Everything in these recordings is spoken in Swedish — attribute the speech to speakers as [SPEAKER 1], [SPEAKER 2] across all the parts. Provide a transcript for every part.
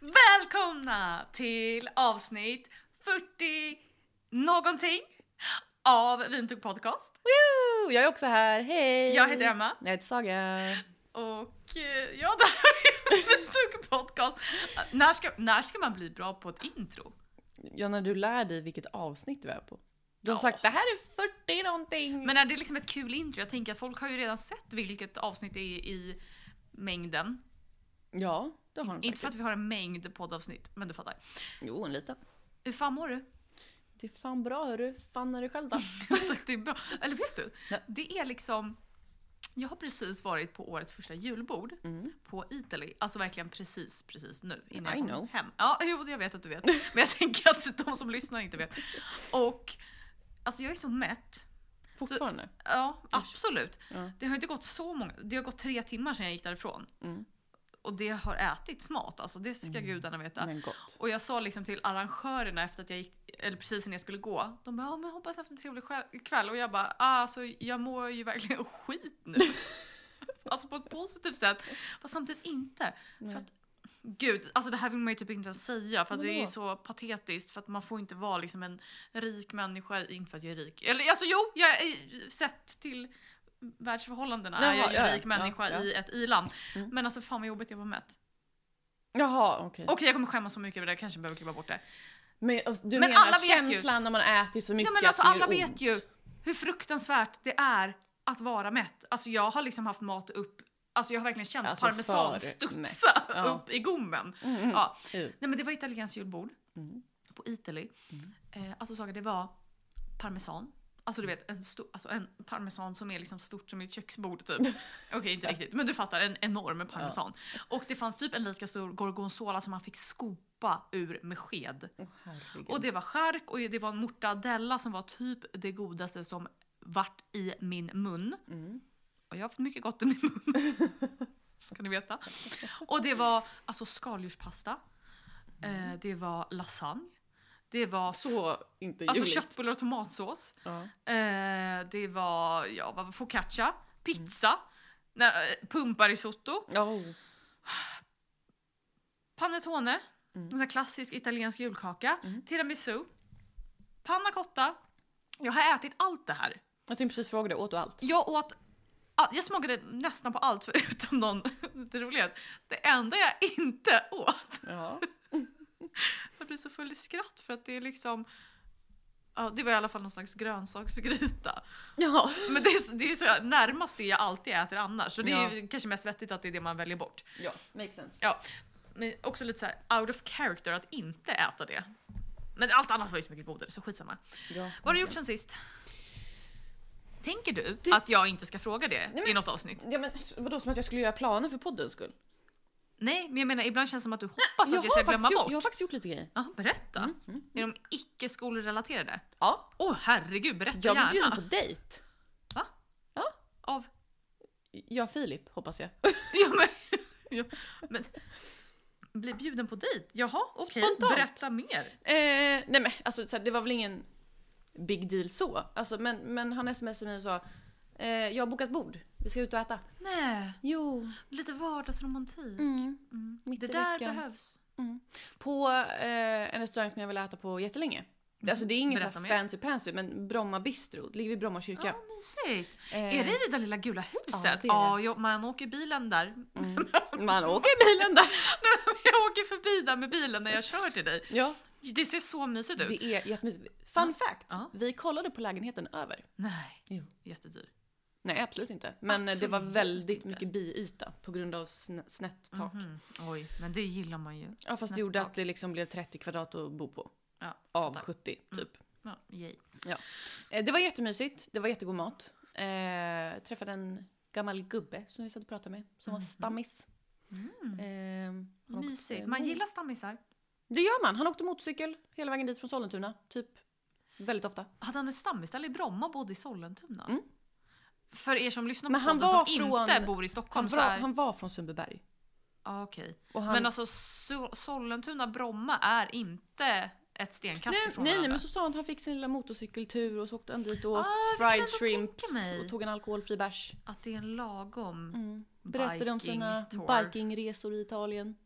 [SPEAKER 1] Välkomna till avsnitt 40 någonting av Vintug Podcast.
[SPEAKER 2] Woo! Jag är också här, hej!
[SPEAKER 1] Jag heter Emma
[SPEAKER 2] Jag heter Saga.
[SPEAKER 1] och eh, ja, det här är Vintug Podcast. När ska, när ska man bli bra på ett intro?
[SPEAKER 2] Ja, när du lär dig vilket avsnitt vi är på. Du har
[SPEAKER 1] Ja.
[SPEAKER 2] sagt det här är 40 någonting.
[SPEAKER 1] Men är det liksom ett kul intro? Jag tänker att folk har ju redan sett vilket avsnitt det är i mängden.
[SPEAKER 2] ja, det har de
[SPEAKER 1] Inte
[SPEAKER 2] säkert.
[SPEAKER 1] för att vi har en mängd poddavsnitt, men du fattar.
[SPEAKER 2] Jo, en liten.
[SPEAKER 1] Hur fan mår du?
[SPEAKER 2] Det är fan bra hörru, fan är du själv då?
[SPEAKER 1] det är bra. Eller vet du?
[SPEAKER 2] Nej.
[SPEAKER 1] Det är liksom... Jag har precis varit på årets första julbord
[SPEAKER 2] Mm.
[SPEAKER 1] på Italy. Alltså verkligen precis, precis nu innan
[SPEAKER 2] I
[SPEAKER 1] jag kom
[SPEAKER 2] know.
[SPEAKER 1] hem. Ja, jo, det jag vet att du vet. Men jag tänker att de som lyssnar inte vet. Och alltså jag är så mätt.
[SPEAKER 2] Fortfarande?
[SPEAKER 1] Ja, absolut.
[SPEAKER 2] Ja.
[SPEAKER 1] Det har inte gått så många, det har gått tre timmar sedan jag gick därifrån.
[SPEAKER 2] Mm.
[SPEAKER 1] Och det har ätits mat, alltså det ska gudarna veta.
[SPEAKER 2] Men gott.
[SPEAKER 1] Och jag sa liksom till arrangörerna efter att jag gick, eller precis innan jag skulle gå, de bara ja men hoppas haft en trevlig själ- kväll och jag bara ah, alltså jag mår ju verkligen skit nu. alltså på ett positivt sätt, fast samtidigt inte.
[SPEAKER 2] Nej.
[SPEAKER 1] För att, gud, alltså det här vill man ju typ inte ens säga för att
[SPEAKER 2] Men
[SPEAKER 1] det är
[SPEAKER 2] vadå?
[SPEAKER 1] så patetiskt för att man får inte vara liksom en rik människa, inte för att jag är rik. Eller alltså jo, jag är, sett till världsförhållandena är
[SPEAKER 2] Jaha,
[SPEAKER 1] jag ju en
[SPEAKER 2] ja,
[SPEAKER 1] rik
[SPEAKER 2] ja,
[SPEAKER 1] människa
[SPEAKER 2] ja.
[SPEAKER 1] i ett i-land.
[SPEAKER 2] Mm.
[SPEAKER 1] Men alltså fan vad jobbigt jag var mätt.
[SPEAKER 2] Jaha, okej.
[SPEAKER 1] Okej jag kommer skämmas så mycket över det, jag kanske behöver klippa bort det.
[SPEAKER 2] Men alltså, du
[SPEAKER 1] Men
[SPEAKER 2] menar
[SPEAKER 1] alla vet ju-
[SPEAKER 2] känslan när man äter så mycket
[SPEAKER 1] Ja, men alltså,
[SPEAKER 2] att det gör
[SPEAKER 1] alla vet
[SPEAKER 2] ont.
[SPEAKER 1] ju hur fruktansvärt det är att vara mätt. Alltså jag har liksom haft mat upp, alltså jag har verkligen känt
[SPEAKER 2] Alltså,
[SPEAKER 1] parmesan
[SPEAKER 2] för
[SPEAKER 1] studsa
[SPEAKER 2] mätt. Ja.
[SPEAKER 1] upp i gommen.
[SPEAKER 2] Mm, mm.
[SPEAKER 1] Ja.
[SPEAKER 2] Ew.
[SPEAKER 1] Nej men det var italienskt julbord
[SPEAKER 2] Mm.
[SPEAKER 1] på Italy. Eh, alltså Saga, det var parmesan. Alltså du vet en, stor, alltså en parmesan som är liksom stort som mitt köksbord typ. Okej inte riktigt, men du fattar en enorm parmesan. Och det fanns typ en lika stor gorgonzola som man fick skopa ur med sked.
[SPEAKER 2] Åh, herregud.
[SPEAKER 1] Och det var skärk och det var en mortadella som var typ det godaste som vart i min mun.
[SPEAKER 2] Mm.
[SPEAKER 1] Och jag har haft mycket gott i min mun. Ska ni veta. Och det var alltså skaldjurspasta. Eh, det var lasagne. Det var
[SPEAKER 2] Så inte
[SPEAKER 1] alltså
[SPEAKER 2] ljuvligt.
[SPEAKER 1] köttbullar och tomatsås.
[SPEAKER 2] Ja.
[SPEAKER 1] Eh, det var ja, vad var focaccia, pizza, nej, eh, pumparisotto,
[SPEAKER 2] Oh.
[SPEAKER 1] panettone,
[SPEAKER 2] Mm.
[SPEAKER 1] en sån här klassisk italiensk julkaka,
[SPEAKER 2] Mm.
[SPEAKER 1] tiramisu, panna cotta. Jag har ätit allt det här.
[SPEAKER 2] Jag tänkte precis fråga dig, åt du allt?
[SPEAKER 1] Jag åt ah, jag smakade nästan på allt förutom någon, det roliga är att det enda jag inte åt,
[SPEAKER 2] Ja.
[SPEAKER 1] jag blir så full i skratt för att det är liksom, ja det var i alla fall någon slags grönsaksgryta.
[SPEAKER 2] Jaha.
[SPEAKER 1] Men det är, det är så här, närmast det jag alltid äter annars. Så det är ju kanske mest vettigt att det är det man väljer bort.
[SPEAKER 2] Ja, makes sense.
[SPEAKER 1] Ja, men också lite så här out of character att inte äta det. Men allt annat var ju så mycket godare så skitsamma.
[SPEAKER 2] Ja.
[SPEAKER 1] Vad har du gjort sen sist? Tänker du att jag inte ska fråga det
[SPEAKER 2] men-
[SPEAKER 1] i något avsnitt?
[SPEAKER 2] Ja men vadå som att jag skulle göra planer för poddens skull?
[SPEAKER 1] Nej, men jag menar ibland känns det som att du hoppas att jag Mm. ska
[SPEAKER 2] har
[SPEAKER 1] glömma
[SPEAKER 2] faktiskt gjort,
[SPEAKER 1] bort.
[SPEAKER 2] jag har faktiskt gjort lite grejer. Mm,
[SPEAKER 1] Ja, berätta. Är de icke skolrelaterade?
[SPEAKER 2] Ja,
[SPEAKER 1] Åh herregud, berätta
[SPEAKER 2] jag blev bjuden
[SPEAKER 1] gärna.
[SPEAKER 2] på dejt.
[SPEAKER 1] Va?
[SPEAKER 2] Ja.
[SPEAKER 1] Av?
[SPEAKER 2] Jag och Filip hoppas jag.
[SPEAKER 1] Ja, men, ja, men, bli bjuden på dejt? Jaha, okej.
[SPEAKER 2] Spontant.
[SPEAKER 1] Berätta mer.
[SPEAKER 2] Eh, nej men alltså så här, det var väl ingen big deal så. Alltså, men, men han smsade mig och sa eh, jag har bokat bord, vi ska ut och äta.
[SPEAKER 1] Nej,
[SPEAKER 2] Jo.
[SPEAKER 1] lite vardagsromantik.
[SPEAKER 2] Mm.
[SPEAKER 1] Mm.
[SPEAKER 2] Mitt
[SPEAKER 1] Det
[SPEAKER 2] i
[SPEAKER 1] där
[SPEAKER 2] veckan.
[SPEAKER 1] behövs.
[SPEAKER 2] På eh, en restaurang som jag vill äta på jättelänge. Alltså det är ingen så här
[SPEAKER 1] Berätta mer.
[SPEAKER 2] fancy pansy men Bromma bistro, det ligger vid Bromma
[SPEAKER 1] Ja,
[SPEAKER 2] kyrka.
[SPEAKER 1] mysigt.
[SPEAKER 2] Eh,
[SPEAKER 1] Är det i det där lilla gula
[SPEAKER 2] det är
[SPEAKER 1] huset?
[SPEAKER 2] det.
[SPEAKER 1] Ja, jag- man åker bilen där.
[SPEAKER 2] mm. Man åker bilen där.
[SPEAKER 1] Jag åker förbi där med bilen när jag kör till dig.
[SPEAKER 2] Ja.
[SPEAKER 1] Det ser så mysigt ut.
[SPEAKER 2] Det är jättemysigt. Fun fact,
[SPEAKER 1] Ja.
[SPEAKER 2] vi kollade på lägenheten över.
[SPEAKER 1] Nej,
[SPEAKER 2] Jo.
[SPEAKER 1] jättedyr.
[SPEAKER 2] Nej, absolut inte. Men eh, det var
[SPEAKER 1] Absolut
[SPEAKER 2] väldigt
[SPEAKER 1] inte.
[SPEAKER 2] mycket biyta på grund av sn- snett tak.
[SPEAKER 1] Mhm. Oj, men det gillar man ju.
[SPEAKER 2] Ja, fast det gjorde att det liksom blev 30 kvadrat att bo på.
[SPEAKER 1] Ja,
[SPEAKER 2] Av
[SPEAKER 1] fattar. Mm.
[SPEAKER 2] 70, typ.
[SPEAKER 1] Ja, yay.
[SPEAKER 2] Eh, Det var jättemysigt. Det var jättegod mat. Eh, träffade en gammal gubbe som vi satt och pratade med, som
[SPEAKER 1] Mhm.
[SPEAKER 2] var stammis. Eh, han åkte-
[SPEAKER 1] Mysigt. Man Mm, gillar stammisar.
[SPEAKER 2] Det gör man. Han åkte motorcykel hela vägen dit från Sollentuna. Typ Väldigt ofta.
[SPEAKER 1] Hade han ett stammisställe i Bromma bodde i Sollentuna?
[SPEAKER 2] Mm.
[SPEAKER 1] För er som lyssnar på
[SPEAKER 2] Men han
[SPEAKER 1] podden som
[SPEAKER 2] var
[SPEAKER 1] inte
[SPEAKER 2] från-
[SPEAKER 1] bor i
[SPEAKER 2] Han
[SPEAKER 1] Stockholm så
[SPEAKER 2] var,
[SPEAKER 1] är...
[SPEAKER 2] han var från Sundbyberg.
[SPEAKER 1] Ja, okej.
[SPEAKER 2] Och han,
[SPEAKER 1] Men alltså so- Sollentuna, Bromma är inte ett stenkast
[SPEAKER 2] nej,
[SPEAKER 1] ifrån
[SPEAKER 2] nej, nej,
[SPEAKER 1] varandra.
[SPEAKER 2] men så sa han att han fick sin lilla motorcykeltur och så åkte han dit och
[SPEAKER 1] Ah,
[SPEAKER 2] åt
[SPEAKER 1] det kan jag
[SPEAKER 2] fried
[SPEAKER 1] ändå
[SPEAKER 2] shrimps
[SPEAKER 1] tänka mig.
[SPEAKER 2] och tog en alkoholfri bärs.
[SPEAKER 1] Att det är en lagom...
[SPEAKER 2] Mm. Berättade om sina
[SPEAKER 1] Biking-tour.
[SPEAKER 2] bikingresor i Italien.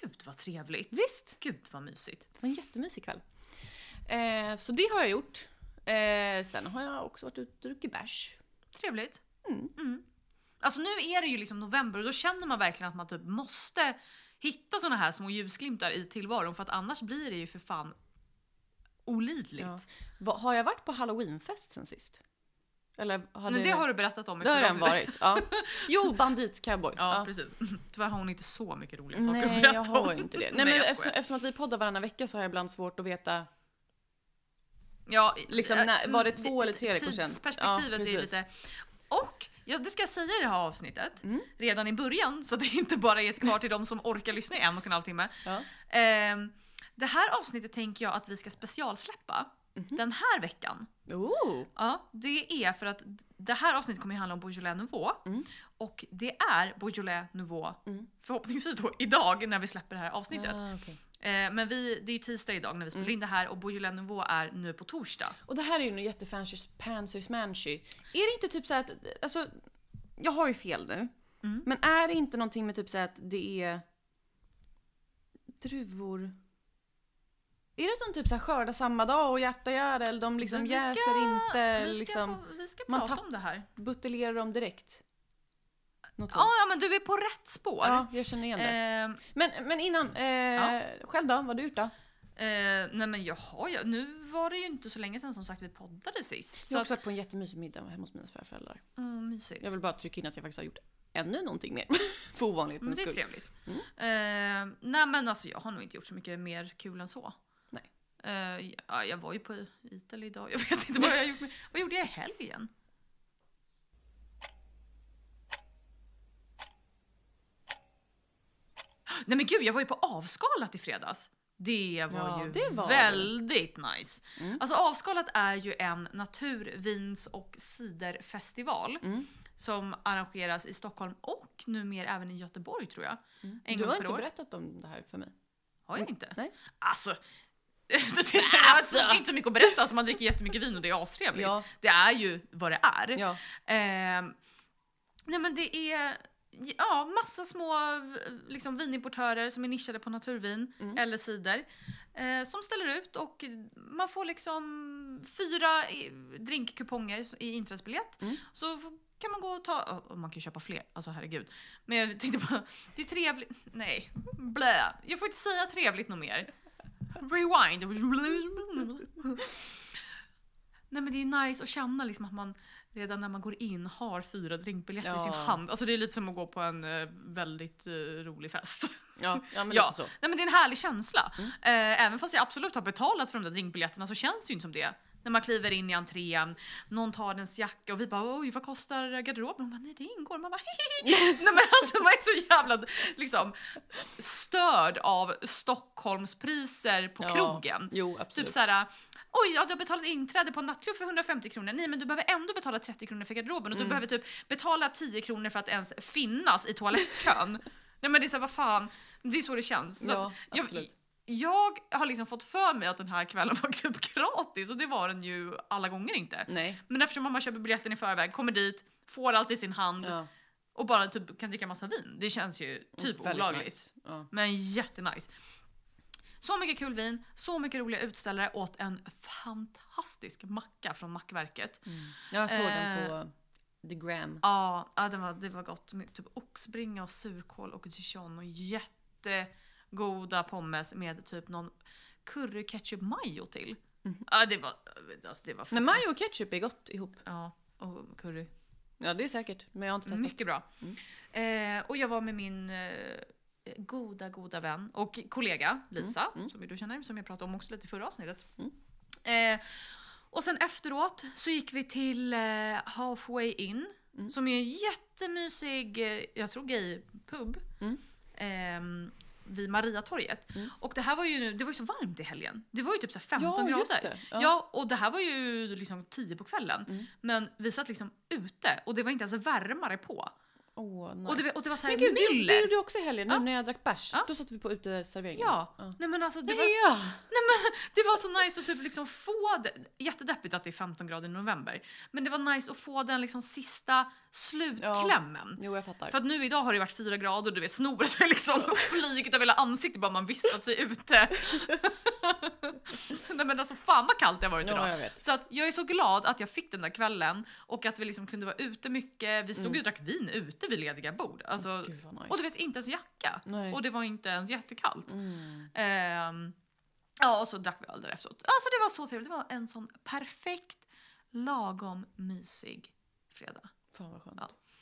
[SPEAKER 1] Gud vad trevligt.
[SPEAKER 2] Visst!
[SPEAKER 1] Gud vad mysigt.
[SPEAKER 2] Det var en jättemysig kväll. Eh, så det har jag gjort. Eh, sen har jag också varit ute och druckit bärs.
[SPEAKER 1] Trevligt.
[SPEAKER 2] Mm.
[SPEAKER 1] Alltså nu är det ju liksom november och då känner man verkligen att man typ måste hitta såna här små ljusglimtar i tillvaron för att annars blir det ju för fan olidligt.
[SPEAKER 2] Ja. Va, har jag varit på halloweenfest sen sist? Eller hade
[SPEAKER 1] Men det har du berättat om i
[SPEAKER 2] det har
[SPEAKER 1] förra
[SPEAKER 2] den
[SPEAKER 1] avsnittet.
[SPEAKER 2] varit. Ja. Jo, banditcowboy.
[SPEAKER 1] Ja,
[SPEAKER 2] Ja.
[SPEAKER 1] precis. Tyvärr har hon inte så mycket roliga saker att
[SPEAKER 2] Nej,
[SPEAKER 1] berätta
[SPEAKER 2] jag
[SPEAKER 1] om.
[SPEAKER 2] har ju inte det. Nej,
[SPEAKER 1] Nej,
[SPEAKER 2] men
[SPEAKER 1] jag
[SPEAKER 2] eftersom,
[SPEAKER 1] skojar.
[SPEAKER 2] eftersom att vi poddar varannan vecka så har jag ibland svårt att veta.
[SPEAKER 1] Ja,
[SPEAKER 2] Liksom,
[SPEAKER 1] eh,
[SPEAKER 2] när- var det
[SPEAKER 1] mm,
[SPEAKER 2] två eller tre veckor sedan? Ja,
[SPEAKER 1] Tidsperspektivet är
[SPEAKER 2] precis.
[SPEAKER 1] ju lite... Och, ja, det ska jag säga i det här avsnittet,
[SPEAKER 2] Mm.
[SPEAKER 1] redan i början, så att det inte bara är ett kvar till de som orkar lyssna i en och en halv timme.
[SPEAKER 2] Ja.
[SPEAKER 1] Ehm, det här avsnittet tänker jag att vi ska specialsläppa
[SPEAKER 2] Mhm.
[SPEAKER 1] den här veckan.
[SPEAKER 2] Oh.
[SPEAKER 1] Ja, det är för att det här avsnittet kommer ju handla om Beaujolais Nouveau.
[SPEAKER 2] Mm.
[SPEAKER 1] Och det är Beaujolais Nouveau,
[SPEAKER 2] Mm.
[SPEAKER 1] förhoppningsvis då idag när vi släpper det här avsnittet.
[SPEAKER 2] Ah, okej.
[SPEAKER 1] Eh, men vi, det är ju tisdag idag när vi
[SPEAKER 2] Mm.
[SPEAKER 1] spelar in det här och Beaujolais Nouveau är nu på torsdag.
[SPEAKER 2] Och det här är ju något jättefancy, pansy, smansy. Är det inte typ så här att, alltså, jag har ju fel nu.
[SPEAKER 1] Mm.
[SPEAKER 2] Men är det inte någonting med typ så här att det är druvor? Är det att de typ så här skördar samma dag och hjärta gör det, eller de liksom
[SPEAKER 1] Men vi ska-
[SPEAKER 2] jäser inte?
[SPEAKER 1] vi, ska
[SPEAKER 2] liksom,
[SPEAKER 1] få, vi ska
[SPEAKER 2] man
[SPEAKER 1] prata
[SPEAKER 2] tapp-
[SPEAKER 1] om det här.
[SPEAKER 2] Buteljerar dem direkt? Något
[SPEAKER 1] Ja,
[SPEAKER 2] sånt.
[SPEAKER 1] ja, men du är på rätt spår.
[SPEAKER 2] Ja, jag känner igen det.
[SPEAKER 1] Ehm,
[SPEAKER 2] Men, men innan, eh,
[SPEAKER 1] Ja.
[SPEAKER 2] själv då? Vad har du gjort då?
[SPEAKER 1] eh, nej men jaha, ja, nu var det ju inte så länge sedan som sagt vi poddade sist.
[SPEAKER 2] Jag
[SPEAKER 1] Så
[SPEAKER 2] har
[SPEAKER 1] att,
[SPEAKER 2] också varit på en jättemysig middag hemma hos mina förföräldrar.
[SPEAKER 1] mm, mysigt.
[SPEAKER 2] Jag vill bara trycka in att jag faktiskt har gjort ännu någonting mer. För
[SPEAKER 1] Mm, Men
[SPEAKER 2] ovanlighetens
[SPEAKER 1] det är
[SPEAKER 2] skull.
[SPEAKER 1] trevligt.
[SPEAKER 2] Mm.
[SPEAKER 1] Eh, nej men alltså jag har nog inte gjort så mycket mer kul än så.
[SPEAKER 2] Nej.
[SPEAKER 1] Eh, ja, jag var ju på Ital idag, jag vet inte vad jag har gjort. Med. Vad gjorde jag i helgen? Nej men gud, jag var ju på Avskalat i fredags. Det var
[SPEAKER 2] Ja,
[SPEAKER 1] ju
[SPEAKER 2] det var det.
[SPEAKER 1] väldigt nice.
[SPEAKER 2] Mm.
[SPEAKER 1] Alltså Avskalat är ju en naturvins och ciderfestival
[SPEAKER 2] Mm.
[SPEAKER 1] som arrangeras i Stockholm och numera även i Göteborg tror jag. En
[SPEAKER 2] Mm. du
[SPEAKER 1] gång
[SPEAKER 2] har
[SPEAKER 1] per
[SPEAKER 2] inte
[SPEAKER 1] år.
[SPEAKER 2] berättat om det här för mig.
[SPEAKER 1] Har jag inte?
[SPEAKER 2] Nej.
[SPEAKER 1] Alltså, det är alltså. inte så mycket att berätta, alltså, man dricker jättemycket vin och det är astrevligt.
[SPEAKER 2] Ja,
[SPEAKER 1] Det är ju vad det är.
[SPEAKER 2] ja.
[SPEAKER 1] Ehm, nej men det är ja, massa små liksom, vinimportörer som är nischade på naturvin
[SPEAKER 2] Mm.
[SPEAKER 1] eller cider. Eh, som ställer ut och man får liksom fyra i- drinkkuponger i inträdesbiljett.
[SPEAKER 2] Mm.
[SPEAKER 1] Så f- kan man gå och ta, och- och man kan ju köpa fler, alltså herregud. Men jag tänkte bara, det är trevligt, nej, blä. Jag får inte säga trevligt något mer. Rewind. Nej men det är nice att känna liksom att man redan när man går in har fyra drinkbiljetter i sin
[SPEAKER 2] Ja.
[SPEAKER 1] hand. Alltså det är lite som att gå på en eh, väldigt eh, rolig fest.
[SPEAKER 2] ja, ja men
[SPEAKER 1] Ja.
[SPEAKER 2] lite så.
[SPEAKER 1] Nej men det är en härlig känsla. Eh, även fast jag absolut har betalat för de där drinkbiljetterna så känns det ju inte som det. När man kliver in i entrén, någon tar ens jacka och vi bara oj vad kostar garderoben? Hon bara nej det ingår. Man bara hihi. Nej men alltså man är så jävla liksom störd av Stockholmspriser på
[SPEAKER 2] Ja.
[SPEAKER 1] krogen.
[SPEAKER 2] Jo,
[SPEAKER 1] Typ
[SPEAKER 2] absolut.
[SPEAKER 1] såhär, oj ja, du har betalat inträde på en nattklubb för 150 kronor, nej men du behöver ändå betala 30 kronor för garderoben och
[SPEAKER 2] Mm.
[SPEAKER 1] du behöver typ betala 10 kronor för att ens finnas i toalettkön. nej men det är såhär, vad fan, det är så det känns. Så
[SPEAKER 2] Ja,
[SPEAKER 1] att jag,
[SPEAKER 2] absolut.
[SPEAKER 1] jag har liksom fått för mig att den här kvällen var typ gratis och det var den ju alla gånger inte.
[SPEAKER 2] Nej.
[SPEAKER 1] Men eftersom mamma köper biljetten i förväg, kommer dit, får allt i sin hand
[SPEAKER 2] Ja.
[SPEAKER 1] och bara typ kan dricka massa vin, det känns ju typ
[SPEAKER 2] väldigt
[SPEAKER 1] olagligt.
[SPEAKER 2] nice. Ja.
[SPEAKER 1] Men jättenice. Så mycket kul vin, så mycket roliga utställare åt en fantastisk macka från Mackverket. Ja,
[SPEAKER 2] Jag såg
[SPEAKER 1] Eh.
[SPEAKER 2] den på The Gram.
[SPEAKER 1] ja, det, var, det var gott. Med typ oxbringa och surkål och dijon och jättegoda pommes med typ någon curry ketchup mayo till. Ja, det var... Alltså, det var
[SPEAKER 2] Men majo och ketchup är gott ihop.
[SPEAKER 1] Ja, och curry.
[SPEAKER 2] Ja, det är säkert. Men jag har inte testat.
[SPEAKER 1] Mm. Mycket bra.
[SPEAKER 2] Mm.
[SPEAKER 1] Eh, och jag var med min eh, goda, goda vän och kollega Lisa,
[SPEAKER 2] Mm.
[SPEAKER 1] som ju du känner, som jag pratade om också lite i förra avsnittet.
[SPEAKER 2] Mm.
[SPEAKER 1] Eh, och sen efteråt så gick vi till eh, Halfway In,
[SPEAKER 2] Mm.
[SPEAKER 1] som är en jättemysig, eh, jag tror gay-pub.
[SPEAKER 2] Mm.
[SPEAKER 1] Ehm, vid Mariatorget.
[SPEAKER 2] Mm.
[SPEAKER 1] Och det här var ju, nu- det var ju så varmt i helgen. Det var ju typ så här 15
[SPEAKER 2] ja, just
[SPEAKER 1] grader.
[SPEAKER 2] det.
[SPEAKER 1] Ja. och det här var ju liksom 10 på kvällen.
[SPEAKER 2] Mm.
[SPEAKER 1] Men vi satt liksom ute och det var inte ens värmare på.
[SPEAKER 2] Åh, nice.
[SPEAKER 1] Och, det, och det var så här
[SPEAKER 2] Men gud, det, det
[SPEAKER 1] myller.
[SPEAKER 2] gjorde jag också i helgen. Nu
[SPEAKER 1] Ja.
[SPEAKER 2] när jag drack bärs,
[SPEAKER 1] Ja.
[SPEAKER 2] då satt vi på uteserveringen.
[SPEAKER 1] Ja.
[SPEAKER 2] Ja.
[SPEAKER 1] Nej men alltså det
[SPEAKER 2] Det
[SPEAKER 1] var,
[SPEAKER 2] var...
[SPEAKER 1] det var så nice att typ liksom få det. Jättedeppigt att det är 15 grader i november. Men det var nice att få den liksom sista slutklämmen.
[SPEAKER 2] Jo, jag fattar.
[SPEAKER 1] För att nu idag har det varit fyra grader och du vet snoret har liksom flugit över hela ansiktet bara man vistat sig ute. Nej men alltså fan vad kallt det har varit idag.
[SPEAKER 2] ja, jag vet.
[SPEAKER 1] Så att jag är så glad att jag fick den där kvällen och att vi liksom kunde vara ute mycket. Vi stod
[SPEAKER 2] Mm.
[SPEAKER 1] och drack vin ute vid lediga bord. Alltså,
[SPEAKER 2] Gud vad nice.
[SPEAKER 1] och du vet inte ens jacka.
[SPEAKER 2] Nej.
[SPEAKER 1] Och det var inte ens jättekallt.
[SPEAKER 2] Mm.
[SPEAKER 1] Ehm, ja, och så drack vi öl där efteråt. Alltså det var så trevligt. Det var en sån perfekt, lagom mysig fredag.
[SPEAKER 2] Fan vad skönt.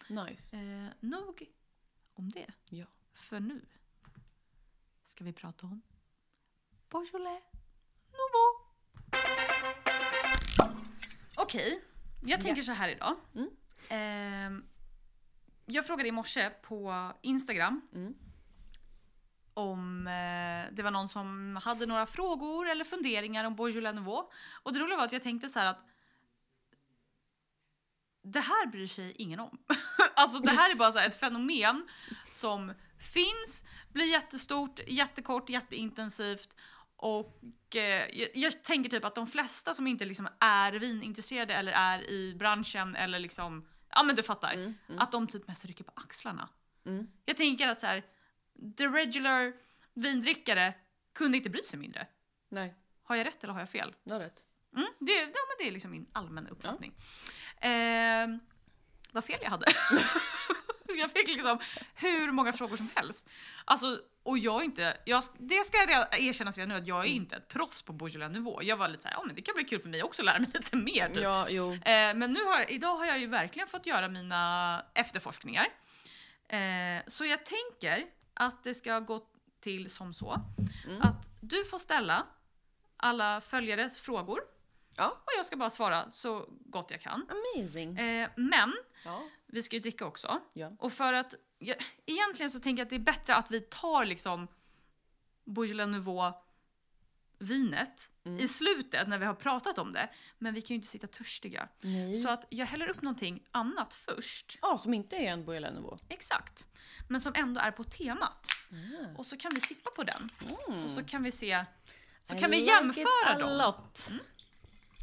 [SPEAKER 1] Ja.
[SPEAKER 2] Nice.
[SPEAKER 1] Eh, nog om det.
[SPEAKER 2] Ja.
[SPEAKER 1] För nu ska vi prata om Beaujolais Nouveau. Okej, jag
[SPEAKER 2] Ja.
[SPEAKER 1] tänker så här idag.
[SPEAKER 2] Mm.
[SPEAKER 1] Ehm, jag frågade i morse på Instagram
[SPEAKER 2] Mm.
[SPEAKER 1] om eh, det var någon som hade några frågor eller funderingar om Beaujolais Nouveau. Och det roliga var att jag tänkte så här att det här bryr sig ingen om. alltså det här är bara så här ett fenomen som finns, blir jättestort, jättekort, jätteintensivt. Och eh, jag, jag tänker typ att de flesta som inte liksom är vinintresserade eller är i branschen eller liksom, ja men du fattar.
[SPEAKER 2] Mm. Mm.
[SPEAKER 1] Att de typ mest rycker på axlarna.
[SPEAKER 2] Mm.
[SPEAKER 1] Jag tänker att så här, the regular vindrickare kunde inte bry sig mindre.
[SPEAKER 2] Nej,
[SPEAKER 1] Har jag rätt eller har jag fel?
[SPEAKER 2] du har rätt.
[SPEAKER 1] Mm, det, ja, men det är liksom min allmänna uppfattning. Eh, vad fel jag hade. jag fick liksom hur många frågor som helst. Alltså, och jag är inte, jag, det ska jag re- erkännas redan nu att jag
[SPEAKER 2] Mm.
[SPEAKER 1] är inte ett proffs på Beaujolais-nivå. Jag var lite såhär, ja men det kan bli kul för mig också att lära mig lite mer. typ.
[SPEAKER 2] Ja, jo.
[SPEAKER 1] Eh, men nu har, idag har jag ju verkligen fått göra mina efterforskningar. Eh, så jag tänker att det ska gå till som så.
[SPEAKER 2] Mm.
[SPEAKER 1] Att du får ställa alla följares frågor.
[SPEAKER 2] Ja.
[SPEAKER 1] Och jag ska bara svara så gott jag kan.
[SPEAKER 2] Amazing.
[SPEAKER 1] Eh, men
[SPEAKER 2] Ja.
[SPEAKER 1] vi ska ju dricka också.
[SPEAKER 2] Ja.
[SPEAKER 1] Och för att, ja, egentligen så tänker jag att det är bättre att vi tar liksom Beaujolais Nouveau vinet
[SPEAKER 2] Mm.
[SPEAKER 1] i slutet när vi har pratat om det. Men vi kan ju inte sitta törstiga.
[SPEAKER 2] Nej.
[SPEAKER 1] Så att jag häller upp någonting annat först.
[SPEAKER 2] Ja, som inte är en Bojelänivå.
[SPEAKER 1] Exakt. Men som ändå är på temat.
[SPEAKER 2] Mm.
[SPEAKER 1] Och så kan vi sippa på den. Och så kan vi se. Så
[SPEAKER 2] I
[SPEAKER 1] kan vi
[SPEAKER 2] like
[SPEAKER 1] jämföra
[SPEAKER 2] it a
[SPEAKER 1] dem.
[SPEAKER 2] lot.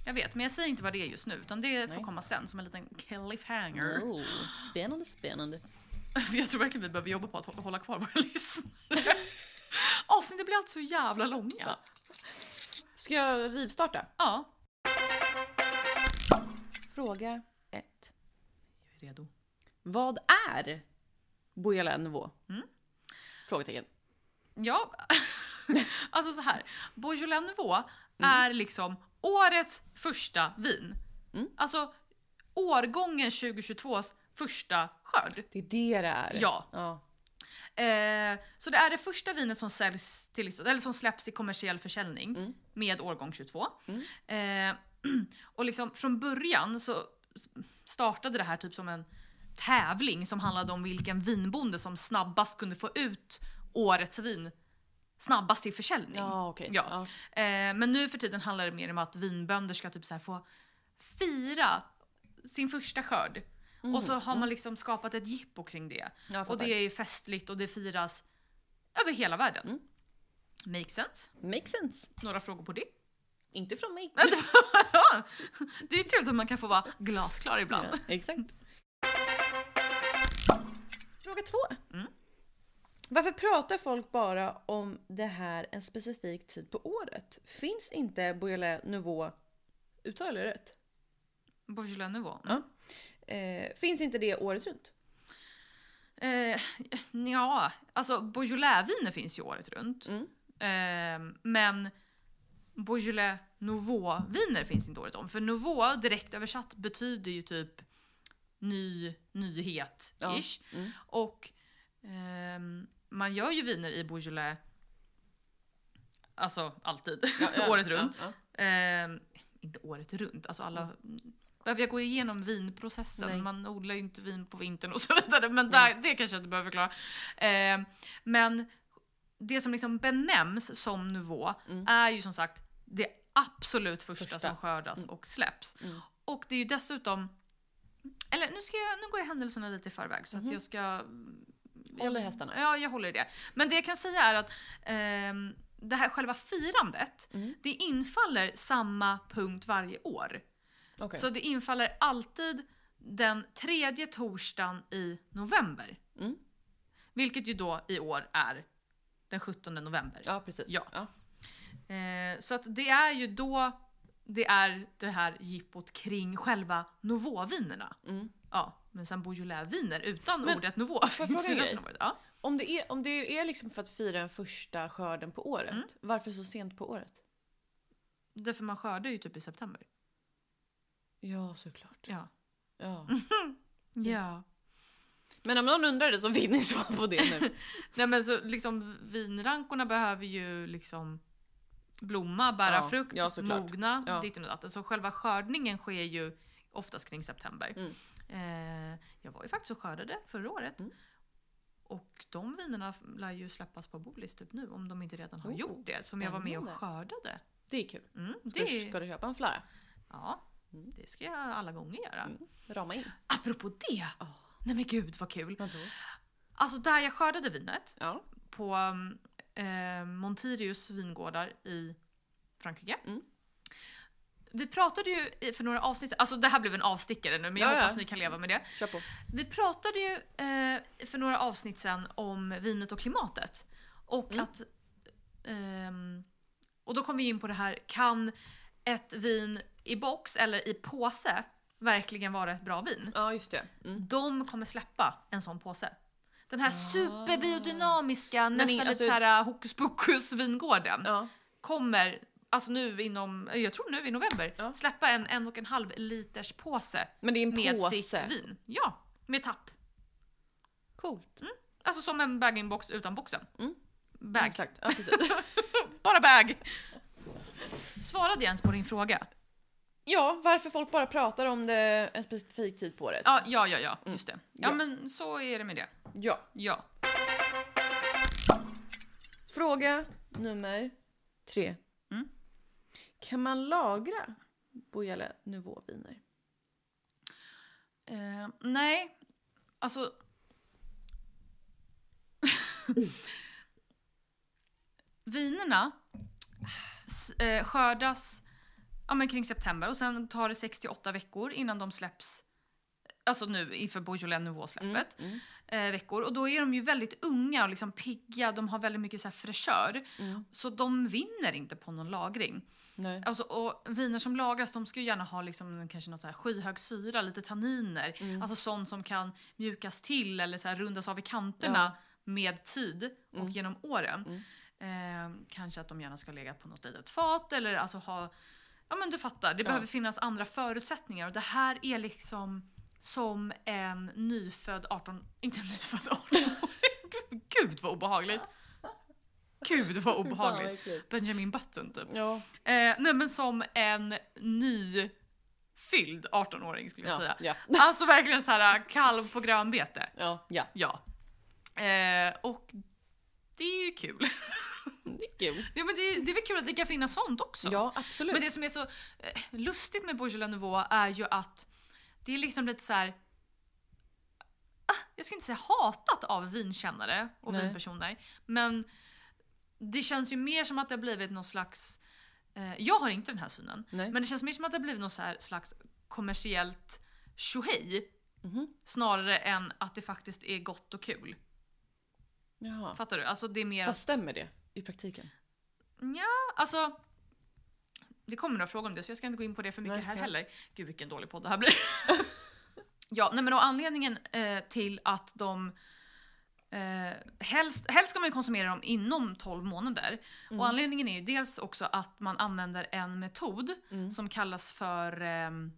[SPEAKER 1] Jag vet, men jag säger inte vad det är just nu. Utan det får
[SPEAKER 2] Nej.
[SPEAKER 1] komma sen som en liten cliffhanger.
[SPEAKER 2] Oh, spännande, spännande.
[SPEAKER 1] För jag tror verkligen vi behöver jobba på att hå- hålla kvar våra lyssnare. Avsnitten blir alltid så jävla långa.
[SPEAKER 2] Ska jag rivstarta?
[SPEAKER 1] Ja.
[SPEAKER 2] Fråga ett.
[SPEAKER 1] Jag är redo.
[SPEAKER 2] Vad är Bojelänivå?
[SPEAKER 1] Mm.
[SPEAKER 2] Frågetecken.
[SPEAKER 1] Ja, alltså så här. Beaujolais Nouveau är liksom årets första vin.
[SPEAKER 2] Mm.
[SPEAKER 1] Alltså årgången 2022s första skörd.
[SPEAKER 2] Det är det det är.
[SPEAKER 1] Ja.
[SPEAKER 2] ja.
[SPEAKER 1] Eh, så det är det första vinet som, säljs till, eller som släpps i kommersiell försäljning
[SPEAKER 2] Mm.
[SPEAKER 1] med årgång 22.
[SPEAKER 2] Mm.
[SPEAKER 1] Eh, och liksom från början så startade det här typ som en tävling som handlade om vilken vinbonde som snabbast kunde få ut årets vin snabbast till försäljning.
[SPEAKER 2] Ja, okej.
[SPEAKER 1] Ja.
[SPEAKER 2] Ja.
[SPEAKER 1] Eh, men nu för tiden handlar det mer om att vinbönder ska typ så här få fira sin första skörd. Och så har man liksom skapat ett jippo kring det.
[SPEAKER 2] Mm, Ja, jag
[SPEAKER 1] Och det
[SPEAKER 2] fattar.
[SPEAKER 1] är festligt och det firas över hela världen.
[SPEAKER 2] Mm.
[SPEAKER 1] Make sense?
[SPEAKER 2] Makes sense.
[SPEAKER 1] Några frågor på det?
[SPEAKER 2] Inte från mig.
[SPEAKER 1] Ja, det är ju trevligt att man kan få vara glasklar ibland.
[SPEAKER 2] Ja, exakt. Fråga två.
[SPEAKER 1] Mm.
[SPEAKER 2] Varför pratar folk bara om det här en specifik tid på året? Finns inte Beaujolais Nouveau, uttalar jag det rätt?
[SPEAKER 1] Beaujolais Nouveau.
[SPEAKER 2] Ja. Eh, finns inte det året runt?
[SPEAKER 1] Eh, ja, alltså Beaujolais-viner finns ju året runt.
[SPEAKER 2] Mm.
[SPEAKER 1] Eh, men Beaujolais Nouveau-viner finns inte året om. För Nouveau, direkt översatt, betyder ju typ ny, nyhet
[SPEAKER 2] Ja.
[SPEAKER 1] ish.
[SPEAKER 2] Mm.
[SPEAKER 1] Och ehm, man gör ju viner i Beaujolais Alltså alltid, året runt.
[SPEAKER 2] Ja,
[SPEAKER 1] Ehm, inte året runt, alltså alla... Behöver jag gå igenom vinprocessen?
[SPEAKER 2] Mm. Nej.
[SPEAKER 1] Man odlar ju inte vin på vintern och så vidare. Men där, det kanske jag inte behöver förklara. Ehm, men det som liksom benämns som nivå
[SPEAKER 2] Mm.
[SPEAKER 1] är ju som sagt det absolut första,
[SPEAKER 2] Första.
[SPEAKER 1] som skördas
[SPEAKER 2] Mm.
[SPEAKER 1] och släpps.
[SPEAKER 2] Mm.
[SPEAKER 1] Och det är ju dessutom... Eller nu, ska jag, nu går jag händelserna lite i förväg så
[SPEAKER 2] Mhm.
[SPEAKER 1] att jag ska...
[SPEAKER 2] Håll i
[SPEAKER 1] jag-
[SPEAKER 2] hästarna.
[SPEAKER 1] Ja, jag håller i det. Men det jag kan säga är att ehm, det här själva firandet,
[SPEAKER 2] Mm.
[SPEAKER 1] det infaller samma punkt varje år.
[SPEAKER 2] Okej.
[SPEAKER 1] Så det infaller alltid den tredje torsdagen i november.
[SPEAKER 2] Mm.
[SPEAKER 1] Vilket ju då i år är den 17 november.
[SPEAKER 2] Ja, precis.
[SPEAKER 1] Ja.
[SPEAKER 2] Ja.
[SPEAKER 1] Eh, så att det är ju då det är det här jippot kring själva Nouveau-vinerna.
[SPEAKER 2] Mm.
[SPEAKER 1] Ja, men sen Beaujolais-viner utan
[SPEAKER 2] Men,
[SPEAKER 1] ordet Nouveau
[SPEAKER 2] jag
[SPEAKER 1] finns
[SPEAKER 2] fråga
[SPEAKER 1] i
[SPEAKER 2] en
[SPEAKER 1] resten av året. Ja.
[SPEAKER 2] Om, det är, om det är liksom för att fira den första skörden på året,
[SPEAKER 1] Mm.
[SPEAKER 2] varför så sent på året?
[SPEAKER 1] Därför man skördar ju typ i september.
[SPEAKER 2] Ja, såklart.
[SPEAKER 1] Ja.
[SPEAKER 2] Ja.
[SPEAKER 1] ja.
[SPEAKER 2] Men om någon undrar det så vill ni svar på det nu.
[SPEAKER 1] Nej men så liksom vinrankorna behöver ju liksom blomma, bära
[SPEAKER 2] Ja,
[SPEAKER 1] frukt,
[SPEAKER 2] ja, såklart.
[SPEAKER 1] mogna,
[SPEAKER 2] Ja.
[SPEAKER 1] ditten och datten. Så själva skördningen sker ju oftast kring september.
[SPEAKER 2] Mm.
[SPEAKER 1] Eh, jag var ju faktiskt och skördade förra året.
[SPEAKER 2] Mm.
[SPEAKER 1] Och de vinerna lär ju släppas på Bolis typ nu om de inte redan har
[SPEAKER 2] Oh,
[SPEAKER 1] gjort det. Som jag var med och
[SPEAKER 2] spännande.
[SPEAKER 1] skördade.
[SPEAKER 2] Det är kul.
[SPEAKER 1] Mm, det,
[SPEAKER 2] Först ska du köpa en flara.
[SPEAKER 1] ja,
[SPEAKER 2] Mm.
[SPEAKER 1] det ska jag alla gånger göra.
[SPEAKER 2] Mm. Rama in.
[SPEAKER 1] Apropå det!
[SPEAKER 2] Ja.
[SPEAKER 1] Nej men gud vad kul!
[SPEAKER 2] Vadå?
[SPEAKER 1] Alltså där jag skördade vinet
[SPEAKER 2] Ja.
[SPEAKER 1] på um, eh, Montirius vingårdar i Frankrike.
[SPEAKER 2] Mm.
[SPEAKER 1] Vi pratade ju i- för några avsnitt, alltså det här blev en avstickare nu men jag
[SPEAKER 2] Ja, ja.
[SPEAKER 1] hoppas ni kan leva med det.
[SPEAKER 2] Kör på.
[SPEAKER 1] Vi pratade ju eh, för några avsnitt sedan om vinet och klimatet. Och
[SPEAKER 2] Mm.
[SPEAKER 1] att... ehm, och då kom vi in på det här, kan ett vin i box eller i påse verkligen vara ett bra vin?
[SPEAKER 2] Ja, just det. Mm.
[SPEAKER 1] De kommer släppa en sån påse. Den här
[SPEAKER 2] Ah.
[SPEAKER 1] superbiodynamiska,
[SPEAKER 2] Men i-
[SPEAKER 1] nästan
[SPEAKER 2] alltså-
[SPEAKER 1] lite såhär hokus pokus vingården
[SPEAKER 2] Ja.
[SPEAKER 1] kommer, alltså nu inom, jag tror nu i november,
[SPEAKER 2] Ja.
[SPEAKER 1] släppa en en och en halv liters påse
[SPEAKER 2] Men det är en
[SPEAKER 1] med sitt
[SPEAKER 2] påse.
[SPEAKER 1] vin. Ja, med tapp.
[SPEAKER 2] Coolt.
[SPEAKER 1] Alltså som en bag-in-box utan boxen.
[SPEAKER 2] Mm.
[SPEAKER 1] Bag.
[SPEAKER 2] Exakt. Ja, precis.
[SPEAKER 1] Bara bag! Svarade jag ens på din fråga?
[SPEAKER 2] ja, varför folk bara pratar om det en specifik tid på året.
[SPEAKER 1] Ja, ja, ja, ja. just det. Ja,
[SPEAKER 2] Mm. Ja.
[SPEAKER 1] men så är det med det.
[SPEAKER 2] ja.
[SPEAKER 1] Ja.
[SPEAKER 2] Fråga nummer tre.
[SPEAKER 1] Mm.
[SPEAKER 2] Kan man lagra Beaujolais Nouveau-viner?
[SPEAKER 1] Eh, nej, alltså... Vinerna s- eh, skördas ja, men kring september och sen tar det 68 veckor innan de släpps. Alltså nu inför Beaujolais Nouveau-släppet.
[SPEAKER 2] Mm.
[SPEAKER 1] Eh, veckor. Och då är de ju väldigt unga och liksom pigga, de har väldigt mycket så här fräschör.
[SPEAKER 2] Mm.
[SPEAKER 1] Så de vinner inte på någon lagring.
[SPEAKER 2] Nej.
[SPEAKER 1] Alltså, och viner som lagras de ska ju gärna ha liksom, kanske något så här skyhög syra, lite tanniner.
[SPEAKER 2] Mm.
[SPEAKER 1] Alltså sånt som kan mjukas till eller så här rundas av i kanterna med tid och
[SPEAKER 2] Mm.
[SPEAKER 1] genom åren. Eh, kanske att de gärna ska lägga på något litet fat eller alltså ha... Ja men du fattar, det
[SPEAKER 2] Ja.
[SPEAKER 1] behöver finnas andra förutsättningar och det här är liksom som en nyfödd 18... Inte nyfödd 18 Gud vad obehagligt! Gud vad obehagligt! Benjamin Button typ.
[SPEAKER 2] Ja.
[SPEAKER 1] Eh, nej men som en nyfylld 18-åring skulle jag
[SPEAKER 2] Ja.
[SPEAKER 1] säga.
[SPEAKER 2] Ja.
[SPEAKER 1] Alltså verkligen så här kalv på grönbete.
[SPEAKER 2] ja. ja.
[SPEAKER 1] Ja. Eh, och det är ju kul.
[SPEAKER 2] Det är kul.
[SPEAKER 1] ja, men det, det är väl kul att det kan finnas sånt också.
[SPEAKER 2] Ja, absolut.
[SPEAKER 1] Men det som är så eh, lustigt med Bourgeois Nouveau är ju att det är liksom lite så här. ah, Jag ska inte säga hatat av vinkännare och
[SPEAKER 2] Nej.
[SPEAKER 1] vinpersoner. Men det känns ju mer som att det har blivit någon slags... Eh, jag har inte den här synen.
[SPEAKER 2] Nej.
[SPEAKER 1] Men det känns mer som att det har blivit någon så här slags kommersiellt tjohej.
[SPEAKER 2] Mhm.
[SPEAKER 1] Snarare än att det faktiskt är gott och kul.
[SPEAKER 2] Jaha.
[SPEAKER 1] Fattar du? Alltså det är mer...
[SPEAKER 2] Fast stämmer det i praktiken?
[SPEAKER 1] Ja, alltså. Det kommer några frågor om det så jag ska inte gå in på det för mycket
[SPEAKER 2] Nej,
[SPEAKER 1] här
[SPEAKER 2] nej.
[SPEAKER 1] heller. Gud vilken dålig podd det här blir. ja, nej men och anledningen eh, till att de Eh, helst, helst ska man ju konsumera dem inom 12 månader.
[SPEAKER 2] Mm.
[SPEAKER 1] Och anledningen är ju dels också att man använder en metod
[SPEAKER 2] Mm.
[SPEAKER 1] som kallas för ehm,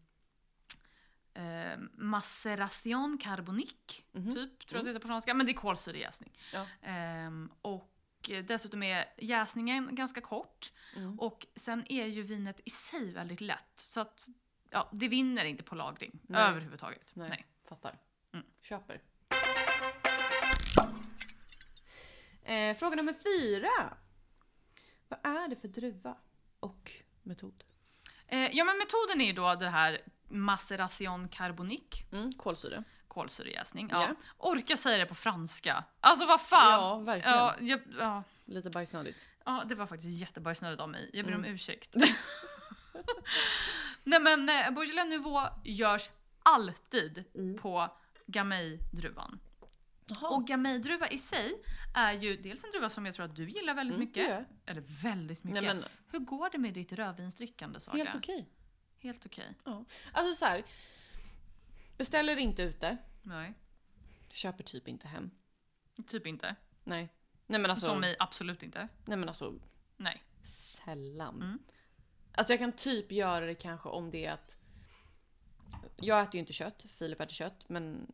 [SPEAKER 1] eh, maceration carbonique.
[SPEAKER 2] Mhm.
[SPEAKER 1] Typ, tror jag det heter på franska. Men det är kolsyrejäsning.
[SPEAKER 2] Ja.
[SPEAKER 1] Ehm, och eh, dessutom är jäsningen ganska kort.
[SPEAKER 2] Mm.
[SPEAKER 1] Och sen är ju vinet i sig väldigt lätt. Så att ja, det vinner inte på lagring
[SPEAKER 2] Nej.
[SPEAKER 1] överhuvudtaget.
[SPEAKER 2] Nej.
[SPEAKER 1] Nej.
[SPEAKER 2] Mm. Fattar.
[SPEAKER 1] Mm.
[SPEAKER 2] Köper.
[SPEAKER 3] Eh, fråga nummer fyra. Vad är det för druva?
[SPEAKER 2] Och metod.
[SPEAKER 1] Eh, ja men metoden är ju då det här maceration carbonique,
[SPEAKER 2] Mm, kolsyra.
[SPEAKER 1] kolsyrejäsning. Ja.
[SPEAKER 2] Ja.
[SPEAKER 1] Orka säga det på franska. Alltså vad fan.
[SPEAKER 2] Ja, verkligen.
[SPEAKER 1] Ja, jag, ja,
[SPEAKER 2] Lite bajsnödigt.
[SPEAKER 1] ja, det var faktiskt jättebajsnödigt av mig. Jag ber om
[SPEAKER 2] Mm.
[SPEAKER 1] ursäkt. Nej men eh, Beaujolais Nouveau görs alltid
[SPEAKER 2] Mm.
[SPEAKER 1] på Gamay-druvan.
[SPEAKER 2] Jaha.
[SPEAKER 1] Och Gamay-druva i sig är ju dels en druva som jag tror att du gillar väldigt
[SPEAKER 2] Mm,
[SPEAKER 1] mycket.
[SPEAKER 2] det gör jag.
[SPEAKER 1] Eller väldigt mycket.
[SPEAKER 2] Nej, men,
[SPEAKER 1] Hur går det med ditt rödvinsdrickande Saga?
[SPEAKER 2] helt okej.
[SPEAKER 1] Helt okej.
[SPEAKER 2] Alltså så här. Beställer inte ute.
[SPEAKER 1] Nej,
[SPEAKER 2] Köper typ inte hem.
[SPEAKER 1] typ inte.
[SPEAKER 2] Nej. Nej men alltså.
[SPEAKER 1] Som i absolut inte.
[SPEAKER 2] Nej men alltså.
[SPEAKER 1] Nej.
[SPEAKER 2] Sällan.
[SPEAKER 1] Mm.
[SPEAKER 2] Alltså jag kan typ göra det kanske om det är att. Jag äter ju inte kött. Filip äter kött. Men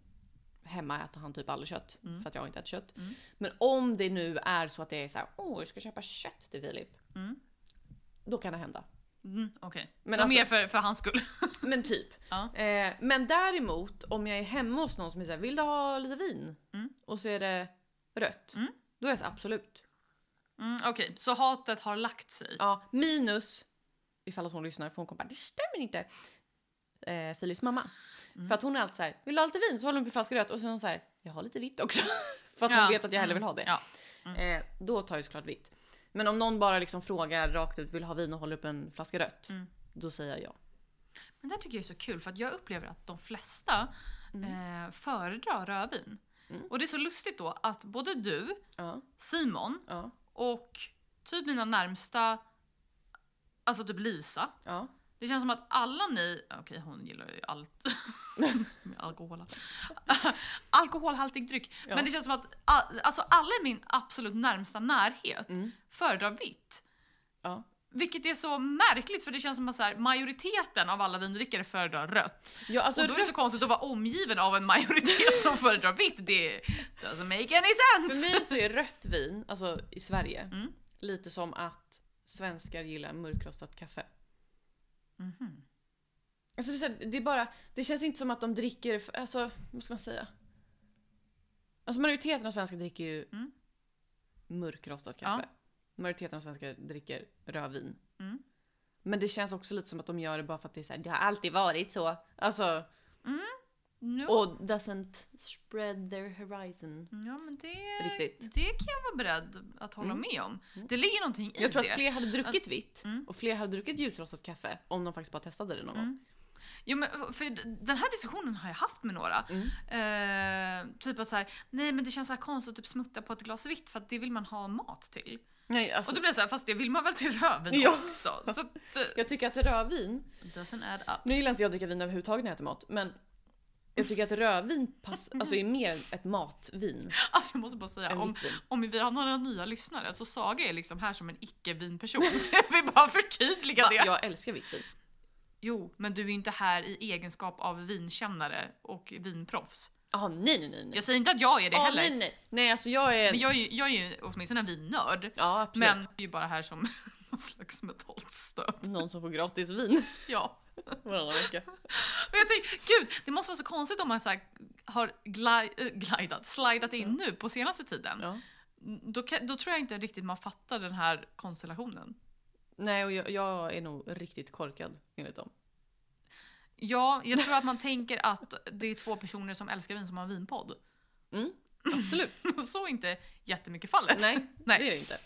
[SPEAKER 2] hemma äter han typ aldrig kött.
[SPEAKER 1] Mm.
[SPEAKER 2] För att jag inte äter kött.
[SPEAKER 1] Mm.
[SPEAKER 2] Men om det nu är så att det är så här. Åh, jag ska köpa kött till Filip.
[SPEAKER 1] Mm. Då-
[SPEAKER 2] Då kan det hända.
[SPEAKER 1] Mm, Okej. Så
[SPEAKER 2] Men alltså-
[SPEAKER 1] mer för, för hans skull.
[SPEAKER 2] Men typ.
[SPEAKER 1] Ja.
[SPEAKER 2] Eh, men däremot om jag är hemma hos någon som är såhär, vill du ha lite vin?
[SPEAKER 1] Mm.
[SPEAKER 2] Och så är det rött.
[SPEAKER 1] Mm.
[SPEAKER 2] Då är jag så här, absolut.
[SPEAKER 1] Mm, Okej, så hatet har lagt sig.
[SPEAKER 2] Ja, minus, ifall att hon lyssnar för hon kommer bara, det stämmer inte. Eh, Filips mamma.
[SPEAKER 1] Mm.
[SPEAKER 2] För att hon är alltid såhär, vill du ha lite vin? Så håller hon upp en flaska rött och så är hon såhär, jag har lite vitt också. för att
[SPEAKER 1] Ja. Mm.
[SPEAKER 2] hon vet att jag hellre vill ha det.
[SPEAKER 1] Ja.
[SPEAKER 2] Eh, då tar jag såklart vitt. Men om någon bara liksom frågar rakt ut, vill du ha vin och håller upp en flaska rött?
[SPEAKER 1] Mm.
[SPEAKER 2] Då säger jag ja.
[SPEAKER 1] Men det här tycker jag är så kul för att jag upplever att de flesta eh, föredrar rödvin.
[SPEAKER 2] Mm.
[SPEAKER 1] Och det är så lustigt då att både du,
[SPEAKER 2] Ja,
[SPEAKER 1] Simon
[SPEAKER 2] ja,
[SPEAKER 1] och typ mina närmsta, alltså typ Lisa.
[SPEAKER 2] ja.
[SPEAKER 1] Det känns som att alla ni, okej hon gillar ju allt med alkohol. Alkoholhaltig dryck.
[SPEAKER 2] Ja.
[SPEAKER 1] Men det känns som att a- alltså alla i min absolut närmsta närhet
[SPEAKER 2] Mm.
[SPEAKER 1] föredrar vitt.
[SPEAKER 2] Ja.
[SPEAKER 1] Vilket är så märkligt för det känns som att så här, majoriteten av alla vindrickare föredrar rött.
[SPEAKER 2] ja alltså,
[SPEAKER 1] och då är det så konstigt att vara omgiven av en majoritet som föredrar vitt. Det doesn't make any
[SPEAKER 2] För
[SPEAKER 1] sense!
[SPEAKER 2] mig så är rött vin, alltså i Sverige,
[SPEAKER 1] Mm.
[SPEAKER 2] lite som att svenskar gillar mörkrostat kaffe.
[SPEAKER 1] Mhm.
[SPEAKER 2] Alltså det, är så här, det är bara, det känns inte som att de dricker, f- alltså vad ska man säga? Alltså majoriteten av svenskar dricker ju
[SPEAKER 1] Mm.
[SPEAKER 2] mörkrostat kaffe. Majoriteten av svenskar dricker rödvin.
[SPEAKER 1] Mm.
[SPEAKER 2] Men det känns också lite som att de gör det bara för att det är så här, det har alltid varit så. Alltså,
[SPEAKER 1] Ja.
[SPEAKER 2] och doesn't spread their horizon.
[SPEAKER 1] Ja men det,
[SPEAKER 2] Riktigt.
[SPEAKER 1] det kan jag vara beredd att hålla
[SPEAKER 2] Mm.
[SPEAKER 1] med om.
[SPEAKER 2] Mm.
[SPEAKER 1] Det ligger någonting i
[SPEAKER 2] Jag tror
[SPEAKER 1] det.
[SPEAKER 2] att fler hade druckit vitt
[SPEAKER 1] Mm.
[SPEAKER 2] och fler hade druckit ljusrostat kaffe om de faktiskt bara testade det någon gång.
[SPEAKER 1] Mm. Jo, men för den här diskussionen har jag haft med några.
[SPEAKER 2] Mm.
[SPEAKER 1] Eh, typ att så här, nej men det känns så här konstigt att typ smutta på ett glas vitt för att det vill man ha mat till.
[SPEAKER 2] Nej, alltså,
[SPEAKER 1] Och då blir jag så här, fast det vill man väl till rödvin
[SPEAKER 2] Ja.
[SPEAKER 1] också? Så att, eh,
[SPEAKER 2] Jag tycker att rödvin,
[SPEAKER 1] doesn't add up.
[SPEAKER 2] nu gillar inte jag att dricka vin överhuvudtaget när jag äter mat, men jag tycker att rödvin pass, alltså är mer ett matvin
[SPEAKER 1] Alltså jag måste bara säga,
[SPEAKER 2] än
[SPEAKER 1] om,
[SPEAKER 2] vitvin.
[SPEAKER 1] om vi har några nya lyssnare så Saga är liksom här som en icke-vinperson. Så jag vill bara förtydliga
[SPEAKER 2] Va,
[SPEAKER 1] det.
[SPEAKER 2] jag älskar vitt vin.
[SPEAKER 1] Jo, men du är inte här i egenskap av vinkännare och vinproffs.
[SPEAKER 2] Jaha, nej nej nej. nej.
[SPEAKER 1] Jag säger inte att jag är det
[SPEAKER 2] Ah,
[SPEAKER 1] heller.
[SPEAKER 2] nej nej. Nej alltså jag är...
[SPEAKER 1] Men jag är ju, jag är ju åtminstone en vinnörd.
[SPEAKER 2] Ja absolut.
[SPEAKER 1] Men det är ju bara här som någon slags mentalt stöd.
[SPEAKER 2] Någon som får gratis vin
[SPEAKER 1] Ja.
[SPEAKER 2] varannan vecka.
[SPEAKER 1] Men jag tänkte, gud, det måste vara så konstigt om man så här har gli- eh, glidat, slidat in nu på senaste tiden.
[SPEAKER 2] Mm. Ja.
[SPEAKER 1] Då, kan, då tror jag inte riktigt man fattar den här konstellationen.
[SPEAKER 2] Nej och jag, jag är nog riktigt korkad enligt dem.
[SPEAKER 1] Ja, jag tror att man tänker att det är två personer som älskar vin som har en vinpodd.
[SPEAKER 2] Mm, absolut.
[SPEAKER 1] Så är inte jättemycket fallet.
[SPEAKER 2] nej,
[SPEAKER 1] Nej.
[SPEAKER 2] det är det inte.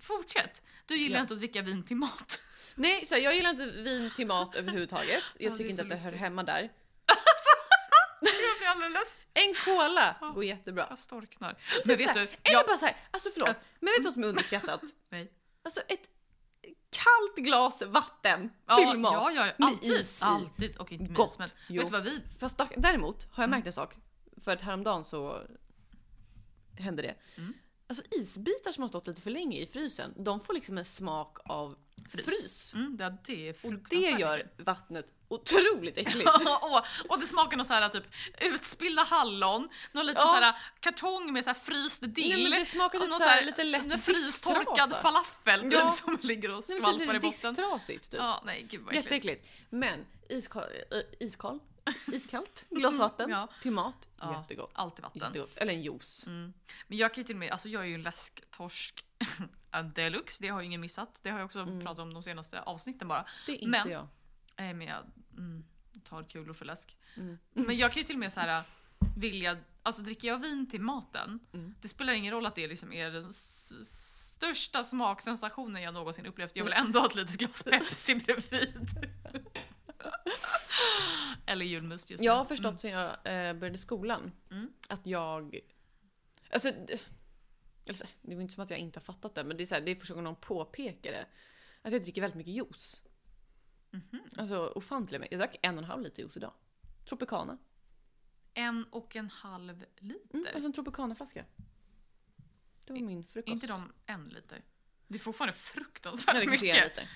[SPEAKER 1] Fortsätt! Du gillar
[SPEAKER 2] Ja.
[SPEAKER 1] inte att dricka vin till mat.
[SPEAKER 2] Nej, så här, jag gillar inte vin till mat överhuvudtaget. Jag
[SPEAKER 1] Ja, det är
[SPEAKER 2] tycker
[SPEAKER 1] så
[SPEAKER 2] inte att det hör
[SPEAKER 1] lustigt.
[SPEAKER 2] hemma där.
[SPEAKER 1] Jag blir alldeles...
[SPEAKER 2] En cola
[SPEAKER 1] Ja.
[SPEAKER 2] går jättebra.
[SPEAKER 1] Jag storknar. Men vet
[SPEAKER 2] Typ så här,
[SPEAKER 1] du,
[SPEAKER 2] Eller
[SPEAKER 1] jag,
[SPEAKER 2] bara så här, alltså förlåt, men vet du vad som är underskattat?
[SPEAKER 1] Nej.
[SPEAKER 2] Alltså ett kallt glas vatten till mat.
[SPEAKER 1] Ja, ja, ja.
[SPEAKER 2] med
[SPEAKER 1] Alltid.
[SPEAKER 2] is i.
[SPEAKER 1] Alltid. Okej, inte
[SPEAKER 2] Gott.
[SPEAKER 1] minst. Men
[SPEAKER 2] Jo.
[SPEAKER 1] vet du vad vi...
[SPEAKER 2] Fast dock, däremot har
[SPEAKER 1] Mm.
[SPEAKER 2] jag märkt en sak, för att häromdagen så hände det.
[SPEAKER 1] Mm.
[SPEAKER 2] Alltså isbitar som har stått lite för länge i frysen, de får liksom en smak av
[SPEAKER 1] Frys.
[SPEAKER 2] frys.
[SPEAKER 1] Mm, ja, det är
[SPEAKER 2] Och det
[SPEAKER 1] fruktansvärt
[SPEAKER 2] gör
[SPEAKER 1] äckligt.
[SPEAKER 2] vattnet otroligt äckligt.
[SPEAKER 1] och, och det smakar något så här typ utspillda hallon, någon liten
[SPEAKER 2] Ja.
[SPEAKER 1] så här kartong med så här fryst
[SPEAKER 2] Nej,
[SPEAKER 1] dill.
[SPEAKER 2] men det smakar
[SPEAKER 1] och
[SPEAKER 2] typ
[SPEAKER 1] någon
[SPEAKER 2] så här lite
[SPEAKER 1] en
[SPEAKER 2] lätt
[SPEAKER 1] frystorkad
[SPEAKER 2] disktrasa.
[SPEAKER 1] falafel typ,
[SPEAKER 2] Ja.
[SPEAKER 1] som ligger och
[SPEAKER 2] Nej, men typ
[SPEAKER 1] skvalpar i botten.
[SPEAKER 2] Disktrasigt typ.
[SPEAKER 1] Ja, nej gud vad äckligt.
[SPEAKER 2] Jätteäckligt. Men iskal, äh, iskal
[SPEAKER 3] Iskallt. Glas vatten.
[SPEAKER 1] Ja.
[SPEAKER 2] Till mat,
[SPEAKER 1] Ja.
[SPEAKER 2] jättegott.
[SPEAKER 1] Alltid vatten.
[SPEAKER 2] Jättegott. Eller en juice.
[SPEAKER 1] Mm. Men jag kan ju till och med, alltså jag är ju en läsktorsk deluxe, det har ju ingen missat. Det har jag också
[SPEAKER 2] Mm.
[SPEAKER 1] pratat om de senaste avsnitten bara.
[SPEAKER 2] Det är inte
[SPEAKER 1] Men-
[SPEAKER 2] jag.
[SPEAKER 1] Eh, Men jag mm, tar kulor för läsk.
[SPEAKER 2] Mm.
[SPEAKER 1] Men jag kan ju till och med så här vilja, alltså dricker jag vin till maten,
[SPEAKER 2] Mm.
[SPEAKER 1] det spelar ingen roll att det liksom är den s- största smaksensationen jag någonsin upplevt. Jag vill
[SPEAKER 2] Mm.
[SPEAKER 1] ändå ha ett litet glas Pepsi bredvid. Eller julmust just nu.
[SPEAKER 2] Jag har förstått sen jag eh, började skolan
[SPEAKER 1] Mm.
[SPEAKER 2] att jag... Alltså, d- alltså, det var inte som att jag inte har fattat det, men det är, så här, det är första gången någon påpekar det. Att jag dricker väldigt mycket juice.
[SPEAKER 1] Mhm.
[SPEAKER 2] Alltså ofantligt mycket. Jag drack en och en halv liter juice idag. Tropicana.
[SPEAKER 1] Mm. En och en halv liter.
[SPEAKER 2] Mm, alltså en Tropicana-flaska. Det var min frukost.
[SPEAKER 1] Är inte de en liter? Det är fortfarande fruktansvärt
[SPEAKER 2] Nej, det kanske är en
[SPEAKER 1] mycket.
[SPEAKER 2] liter.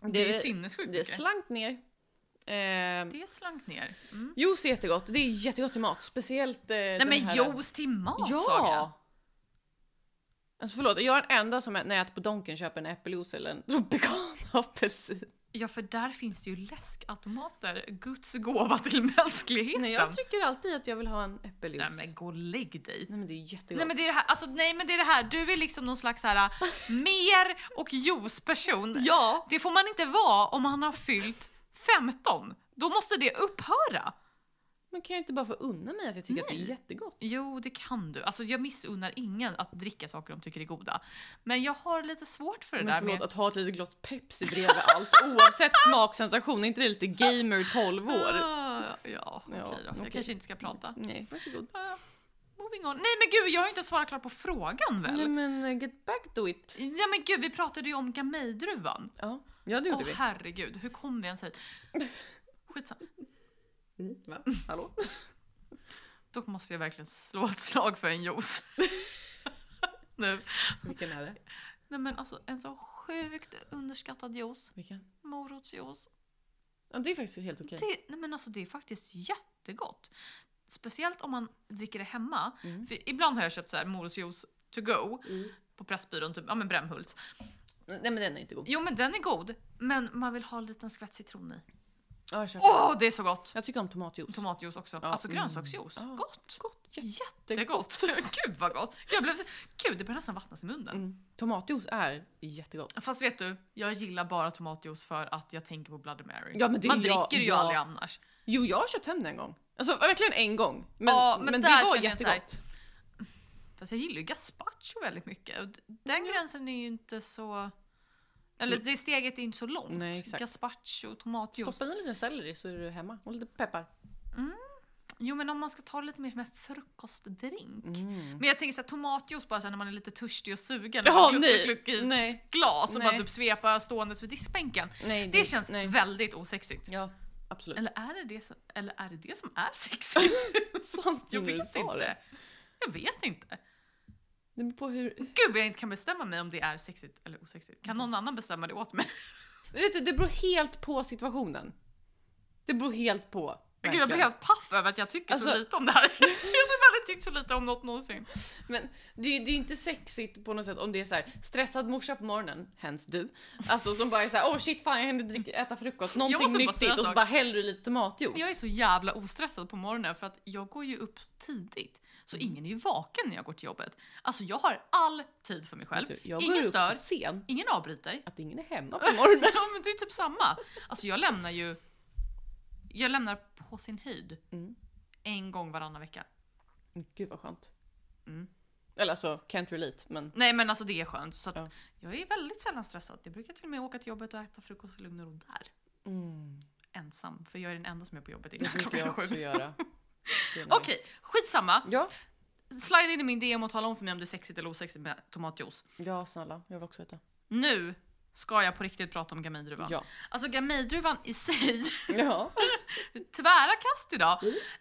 [SPEAKER 1] Det,
[SPEAKER 2] Det
[SPEAKER 1] är
[SPEAKER 2] är-
[SPEAKER 1] sinnessjukt
[SPEAKER 2] Det
[SPEAKER 1] mycket.
[SPEAKER 2] slank ner. Eh,
[SPEAKER 1] det slank ner. Mm.
[SPEAKER 2] juice är jättegott. Det är jättegott till mat. Speciellt eh,
[SPEAKER 1] Nej
[SPEAKER 2] den
[SPEAKER 1] men
[SPEAKER 2] här-
[SPEAKER 1] juice till mat Saga!
[SPEAKER 2] Ja! Alltså förlåt, jag är den enda som ä- när jag äter på Donken köper en äppeljuice eller en tropikan apelsin.
[SPEAKER 1] Ja för där finns det ju läskautomater, Guds gåva till mänskligheten.
[SPEAKER 2] Nej,
[SPEAKER 1] Nej,
[SPEAKER 2] jag
[SPEAKER 3] tycker alltid att jag vill ha en äppeljuice.
[SPEAKER 1] men gå och lägg dig.
[SPEAKER 2] Nej men det är jättegott.
[SPEAKER 1] Nej men, det är det här, alltså, nej men det är det här, du är liksom någon slags så här, mer och juice-person.
[SPEAKER 2] Ja!
[SPEAKER 1] Det får man inte vara om man har fyllt 15. Då måste det upphöra.
[SPEAKER 2] Men kan jag inte bara få unna mig att jag tycker att det är
[SPEAKER 1] Nej.
[SPEAKER 2] jättegott?
[SPEAKER 1] Jo, det kan du. Alltså, jag missunnar ingen att dricka saker de tycker är goda. Men jag har lite svårt för det
[SPEAKER 2] Men
[SPEAKER 1] där
[SPEAKER 2] förlåt,
[SPEAKER 1] med...
[SPEAKER 2] att ha ett litet glas Pepsi bredvid allt oavsett smaksensation, är inte det lite gamer 12 år?
[SPEAKER 1] Ah, ja, okej
[SPEAKER 2] Ja,
[SPEAKER 1] då.
[SPEAKER 2] okej.
[SPEAKER 1] Jag kanske inte ska prata.
[SPEAKER 2] Nej, varsågod.
[SPEAKER 1] Ah, moving on. Nej men gud, jag har inte svarat klart på frågan väl?
[SPEAKER 2] Nej men eh, get back to it.
[SPEAKER 1] Nej men gud, vi pratade ju om gamejdruvan.
[SPEAKER 2] Ja, ja det
[SPEAKER 1] Åh
[SPEAKER 2] gjorde vi.
[SPEAKER 1] herregud, hur kom vi ens hit? Skitsamma.
[SPEAKER 2] Mm, Va? Hallå?
[SPEAKER 1] Då måste jag verkligen slå ett slag för en juice. nu.
[SPEAKER 2] Vilken är det?
[SPEAKER 1] Nej men alltså, en så sjukt underskattad juice.
[SPEAKER 2] Vilken?
[SPEAKER 1] Morotsjuice.
[SPEAKER 2] Ja, det är faktiskt helt okej.
[SPEAKER 1] Det, nej men alltså, det är faktiskt jättegott. Speciellt om man dricker det hemma.
[SPEAKER 2] Mm.
[SPEAKER 1] För ibland har jag köpt så här morotsjuice to go
[SPEAKER 2] Mm.
[SPEAKER 1] på Pressbyrån, typ, ja men Brämhults. Mm.
[SPEAKER 2] Nej men den är inte god.
[SPEAKER 1] Jo men den är god, men man vill ha en liten skvätt citron i.
[SPEAKER 2] Ja, jag köper den.
[SPEAKER 1] Åh, det är så gott!
[SPEAKER 2] Jag tycker om tomatjuice.
[SPEAKER 1] Tomatjuice också.
[SPEAKER 2] Ja,
[SPEAKER 1] Alltså
[SPEAKER 2] mm.
[SPEAKER 1] grönsaksjuice.
[SPEAKER 2] Ja.
[SPEAKER 1] Gott!
[SPEAKER 2] Gott.
[SPEAKER 1] Jättegott! Gud vad gott! Jag blev, gud, det börjar nästan vattnas i munnen.
[SPEAKER 2] Mm. Tomatjuice är jättegott.
[SPEAKER 1] Fast vet du, jag gillar bara tomatjuice för att jag tänker på Bloody Mary.
[SPEAKER 2] Ja, men det-
[SPEAKER 1] man
[SPEAKER 2] ja,
[SPEAKER 1] dricker ju
[SPEAKER 2] ja.
[SPEAKER 1] aldrig annars.
[SPEAKER 2] Jo, jag har köpt hem den en gång. Alltså verkligen en gång. Men,
[SPEAKER 1] Ja,
[SPEAKER 2] men,
[SPEAKER 1] men
[SPEAKER 2] det
[SPEAKER 1] där
[SPEAKER 2] var
[SPEAKER 1] känner jag så här-
[SPEAKER 2] jättegott.
[SPEAKER 1] Fast jag gillar ju gazpacho väldigt mycket. Och d- den gränsen är ju inte så... Eller det steget är inte så långt.
[SPEAKER 2] Nej, exakt.
[SPEAKER 1] Gazpacho, tomatjuice.
[SPEAKER 2] Stoppa i en liten selleri så är du hemma. Och lite peppar.
[SPEAKER 1] Jo men om man ska ta det lite mer som en frukostdrink.
[SPEAKER 2] Mm.
[SPEAKER 1] Men jag tänker såhär tomatjuice bara så här, när man är lite törstig och sugen. och
[SPEAKER 2] Jaha,
[SPEAKER 1] man
[SPEAKER 2] nej.
[SPEAKER 1] kluckar i ett
[SPEAKER 2] Nej.
[SPEAKER 1] glas och
[SPEAKER 2] Nej.
[SPEAKER 1] bara typ svepa ståendes vid diskbänken.
[SPEAKER 2] nej.
[SPEAKER 1] Det känns
[SPEAKER 2] Nej.
[SPEAKER 1] väldigt osexigt.
[SPEAKER 2] Ja, absolut.
[SPEAKER 1] Eller är det det som, eller är, det det som är sexigt?
[SPEAKER 2] Sant
[SPEAKER 1] Jag
[SPEAKER 2] som du
[SPEAKER 1] vet
[SPEAKER 2] sa
[SPEAKER 1] inte.
[SPEAKER 2] det.
[SPEAKER 1] Jag vet inte.
[SPEAKER 2] Det beror på hur...
[SPEAKER 1] Gud vad jag inte kan bestämma mig om det är sexigt eller osexigt. Kan någon annan bestämma det åt mig?
[SPEAKER 2] Men Vet du, det beror helt på situationen. Det beror helt på.
[SPEAKER 1] Men Gud, jag blir
[SPEAKER 2] verkligen.
[SPEAKER 1] helt paff över att jag tycker så
[SPEAKER 2] Alltså-
[SPEAKER 1] lite om det här. jag har typ aldrig tyckt så lite om något någonsin.
[SPEAKER 2] Men det är ju det är ju inte sexigt på något sätt om det är så här stressad morsa på morgonen, hens du, alltså som bara är så här, åh oh shit fan jag hinner dricka, äta frukost, någonting
[SPEAKER 1] måste bara säga
[SPEAKER 2] nyttigt och så
[SPEAKER 1] en
[SPEAKER 2] bara häller du lite tomatjuice.
[SPEAKER 1] Jag är så jävla ostressad på morgonen för att jag går ju upp tidigt. Så
[SPEAKER 2] Mm.
[SPEAKER 1] ingen är ju vaken när jag går till jobbet. Alltså jag har all tid för mig själv.
[SPEAKER 2] Jag går
[SPEAKER 1] ingen
[SPEAKER 2] upp
[SPEAKER 1] stör,
[SPEAKER 2] så sent
[SPEAKER 1] ingen avbryter.
[SPEAKER 2] att ingen är hemma på morgonen.
[SPEAKER 1] Ja, men det är typ samma. Alltså jag lämnar ju... Jag lämnar på sin höjd
[SPEAKER 2] Mm.
[SPEAKER 1] en gång varannan vecka.
[SPEAKER 2] Gud vad skönt.
[SPEAKER 1] Mm.
[SPEAKER 2] Eller alltså, can't relate men
[SPEAKER 1] Nej men alltså det är skönt. Så att
[SPEAKER 2] Ja.
[SPEAKER 1] Jag är väldigt sällan stressad. Jag brukar till och med åka till jobbet och äta frukost i lugn och ro där.
[SPEAKER 2] mm,
[SPEAKER 1] Ensam, för jag är den enda som är på jobbet innan
[SPEAKER 2] det brukar
[SPEAKER 1] klockan
[SPEAKER 2] jag
[SPEAKER 1] sju.
[SPEAKER 2] också göra. Det är nice.
[SPEAKER 1] Okej, skitsamma.
[SPEAKER 2] Ja,
[SPEAKER 1] Slide in i min DM och tala om för mig om det är sexigt eller osexigt med tomatjuice.
[SPEAKER 2] ja snälla, jag vill också äta.
[SPEAKER 1] Nu ska jag på riktigt prata om gamejdruvan.
[SPEAKER 2] Ja.
[SPEAKER 1] Alltså gamejdruvan i sig,
[SPEAKER 2] ja.
[SPEAKER 1] tvära kast idag,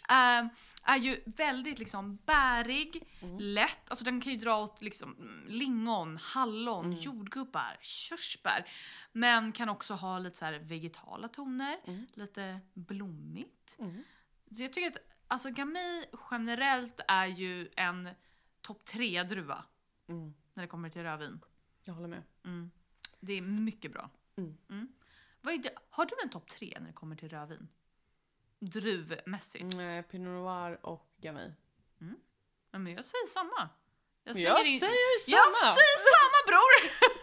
[SPEAKER 2] Mm.
[SPEAKER 1] eh, är ju väldigt liksom bärig,
[SPEAKER 2] Mm.
[SPEAKER 1] lätt. Alltså den kan ju dra åt liksom mm, lingon, hallon,
[SPEAKER 2] Mm.
[SPEAKER 1] jordgubbar, körsbär. Men kan också ha lite så här vegetala toner,
[SPEAKER 2] Mm.
[SPEAKER 1] lite blommigt.
[SPEAKER 2] Mm.
[SPEAKER 1] Så jag tycker att alltså, Gamay generellt är ju en topp tre druva
[SPEAKER 2] Mm,
[SPEAKER 1] när det kommer till rödvin.
[SPEAKER 2] jag håller med.
[SPEAKER 1] Mm. Det är mycket bra.
[SPEAKER 2] Mm.
[SPEAKER 1] Vad är det? Har du en topp tre när det kommer till rödvin? druvmässigt.
[SPEAKER 2] Nej, Mm, eh, Pinot Noir och Gamay.
[SPEAKER 1] Ja, men jag säger samma. Jag
[SPEAKER 2] Jag,
[SPEAKER 1] slänger in-
[SPEAKER 2] säger
[SPEAKER 1] Jag
[SPEAKER 2] samma!
[SPEAKER 1] säger samma bror!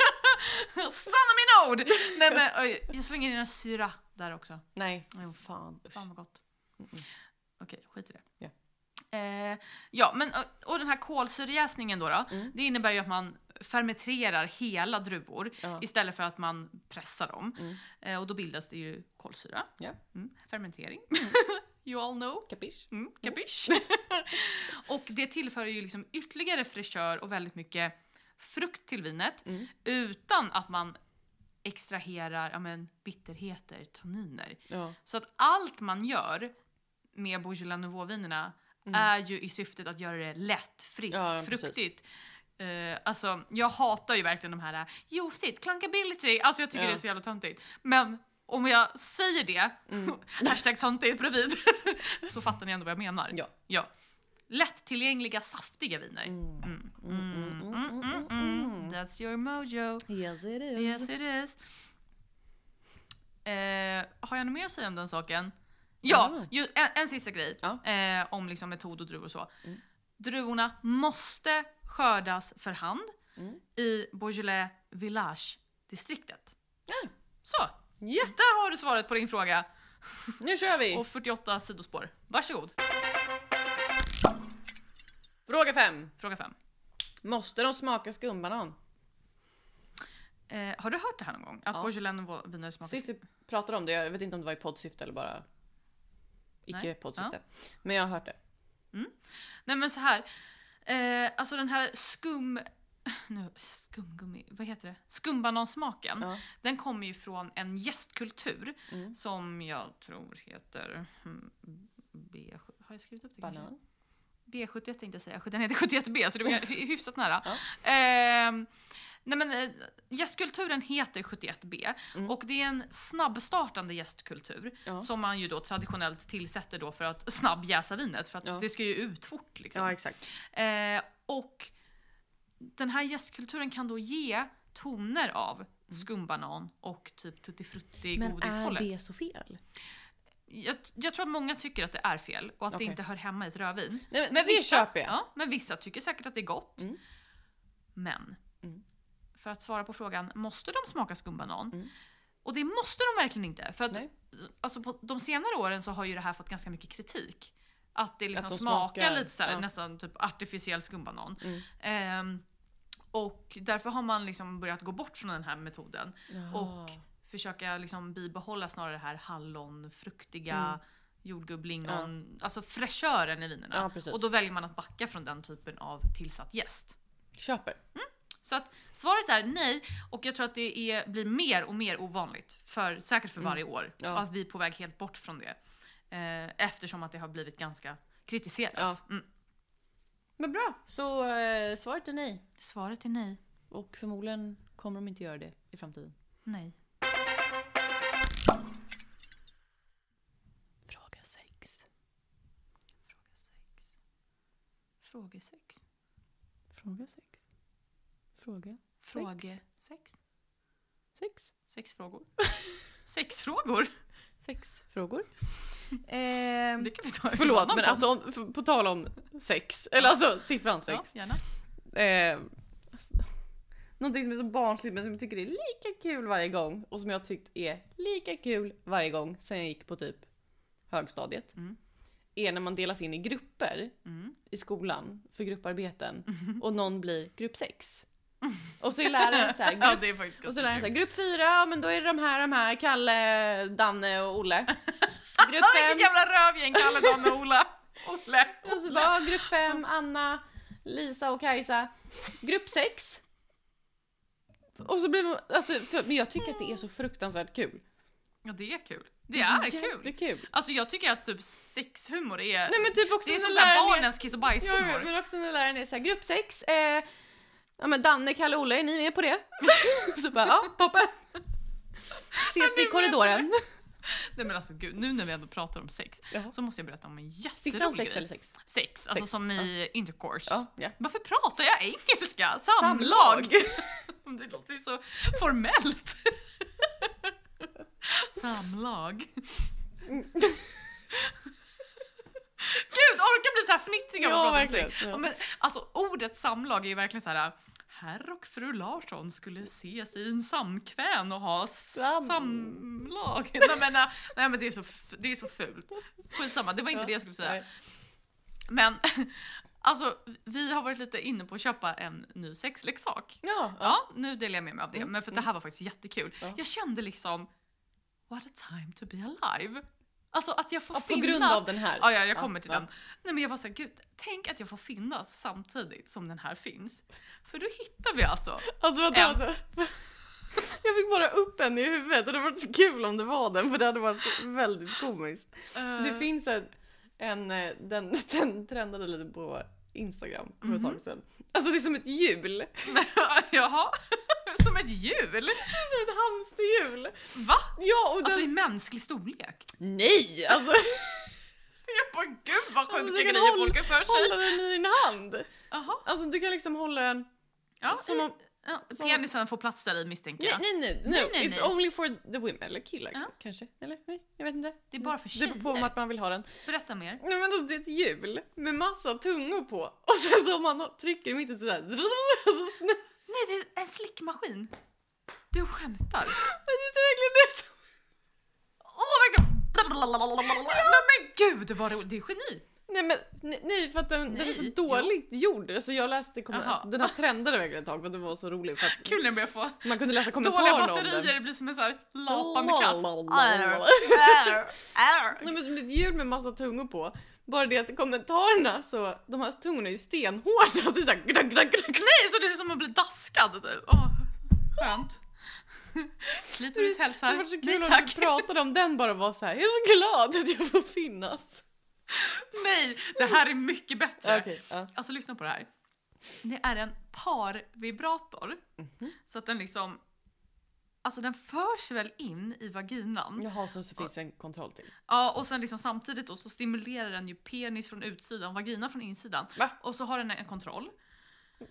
[SPEAKER 1] Sanna mina ord! Nej men oj, jag slänger in en syra där också.
[SPEAKER 2] Nej.
[SPEAKER 1] Jo.
[SPEAKER 2] Fan. usch. Mm,
[SPEAKER 1] Fan vad gott. Okej, skit i det.
[SPEAKER 2] Ja.
[SPEAKER 1] Eh, ja, men och, och den här kolsyrejäsningen då, då
[SPEAKER 2] Mm.
[SPEAKER 1] det innebär ju att man fermenterar hela druvor
[SPEAKER 2] Ja.
[SPEAKER 1] istället för att man pressar dem.
[SPEAKER 2] Mm.
[SPEAKER 1] Eh, och då bildas det ju kolsyra.
[SPEAKER 2] Ja.
[SPEAKER 1] Mm. Fermentering. you all know.
[SPEAKER 2] Kapisch?
[SPEAKER 1] Mm, kapisch? och det tillför ju liksom ytterligare fräschör och väldigt mycket frukt till vinet
[SPEAKER 2] Mm.
[SPEAKER 1] utan att man extraherar ja, men, bitterheter, tanniner.
[SPEAKER 2] Ja.
[SPEAKER 1] Så att allt man gör med Bourgeois Nouveau-vinerna
[SPEAKER 2] Mm.
[SPEAKER 1] är ju i syftet att göra det lätt, friskt,
[SPEAKER 2] Ja, precis.
[SPEAKER 1] fruktigt. Eh, alltså, jag hatar ju verkligen de här eh, juicigt, clunkability, alltså jag tycker
[SPEAKER 2] Ja.
[SPEAKER 1] det är så jävla töntigt. Men om jag säger det,
[SPEAKER 2] Mm.
[SPEAKER 1] hashtag töntigt bredvid, så fattar ni ändå vad jag menar.
[SPEAKER 2] Ja.
[SPEAKER 1] ja. Lättillgängliga, saftiga viner.
[SPEAKER 2] Mm.
[SPEAKER 1] Mm.
[SPEAKER 2] Mm,
[SPEAKER 1] Mm,
[SPEAKER 2] mm,
[SPEAKER 1] mm, mm, mm. That's your mojo.
[SPEAKER 2] Yes it is.
[SPEAKER 1] Yes it is. Eh, har jag något mer att säga om den saken? Ja,
[SPEAKER 2] Ja.
[SPEAKER 1] ju, en, en sista grej
[SPEAKER 2] Ja.
[SPEAKER 1] eh, om liksom metod och druvor och så.
[SPEAKER 2] Mm.
[SPEAKER 1] Druvorna måste skördas för hand
[SPEAKER 2] Mm.
[SPEAKER 1] i Beaujolais Village-distriktet.
[SPEAKER 2] Ja.
[SPEAKER 1] Så,
[SPEAKER 2] Ja,
[SPEAKER 1] där har du svaret på din fråga
[SPEAKER 2] nu kör vi!
[SPEAKER 1] och 48 sidospår. Varsågod,
[SPEAKER 2] Fråga fem.
[SPEAKER 1] fråga fem.
[SPEAKER 2] Måste de smaka skumbanan?
[SPEAKER 1] Eh, har du hört det här någon gång? Att
[SPEAKER 2] Ja.
[SPEAKER 1] Beaujolais och viner smakar...
[SPEAKER 2] Sist vi pratade om det, jag vet inte om det var i poddsyfte eller bara icke
[SPEAKER 1] Nej.
[SPEAKER 2] poddsyfte. Men jag har hört det.
[SPEAKER 1] Nej men så här. Eh, alltså den här skum... Nu, skumgummi, vad heter det? Skumbanansmaken.
[SPEAKER 2] Ja.
[SPEAKER 1] Den kommer ju från en gästkultur
[SPEAKER 2] Mm.
[SPEAKER 1] som jag tror heter hmm, B... Har jag skrivit upp det kanske?
[SPEAKER 2] Banan.
[SPEAKER 1] B71 tänkte jag säga, den heter 71B så det var hy- hyfsat nära.
[SPEAKER 2] Ja.
[SPEAKER 1] Ehm, nej men, eh, gästkulturen heter 71B
[SPEAKER 2] Mm.
[SPEAKER 1] och det är en snabbstartande gästkultur
[SPEAKER 2] Ja.
[SPEAKER 1] som man ju då traditionellt tillsätter då för att snabbjäsa vinet för att
[SPEAKER 2] Ja.
[SPEAKER 1] det ska ju ut fort. Liksom.
[SPEAKER 2] Ja exakt.
[SPEAKER 1] Eh, och den här gästkulturen kan då ge toner
[SPEAKER 2] Mm.
[SPEAKER 1] av skumbanan och typ tuttifrutti godishållet.
[SPEAKER 2] det så fel?
[SPEAKER 1] Jag, jag tror att många tycker att det är fel och att
[SPEAKER 2] Okej.
[SPEAKER 1] det inte hör hemma i ett rödvin.
[SPEAKER 2] Nej, men, det köper jag.
[SPEAKER 1] Ja, men vissa tycker säkert att det är gott.
[SPEAKER 2] Mm.
[SPEAKER 1] Men,
[SPEAKER 2] Mm.
[SPEAKER 1] för att svara på frågan, måste de smaka skumbanan?
[SPEAKER 2] Mm.
[SPEAKER 1] Och det måste de verkligen inte. För att,
[SPEAKER 2] Nej.
[SPEAKER 1] alltså, på de senare åren så har ju det här fått ganska mycket kritik. Att det liksom
[SPEAKER 2] Att de
[SPEAKER 1] smakar,
[SPEAKER 2] smakar,
[SPEAKER 1] lite så här,
[SPEAKER 2] ja.
[SPEAKER 1] nästan typ artificiell skumbanan.
[SPEAKER 2] Mm.
[SPEAKER 1] Ehm, och därför har man liksom börjat gå bort från den här metoden
[SPEAKER 2] Jaha.
[SPEAKER 1] och försöka liksom bibehålla snarare det här hallonfruktiga,
[SPEAKER 2] Mm.
[SPEAKER 1] jordgubb, lingon, alltså fräschören i vinerna.
[SPEAKER 2] Ja, precis.
[SPEAKER 1] och då väljer man att backa från den typen av tillsatt jäst.
[SPEAKER 2] Köper.
[SPEAKER 1] Så att svaret är nej och jag tror att det är, blir mer och mer ovanligt, för, säkert för varje år,
[SPEAKER 2] Mm. Ja.
[SPEAKER 1] att vi är på väg helt bort från det. Eh, eftersom att det har blivit ganska kritiserat. Mm.
[SPEAKER 2] Men bra, så eh, svaret är nej.
[SPEAKER 1] Svaret är nej.
[SPEAKER 2] Och förmodligen kommer de inte göra det i framtiden.
[SPEAKER 1] Nej.
[SPEAKER 2] Fråga sex.
[SPEAKER 1] Fråga sex. Fråga sex.
[SPEAKER 2] Fråga sex. Fråga
[SPEAKER 1] Fråge sex.
[SPEAKER 2] sex.
[SPEAKER 1] Sex frågor. sex frågor?
[SPEAKER 2] Sex frågor. Ehm,
[SPEAKER 1] Det kan vi ta i en
[SPEAKER 2] Förlåt
[SPEAKER 1] annan
[SPEAKER 2] men
[SPEAKER 1] podd.
[SPEAKER 2] alltså om, f- på tal om sex, eller alltså siffran sex.
[SPEAKER 1] Ja, gärna.
[SPEAKER 2] Eh, alltså, någonting som är så barnsligt men som jag tycker är lika kul varje gång och som jag tyckt är lika kul varje gång sen jag gick på typ högstadiet.
[SPEAKER 1] Mm.
[SPEAKER 2] Är när man delas in i grupper
[SPEAKER 1] Mm.
[SPEAKER 2] i skolan för grupparbeten och någon blir grupp sex. Och så är läraren så här, grupp,
[SPEAKER 1] Ja, det är faktiskt
[SPEAKER 2] och
[SPEAKER 1] ganska
[SPEAKER 2] så lär han
[SPEAKER 1] kul.
[SPEAKER 2] sig grupp fyra, ja, men då är det de här, de här, Kalle, Danne och Olle. Grupp
[SPEAKER 1] Ja,
[SPEAKER 2] fem,
[SPEAKER 1] vilket jävla rövgäng Kalle, Dan och Ola. Olle.
[SPEAKER 2] och så bara, grupp fem, Anna, Lisa och Kajsa. Grupp sex. Och så blir man, alltså, för, men jag tycker att det är så fruktansvärt kul.
[SPEAKER 1] Ja, det är kul. Det är
[SPEAKER 2] Det är
[SPEAKER 1] kul.
[SPEAKER 2] kul.
[SPEAKER 1] Alltså jag tycker att typ sexhumor är...
[SPEAKER 2] Nej men typ också
[SPEAKER 1] det är
[SPEAKER 2] när
[SPEAKER 1] som såhär
[SPEAKER 2] läraren är-
[SPEAKER 1] barnens kiss och
[SPEAKER 2] Ja, ja,
[SPEAKER 1] bajshumor.
[SPEAKER 2] men också när läraren är såhär, grupp sex, eh, ja men Danne, Kalle, Olle, är ni med på det? så bara, ja, toppen. Ses vi i korridoren.
[SPEAKER 1] Nej men alltså gud, nu när vi ändå pratar om sex
[SPEAKER 2] Jaha.
[SPEAKER 1] så måste jag berätta om en
[SPEAKER 2] Siffran
[SPEAKER 1] jätterolig
[SPEAKER 2] sex
[SPEAKER 1] grej.
[SPEAKER 2] eller sex?
[SPEAKER 1] Sex, alltså
[SPEAKER 2] Sex,
[SPEAKER 1] som i intercourse.
[SPEAKER 2] Ja, ja.
[SPEAKER 1] Varför pratar jag engelska? Samlag! Det låter ju så formellt. Samlag. Gud, orkar bli så här fnittrig av att
[SPEAKER 2] Ja,
[SPEAKER 1] prata om
[SPEAKER 2] verkligen.
[SPEAKER 1] sex. Ja.
[SPEAKER 2] Ja.
[SPEAKER 1] men, alltså ordet samlag är ju verkligen så här. Herr och fru Larsson skulle ses i en samkvän och ha
[SPEAKER 2] Sam-
[SPEAKER 1] sam- samlag. Nej men, äh, nej, men det, är så f- det är så fult. Skitsamma, det var inte det jag skulle säga.
[SPEAKER 2] Nej.
[SPEAKER 1] Men alltså, vi har varit lite inne på att köpa en ny sexleksak.
[SPEAKER 2] Ja, ja.
[SPEAKER 1] Ja, nu delar jag med mig av det,
[SPEAKER 2] Mm,
[SPEAKER 1] men för att det här var faktiskt jättekul.
[SPEAKER 2] Ja.
[SPEAKER 1] Jag kände liksom, what a time to be alive. Alltså att jag får
[SPEAKER 2] Ja, på
[SPEAKER 1] finnas.
[SPEAKER 2] grund av den här.
[SPEAKER 1] Ja, ja, jag kommer till
[SPEAKER 2] ja.
[SPEAKER 1] den. Nej men jag var såhär, gud, tänk att jag får finnas samtidigt som den här finns. För då hittar vi alltså.
[SPEAKER 2] Alltså vänta,
[SPEAKER 1] En.
[SPEAKER 2] vänta. Jag fick bara upp en i huvudet och det hade varit så kul om det var den för det hade varit väldigt komiskt. Det
[SPEAKER 1] Eh,
[SPEAKER 2] finns en, en eh, den, den trendade lite på Instagram för
[SPEAKER 1] Mhm.
[SPEAKER 2] ett tag sedan. Alltså det är som ett hjul,
[SPEAKER 1] eh, Jaha, som ett hjul.
[SPEAKER 2] det är som ett hamsterhjul.
[SPEAKER 1] Va?
[SPEAKER 2] Ja och den...
[SPEAKER 1] Alltså i mänsklig storlek.
[SPEAKER 2] nej! Alltså
[SPEAKER 1] Jag bara, gud vad
[SPEAKER 2] Alltså,
[SPEAKER 1] sjuka
[SPEAKER 2] du kan
[SPEAKER 1] grejer
[SPEAKER 2] hålla-
[SPEAKER 1] folk har för sig.
[SPEAKER 2] hålla den i din hand.
[SPEAKER 1] Jaha.
[SPEAKER 2] Alltså du kan liksom hålla den
[SPEAKER 1] Ja,
[SPEAKER 2] som om...
[SPEAKER 1] Ja,
[SPEAKER 2] Som-
[SPEAKER 1] penisen får plats där i misstänker
[SPEAKER 2] Nej
[SPEAKER 1] jag.
[SPEAKER 2] nej nej, no.
[SPEAKER 1] Nej, nej,
[SPEAKER 2] it's
[SPEAKER 1] nej.
[SPEAKER 2] only for the women, eller killar
[SPEAKER 1] Ja.
[SPEAKER 2] kanske, eller? Nej, jag vet inte.
[SPEAKER 1] Det är bara för
[SPEAKER 2] Det beror på om
[SPEAKER 1] tjejer.
[SPEAKER 2] att man vill ha den.
[SPEAKER 1] Berätta mer.
[SPEAKER 2] Nej men alltså det är ett hjul med massa tungor på och sen så om man trycker i mitten sådär så snö.
[SPEAKER 1] Nej, det är en slickmaskin. Du skämtar.
[SPEAKER 2] Men det är verkligen det som...
[SPEAKER 1] Åh, verkligen. Nej, men gud vad roligt. Det är geni.
[SPEAKER 2] Nej men nej, nej för att den, den är så
[SPEAKER 1] Nej,
[SPEAKER 2] dåligt gjord. Alltså jag läste kommer,
[SPEAKER 1] Jaha.
[SPEAKER 2] alltså, den här trendade verkligen ett tag för att den var så rolig för att
[SPEAKER 1] Kul när jag börjar få
[SPEAKER 2] man kunde
[SPEAKER 1] dåliga
[SPEAKER 2] läsa kommentarerna om den.
[SPEAKER 1] batterier. Det blir som en sån här lapande katt.
[SPEAKER 2] Lalalala.
[SPEAKER 1] Arr, arr.
[SPEAKER 2] Nej men som ett hjul med massa tungor på. Bara det att kommentarerna så, de här tungorna är ju stenhårda. Alltså det är såhär gnack, gnack, gnack.
[SPEAKER 1] Nej, så det är som att bli daskad. typ. Åh, skönt. Klitoris
[SPEAKER 2] Det
[SPEAKER 1] hälsar.
[SPEAKER 2] var så kul
[SPEAKER 1] Nej
[SPEAKER 2] om
[SPEAKER 1] tack.
[SPEAKER 2] du pratade om den bara var så här. jag är så glad att jag får finnas.
[SPEAKER 1] Nej, det här är mycket bättre.
[SPEAKER 2] Okej, ja.
[SPEAKER 1] Alltså lyssna på det här. Det är en parvibrator.
[SPEAKER 2] Mhm.
[SPEAKER 1] Så att den liksom... Alltså den förs väl in i vaginan. Ja.
[SPEAKER 2] Jaha, så, så finns det en kontroll till.
[SPEAKER 1] och sen liksom samtidigt då så stimulerar den ju penis från utsidan, vagina från insidan.
[SPEAKER 2] Va?
[SPEAKER 1] Och så har den en kontroll.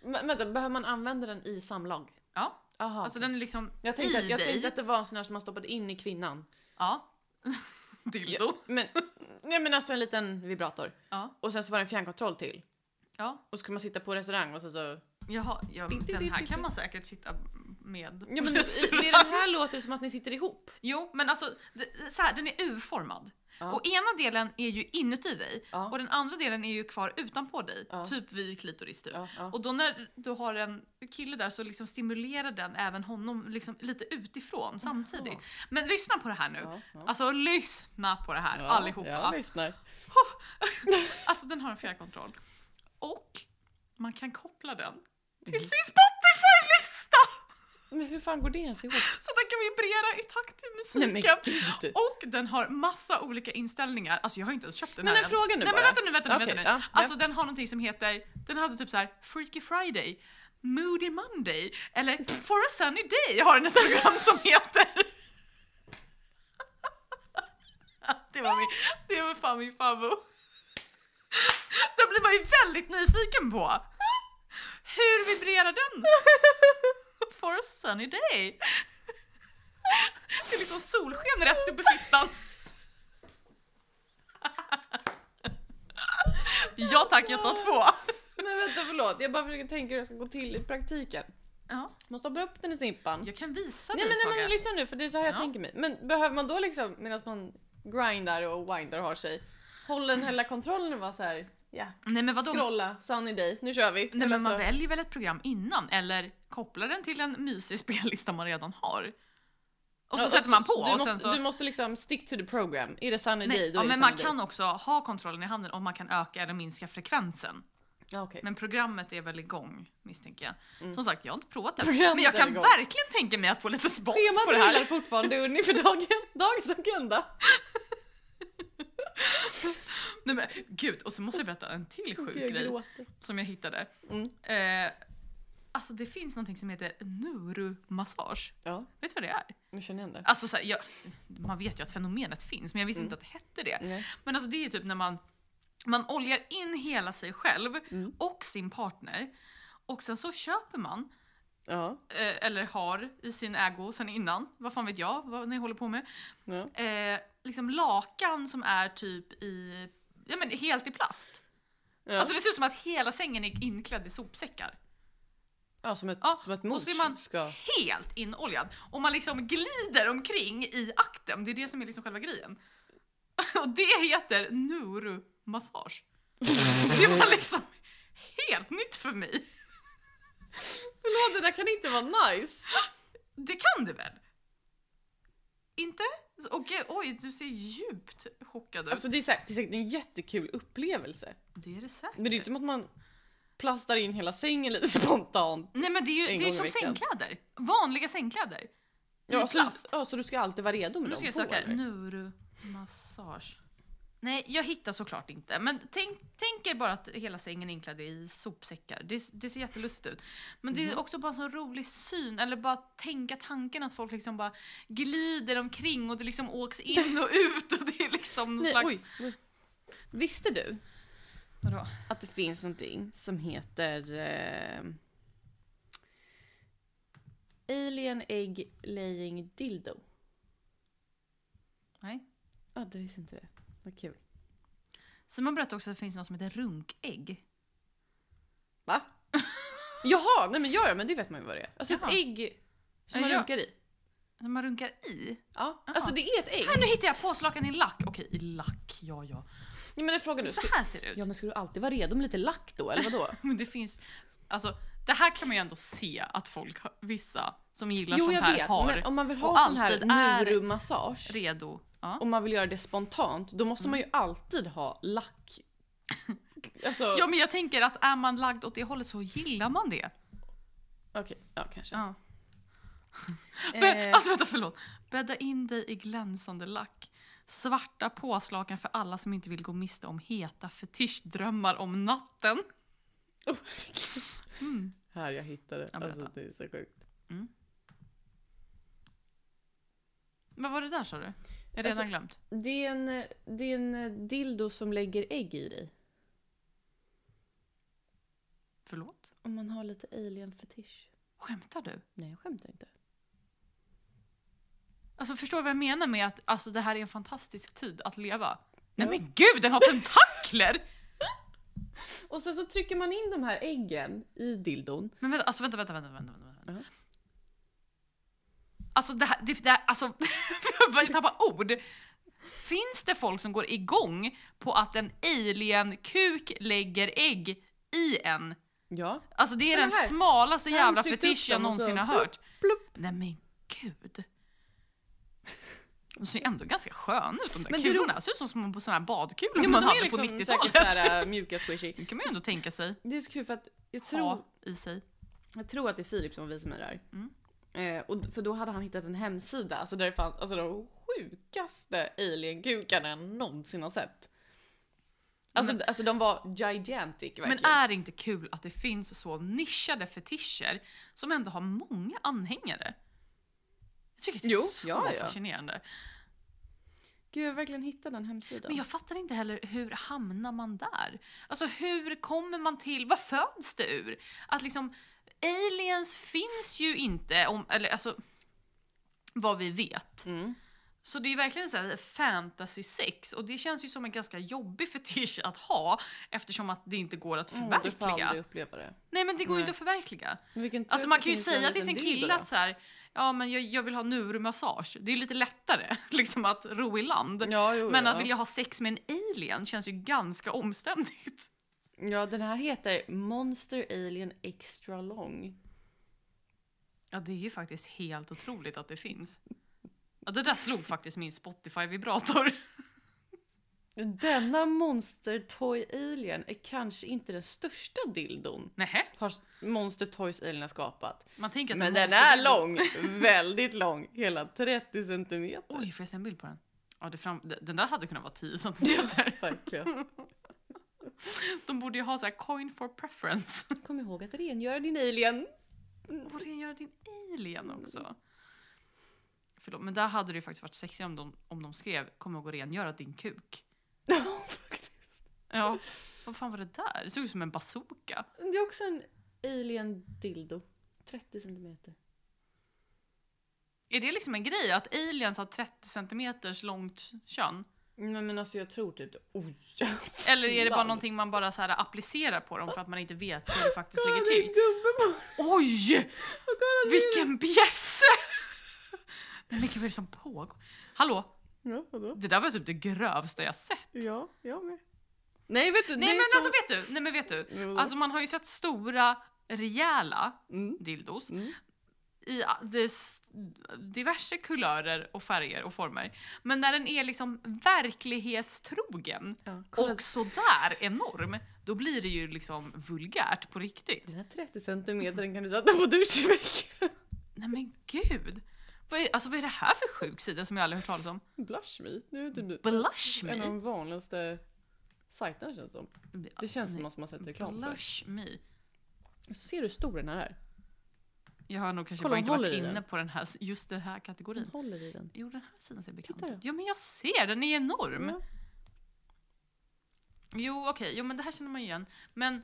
[SPEAKER 2] Men, vänta, behöver man använda den i samlag?
[SPEAKER 1] Ja,
[SPEAKER 2] Jaha.
[SPEAKER 1] alltså den är liksom
[SPEAKER 2] jag tänkte,
[SPEAKER 1] i
[SPEAKER 2] att, jag
[SPEAKER 1] dig.
[SPEAKER 2] tänkte att det var en sån här som man stoppade in i kvinnan.
[SPEAKER 1] Ja. Dildo.
[SPEAKER 2] Men, nej men alltså en liten vibrator.
[SPEAKER 1] Ja.
[SPEAKER 2] Och sen så var det en fjärrkontroll till.
[SPEAKER 1] Ja.
[SPEAKER 2] Och så kunde man sitta på restaurang och sen så...
[SPEAKER 1] Jaha, ja,
[SPEAKER 2] Din, din,
[SPEAKER 1] den här
[SPEAKER 2] din,
[SPEAKER 1] kan man säkert sitta med.
[SPEAKER 2] Ja men i, i den här låter det som att ni sitter ihop.
[SPEAKER 1] Jo, men alltså det- så här, den är U-formad.
[SPEAKER 2] Ja.
[SPEAKER 1] Och ena delen är ju inuti dig
[SPEAKER 2] Ja.
[SPEAKER 1] och den andra delen är ju kvar utanpå dig,
[SPEAKER 2] Ja.
[SPEAKER 1] typ vid klitoris typ.
[SPEAKER 2] Ja, ja.
[SPEAKER 1] Och då när du har en kille där så liksom stimulerar den även honom liksom lite utifrån samtidigt.
[SPEAKER 2] Jaha.
[SPEAKER 1] Men lyssna på det här nu.
[SPEAKER 2] Ja, ja.
[SPEAKER 1] Alltså lyssna på det här
[SPEAKER 2] Ja,
[SPEAKER 1] allihopa.
[SPEAKER 2] Jag lyssnar.
[SPEAKER 1] Alltså den har en fjärrkontroll. Och man kan koppla den till
[SPEAKER 2] Mm.
[SPEAKER 1] sin Spotify-lista!
[SPEAKER 2] Men hur fan går det ens ihop?
[SPEAKER 1] Så den kan vibrera i takt till
[SPEAKER 2] Nej men
[SPEAKER 1] musiken.
[SPEAKER 2] gud.
[SPEAKER 1] Och den har massa olika inställningar. Alltså jag har inte ens köpt den
[SPEAKER 2] Men
[SPEAKER 1] här
[SPEAKER 2] en
[SPEAKER 1] än.
[SPEAKER 2] fråga nu
[SPEAKER 1] Nej
[SPEAKER 2] bara.
[SPEAKER 1] men vänta nu, vänta nu,
[SPEAKER 2] Okej,
[SPEAKER 1] vänta nu.
[SPEAKER 2] ja, ja.
[SPEAKER 1] Alltså den har någonting som heter, den hade typ så här Freaky Friday, Moody Monday eller For a Sunny Day har den ett program som heter. Det var, min, det var fan min favvo. Den blir man ju väldigt nyfiken på. Hur vibrerar den? For a sunny day. Det är liksom solsken rätt upp i fittan. Ja tack, jag tar två.
[SPEAKER 2] Men vänta förlåt, jag bara försöker tänka hur det ska gå till i praktiken.
[SPEAKER 1] Ja,
[SPEAKER 2] Man stoppar upp den i snippan.
[SPEAKER 1] jag kan visa
[SPEAKER 2] Nej
[SPEAKER 1] dig
[SPEAKER 2] men, nej,
[SPEAKER 1] Saga.
[SPEAKER 2] men lyssna nu för det är så här jag
[SPEAKER 1] Ja.
[SPEAKER 2] tänker mig. Men behöver man då liksom medan man grindar och windar och har sig håller den hela kontrollen och vara så här ja,
[SPEAKER 1] Nej men vadå?
[SPEAKER 2] scrolla, sunny day, nu kör vi.
[SPEAKER 1] Alltså-
[SPEAKER 2] Alltså,
[SPEAKER 1] Nej
[SPEAKER 2] Eller
[SPEAKER 1] men man
[SPEAKER 2] så-
[SPEAKER 1] väljer väl ett program innan eller kopplar den till en mysig spellista man redan har. Och så
[SPEAKER 2] Ja,
[SPEAKER 1] sätter man på och
[SPEAKER 2] du
[SPEAKER 1] sen
[SPEAKER 2] måste,
[SPEAKER 1] så...
[SPEAKER 2] Du måste liksom stick to the program. Är det sunny
[SPEAKER 1] Nej,
[SPEAKER 2] day då
[SPEAKER 1] ja,
[SPEAKER 2] är det
[SPEAKER 1] men man
[SPEAKER 2] sunny
[SPEAKER 1] kan
[SPEAKER 2] day.
[SPEAKER 1] också ha kontrollen i handen om man kan öka eller minska frekvensen.
[SPEAKER 2] Ja, okej.
[SPEAKER 1] Men programmet är väl igång misstänker jag.
[SPEAKER 2] Mm.
[SPEAKER 1] Som sagt, jag har inte provat det.
[SPEAKER 2] Programmet
[SPEAKER 1] Men jag
[SPEAKER 2] är
[SPEAKER 1] kan
[SPEAKER 2] igång.
[SPEAKER 1] verkligen tänka mig att få lite spons på det
[SPEAKER 2] Schemat rullar
[SPEAKER 1] här.
[SPEAKER 2] fortfarande Unni för dagen, dagens agenda.
[SPEAKER 1] Nej, men, gud, och så måste jag berätta en till sjuk
[SPEAKER 2] Gud, jag
[SPEAKER 1] grej
[SPEAKER 2] gråter.
[SPEAKER 1] som jag hittade.
[SPEAKER 2] Mm.
[SPEAKER 1] Eh, alltså det finns någonting som heter neuromassage.
[SPEAKER 2] Ja,
[SPEAKER 1] Vet du vad det är?
[SPEAKER 2] nu känner jag det.
[SPEAKER 1] Alltså, så här, jag, man vet ju att fenomenet finns men jag visste
[SPEAKER 2] Mm.
[SPEAKER 1] inte att det hette det.
[SPEAKER 2] Nej.
[SPEAKER 1] Men alltså det är typ när man, man oljar in hela sig själv
[SPEAKER 2] Mm.
[SPEAKER 1] och sin partner och sen så köper man
[SPEAKER 2] Ja,
[SPEAKER 1] eh, eller har i sin ägo sen innan, vad fan vet jag vad ni håller på med.
[SPEAKER 2] ja.
[SPEAKER 1] Eh, liksom lakan som är typ i, ja men helt i plast.
[SPEAKER 2] Ja,
[SPEAKER 1] Alltså det ser ut som att hela sängen är inklädd i sopsäckar.
[SPEAKER 2] ja, som ett,
[SPEAKER 1] ja,
[SPEAKER 2] som ett
[SPEAKER 1] och
[SPEAKER 2] mors
[SPEAKER 1] så är man-
[SPEAKER 2] ska...
[SPEAKER 1] Helt inoljad. Och man liksom glider omkring i akten, det är det som är liksom själva grejen. Och det heter Nuru-massage. Det var liksom helt nytt för mig.
[SPEAKER 2] Förlåt, det där kan inte vara nice!
[SPEAKER 1] Det kan du väl? Inte? Och, oj, du ser djupt chockad ut.
[SPEAKER 2] Alltså det är, säkert, det är säkert en jättekul upplevelse.
[SPEAKER 1] det är det säkert.
[SPEAKER 2] Men det är ju inte som att man plastar in hela sängen lite spontant.
[SPEAKER 1] Nej men det är
[SPEAKER 2] En
[SPEAKER 1] ju det är
[SPEAKER 2] gång i
[SPEAKER 1] som
[SPEAKER 2] veckan.
[SPEAKER 1] sängkläder. Vanliga sängkläder. I
[SPEAKER 2] Ja, så,
[SPEAKER 1] plast.
[SPEAKER 2] ja, så du ska alltid vara redo med
[SPEAKER 1] Nu
[SPEAKER 2] dem
[SPEAKER 1] ska jag
[SPEAKER 2] på,
[SPEAKER 1] söka
[SPEAKER 2] eller?
[SPEAKER 1] Nuru-massage. Nej, jag hittar såklart inte. Men tänk, tänk er bara att hela sängen är inklädd i sopsäckar. Det, det ser jättelustigt ut. Men
[SPEAKER 2] Mm.
[SPEAKER 1] det är också bara en sån rolig syn, eller bara tänka tanken att folk liksom bara glider omkring och det liksom åks in och ut och det är liksom någon
[SPEAKER 2] Nej,
[SPEAKER 1] slags...
[SPEAKER 2] oj, oj. Visste du
[SPEAKER 1] Vadå?
[SPEAKER 2] att det finns någonting som heter eh, Alien Egg Laying Dildo?
[SPEAKER 1] Nej.
[SPEAKER 2] Ja, ah, du visste inte det. Vad kul.
[SPEAKER 1] Simon berättade också att det finns något som heter runkägg.
[SPEAKER 2] Va? Jaha, nej men ja, ja men det vet man ju vad det är. Alltså
[SPEAKER 1] Jaha.
[SPEAKER 2] ett ägg som
[SPEAKER 1] Ja,
[SPEAKER 2] man
[SPEAKER 1] ja.
[SPEAKER 2] runkar i.
[SPEAKER 1] Som man runkar i.
[SPEAKER 2] Ja,
[SPEAKER 1] Jaha.
[SPEAKER 2] alltså det är ett ägg.
[SPEAKER 1] Nej, nu hittar jag påslakan i lack. Okej, i lack, ja ja.
[SPEAKER 2] Nej, men frågan nu,
[SPEAKER 1] Så
[SPEAKER 2] ska,
[SPEAKER 1] här ser det ut.
[SPEAKER 2] ja men ska du alltid vara redo med lite lack då eller vadå?
[SPEAKER 1] Men det finns, alltså det här kan man ju ändå se att folk, har- vissa som gillar
[SPEAKER 2] jo
[SPEAKER 1] sånt
[SPEAKER 2] jag
[SPEAKER 1] här
[SPEAKER 2] vet,
[SPEAKER 1] har
[SPEAKER 2] men om man vill
[SPEAKER 1] och
[SPEAKER 2] ha sån
[SPEAKER 1] alltid
[SPEAKER 2] här
[SPEAKER 1] är-
[SPEAKER 2] nurumassage,
[SPEAKER 1] redo. Ja.
[SPEAKER 2] om man vill göra det spontant, då måste man ju alltid ha lack. Alltså,
[SPEAKER 1] ja men jag tänker att är man lagd åt det hållet så gillar man det.
[SPEAKER 2] okej, ja kanske.
[SPEAKER 1] Ja. Be-
[SPEAKER 2] Eh,
[SPEAKER 1] alltså vänta förlåt. Bädda in dig i glänsande lack. Svarta påslakan för alla som inte vill gå miste om heta fetischdrömmar om natten.
[SPEAKER 2] oh,
[SPEAKER 1] Mm.
[SPEAKER 2] här jag hittade,
[SPEAKER 1] Ja, berätta.
[SPEAKER 2] alltså det är så sjukt.
[SPEAKER 1] Vad var det där sa du? Jag har redan
[SPEAKER 2] Alltså-
[SPEAKER 1] glömt.
[SPEAKER 2] Det är, en, det är en dildo som lägger ägg i dig.
[SPEAKER 1] Förlåt?
[SPEAKER 2] Om man har lite alien-fetisch.
[SPEAKER 1] Skämtar du?
[SPEAKER 2] Nej jag skämtar inte.
[SPEAKER 1] Alltså förstår du vad jag menar med att alltså, det här är en fantastisk tid att leva? Nej
[SPEAKER 2] Ja.
[SPEAKER 1] men gud, den har tentakler!
[SPEAKER 2] Och sen så trycker man in de här äggen i dildon.
[SPEAKER 1] Men vänta, alltså vänta, vänta, vänta, vänta. vänta, vänta.
[SPEAKER 2] Ja.
[SPEAKER 1] Alltså det här, det, det här alltså, jag tappar ord. Finns det folk som går igång på att en alien-kuk lägger ägg i en?
[SPEAKER 2] Ja.
[SPEAKER 1] Alltså det är
[SPEAKER 2] Men
[SPEAKER 1] den
[SPEAKER 2] det här-
[SPEAKER 1] smalaste
[SPEAKER 2] han
[SPEAKER 1] jävla
[SPEAKER 2] tryckte upp
[SPEAKER 1] fetisch jag
[SPEAKER 2] dem och så
[SPEAKER 1] någonsin har
[SPEAKER 2] plupp,
[SPEAKER 1] hört. Nej men gud. De ser ju ändå ganska sköna ut de där
[SPEAKER 2] Men det är
[SPEAKER 1] kulorna. Ser ut som små såna här badkulor
[SPEAKER 2] Jo, men
[SPEAKER 1] man
[SPEAKER 2] de är
[SPEAKER 1] hade
[SPEAKER 2] liksom
[SPEAKER 1] på
[SPEAKER 2] säkert
[SPEAKER 1] 90-talet.
[SPEAKER 2] såhär äh, mjuka squishy.
[SPEAKER 1] Det kan man ju ändå tänka sig
[SPEAKER 2] Det är så kul för att jag tror,
[SPEAKER 1] ha i sig.
[SPEAKER 2] jag tror att det är Filip som visar mig det här.
[SPEAKER 1] Mm.
[SPEAKER 2] Eh, och, för då hade han hittat en hemsida alltså där det fanns alltså, de sjukaste alien-kukarna jag någonsin har sett. Alltså, alltså de var gigantic verkligen.
[SPEAKER 1] Men är det inte kul att det finns så nischade fetischer som ändå har många anhängare? Jag tycker att det är
[SPEAKER 2] Jo,
[SPEAKER 1] så
[SPEAKER 2] ja, ja.
[SPEAKER 1] fascinerande.
[SPEAKER 2] Gud jag har verkligen hittat den hemsidan.
[SPEAKER 1] Men jag fattar inte heller hur hamnar man där? Alltså hur kommer man till, vad föds det ur? Att liksom aliens finns ju inte om, eller alltså vad vi vet.
[SPEAKER 2] Mm.
[SPEAKER 1] Så det är ju verkligen så här fantasy sex och det känns ju som en ganska jobbig fetisch att ha eftersom att det inte går att
[SPEAKER 2] Mm, du får
[SPEAKER 1] förverkliga.
[SPEAKER 2] aldrig uppleva det.
[SPEAKER 1] Nej men det går ju
[SPEAKER 2] Nej.
[SPEAKER 1] inte att förverkliga.
[SPEAKER 2] Men vilken tur
[SPEAKER 1] Alltså
[SPEAKER 2] att
[SPEAKER 1] man
[SPEAKER 2] det
[SPEAKER 1] kan ju
[SPEAKER 2] finns en
[SPEAKER 1] säga till sin
[SPEAKER 2] liten dildo
[SPEAKER 1] kille
[SPEAKER 2] då.
[SPEAKER 1] att så här, ja men jag, jag vill ha nurmassage. Det är lite lättare liksom att ro i land.
[SPEAKER 2] Ja, jo,
[SPEAKER 1] Men
[SPEAKER 2] ja.
[SPEAKER 1] att vilja ha sex med en alien känns ju ganska omständigt.
[SPEAKER 2] Ja, den här heter Monster Alien Extra Long.
[SPEAKER 1] Ja det är ju faktiskt helt otroligt att det finns. Ja, det där slog faktiskt min Spotify-vibrator.
[SPEAKER 2] Denna Monster Toy Alien är kanske inte den största dildon
[SPEAKER 1] Nähä,
[SPEAKER 2] har Monster Toys Alien har skapat.
[SPEAKER 1] man tänker att
[SPEAKER 2] Men
[SPEAKER 1] det
[SPEAKER 2] den
[SPEAKER 1] måste
[SPEAKER 2] är
[SPEAKER 1] bli-
[SPEAKER 2] lång, väldigt lång, hela 30 centimeter.
[SPEAKER 1] Oj, får jag se en bild på den? Ja, det fram... Den där hade kunnat vara 10 centimeter.
[SPEAKER 2] Verkligen.
[SPEAKER 1] De borde ju ha så här coin for preference.
[SPEAKER 2] Kom ihåg att rengöra din alien.
[SPEAKER 1] Och rengöra din alien
[SPEAKER 2] Mm.
[SPEAKER 1] också. Förlåt, men där hade det ju faktiskt varit sexigt om de, om de skrev “Kom ihåg att rengöra din kuk”. Ja, vad fan var det där? Det såg ut som en bazooka.
[SPEAKER 2] Det är också en alien dildo. 30 centimeter.
[SPEAKER 1] Är det liksom en grej att aliens har 30 centimeters långt kön?
[SPEAKER 2] Nej men alltså jag tror typ... Oj!
[SPEAKER 1] Eller är det bara
[SPEAKER 2] Land.
[SPEAKER 1] någonting man bara så här applicerar på dem för att man inte vet hur det faktiskt
[SPEAKER 2] Kolla,
[SPEAKER 1] ligger
[SPEAKER 2] det är en
[SPEAKER 1] till?
[SPEAKER 2] gubbe på-
[SPEAKER 1] Oj!
[SPEAKER 2] och kolla, det är-
[SPEAKER 1] Vilken bjässe! Nej men gud vad är det som pågår? Hallå?
[SPEAKER 2] Ja, vadå?
[SPEAKER 1] Det där var typ det grövsta jag sett.
[SPEAKER 2] Ja, jag med. Nej vet du,
[SPEAKER 1] Nej men
[SPEAKER 2] de- Mm.
[SPEAKER 1] alltså vet du, nej men vet du.
[SPEAKER 2] Jo.
[SPEAKER 1] Alltså man har ju sett stora, rejäla
[SPEAKER 2] Mm.
[SPEAKER 1] dildos
[SPEAKER 2] Mm.
[SPEAKER 1] i a- des- diverse kulörer och färger och former. Men när den är liksom verklighetstrogen
[SPEAKER 2] Ja, kolla.
[SPEAKER 1] och sådär enorm, då blir det ju liksom vulgärt på riktigt.
[SPEAKER 2] Den här 30 centimetern kan du sätta på duschveckan.
[SPEAKER 1] Nej men gud! Vad är, alltså vad är det här för sjuk sida som jag aldrig hört talas om?
[SPEAKER 2] Blush me. Det är typ
[SPEAKER 1] Blush
[SPEAKER 2] en av
[SPEAKER 1] me!
[SPEAKER 2] de vanligaste sajterna känns det som. Det känns som någon som har sett reklam för.
[SPEAKER 1] Blush me.
[SPEAKER 2] Ser du hur stor den här är?
[SPEAKER 1] Jag har nog kanske
[SPEAKER 2] Kolla,
[SPEAKER 1] bara
[SPEAKER 2] hon
[SPEAKER 1] inte varit
[SPEAKER 2] håller i
[SPEAKER 1] inne
[SPEAKER 2] den.
[SPEAKER 1] på den här, just den här kategorin.
[SPEAKER 2] håller i den.
[SPEAKER 1] Jo den här sidan ser bekant
[SPEAKER 2] Titta.
[SPEAKER 1] ut. Ja men jag ser, den är enorm!
[SPEAKER 2] Ja.
[SPEAKER 1] Jo okej, jo men det här känner man ju igen. Men...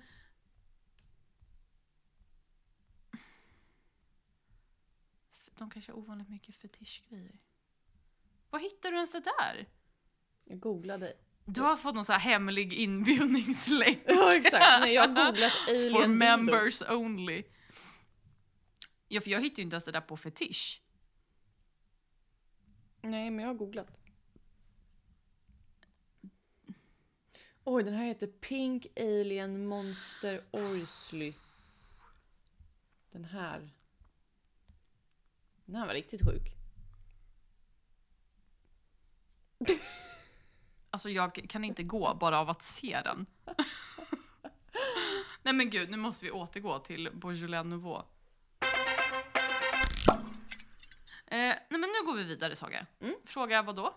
[SPEAKER 1] De kanske har ovanligt mycket fetischgrejer. Var hittar du ens det där?
[SPEAKER 2] Jag googlade.
[SPEAKER 1] Du har fått någon så här hemlig inbjudningslänk.
[SPEAKER 2] Ja exakt, nej jag har googlat alien
[SPEAKER 1] For
[SPEAKER 2] dildo.
[SPEAKER 1] members only. Ja för jag hittar ju inte ens det där på fetisch.
[SPEAKER 2] Nej men jag har googlat. Oj den här heter Pink Alien Monster Orsly. Den här. Den här var riktigt sjuk.
[SPEAKER 1] Alltså jag kan inte gå bara av att se den. Nej men gud, nu måste vi återgå till Beaujolais Nouveau. Eh, Eh, nej men nu går vi vidare Saga. Fråga Mm. vad då?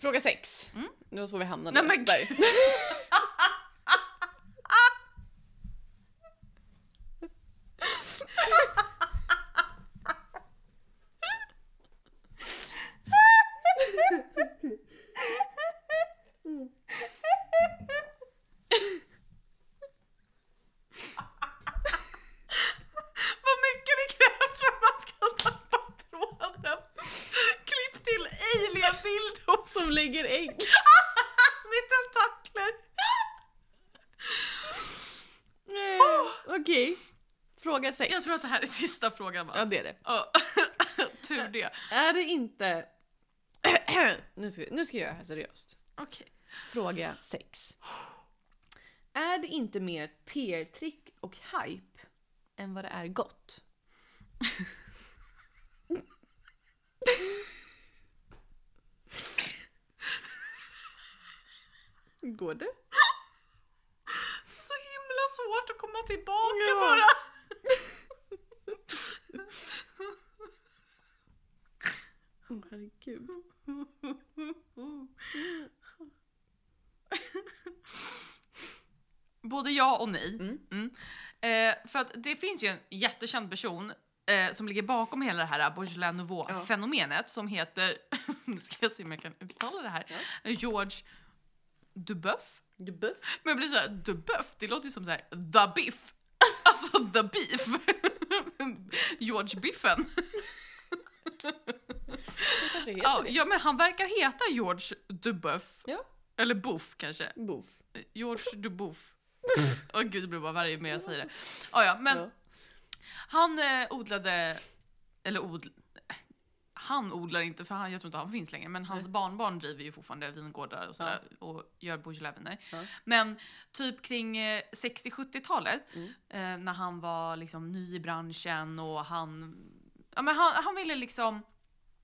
[SPEAKER 2] Fråga sex. Det var så vi hamnade.
[SPEAKER 1] Nej men gud! Vad mycket det krävs för att man ska tappa tråden. Klipp till alien-dildos
[SPEAKER 2] Som lägger ägg.
[SPEAKER 1] med tentakler.
[SPEAKER 2] Eh, Okej. Fråga sex.
[SPEAKER 1] Jag tror att det här är sista frågan
[SPEAKER 2] Ja
[SPEAKER 1] va?
[SPEAKER 2] det är det.
[SPEAKER 1] Ja. Tur det.
[SPEAKER 2] Är det inte... nu, ska, nu ska jag göra det här seriöst.
[SPEAKER 1] Okej.
[SPEAKER 2] Fråga 6. Är det inte mer ett PR-trick och hype än vad det är gott? Går det?
[SPEAKER 1] Så himla svårt att komma tillbaka
[SPEAKER 2] Ja.
[SPEAKER 1] bara.
[SPEAKER 2] Åh herregud.
[SPEAKER 1] Både ja och nej.
[SPEAKER 2] Mm.
[SPEAKER 1] Mm. Eh, för att det finns ju en jättekänd person eh, som ligger bakom hela det här Beaujolais Nouveau-fenomenet som heter, nu ska jag se om jag kan uttala det här, George Dubuff.
[SPEAKER 2] Du buff.
[SPEAKER 1] Men jag blir såhär, Dubuff, det låter ju som såhär the biff. Alltså the beef. George Biffen.
[SPEAKER 2] Det kanske heter
[SPEAKER 1] Ja,
[SPEAKER 2] det.
[SPEAKER 1] ja men han verkar heta George Dubuff.
[SPEAKER 2] Ja.
[SPEAKER 1] Eller Buff kanske.
[SPEAKER 2] Buff.
[SPEAKER 1] George Dubuff. Åh gud, det blir bara värre med jag säger det. Ja, ja, men
[SPEAKER 2] Ja.
[SPEAKER 1] han eh, odlade, eller odl... Han odlar inte, för han, jag tror inte han finns längre, men hans barnbarn driver ju fortfarande vingårdar och sådär och gör bourgeoisviner.
[SPEAKER 2] Ja.
[SPEAKER 1] Men typ kring eh, 60-70-talet,
[SPEAKER 2] Mm.
[SPEAKER 1] eh, när han var liksom ny i branschen och han... Ja, men han, han ville liksom...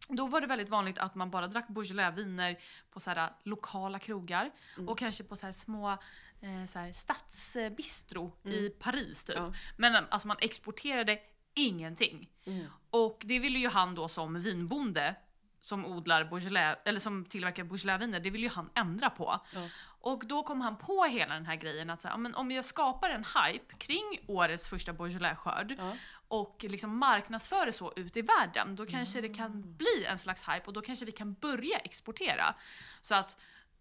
[SPEAKER 1] Då var det väldigt vanligt att man bara drack bourgeoisviner på så här lokala krogar
[SPEAKER 2] Mm.
[SPEAKER 1] och kanske på så här små eh, så här stadsbistro i Paris typ.
[SPEAKER 2] Mm. Ja.
[SPEAKER 1] Men eh, alltså man exporterade ingenting.
[SPEAKER 2] Mm.
[SPEAKER 1] Och det ville ju han då som vinbonde som odlar Beaujolais, eller som tillverkar Beaujolaisviner, det ville ju han ändra på.
[SPEAKER 2] Ja.
[SPEAKER 1] Och då kom han på hela den här grejen att så här, "Ja, men om jag skapar en hype kring årets första Beaujolais-skörd
[SPEAKER 2] Ja.
[SPEAKER 1] och liksom marknadsför det så ut i världen, då kanske det
[SPEAKER 2] Mm.
[SPEAKER 1] kan bli en slags hype och då kanske vi kan börja exportera. Så att,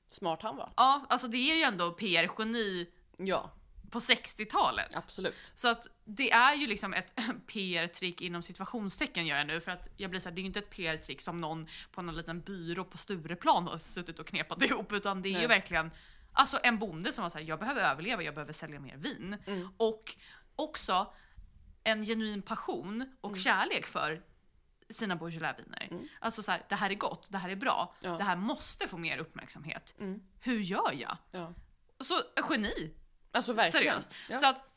[SPEAKER 2] Smart han var.
[SPEAKER 1] ja, alltså det är ju ändå PR-geni
[SPEAKER 2] Ja.
[SPEAKER 1] på 60-talet.
[SPEAKER 2] Absolut.
[SPEAKER 1] Så att det är ju liksom ett PR-trick inom situationstecken gör jag nu för att jag blir så här, det är ju inte ett PR-trick som någon på någon liten byrå på Stureplan har suttit och knepat ihop utan det är ju
[SPEAKER 2] Nej.
[SPEAKER 1] verkligen alltså en bonde som var såhär, jag behöver överleva, jag behöver sälja mer vin.
[SPEAKER 2] Mm.
[SPEAKER 1] Och också en genuin passion
[SPEAKER 2] Mm.
[SPEAKER 1] och kärlek för sina bourgeoisviner. Alltså så här, det här är gott, det här är bra,
[SPEAKER 2] Ja.
[SPEAKER 1] det här måste få mer uppmärksamhet.
[SPEAKER 2] Mm.
[SPEAKER 1] Hur gör jag?
[SPEAKER 2] Ja.
[SPEAKER 1] Så geni!
[SPEAKER 2] Alltså verkligen.
[SPEAKER 1] Seriöst.
[SPEAKER 2] Ja.
[SPEAKER 1] Så att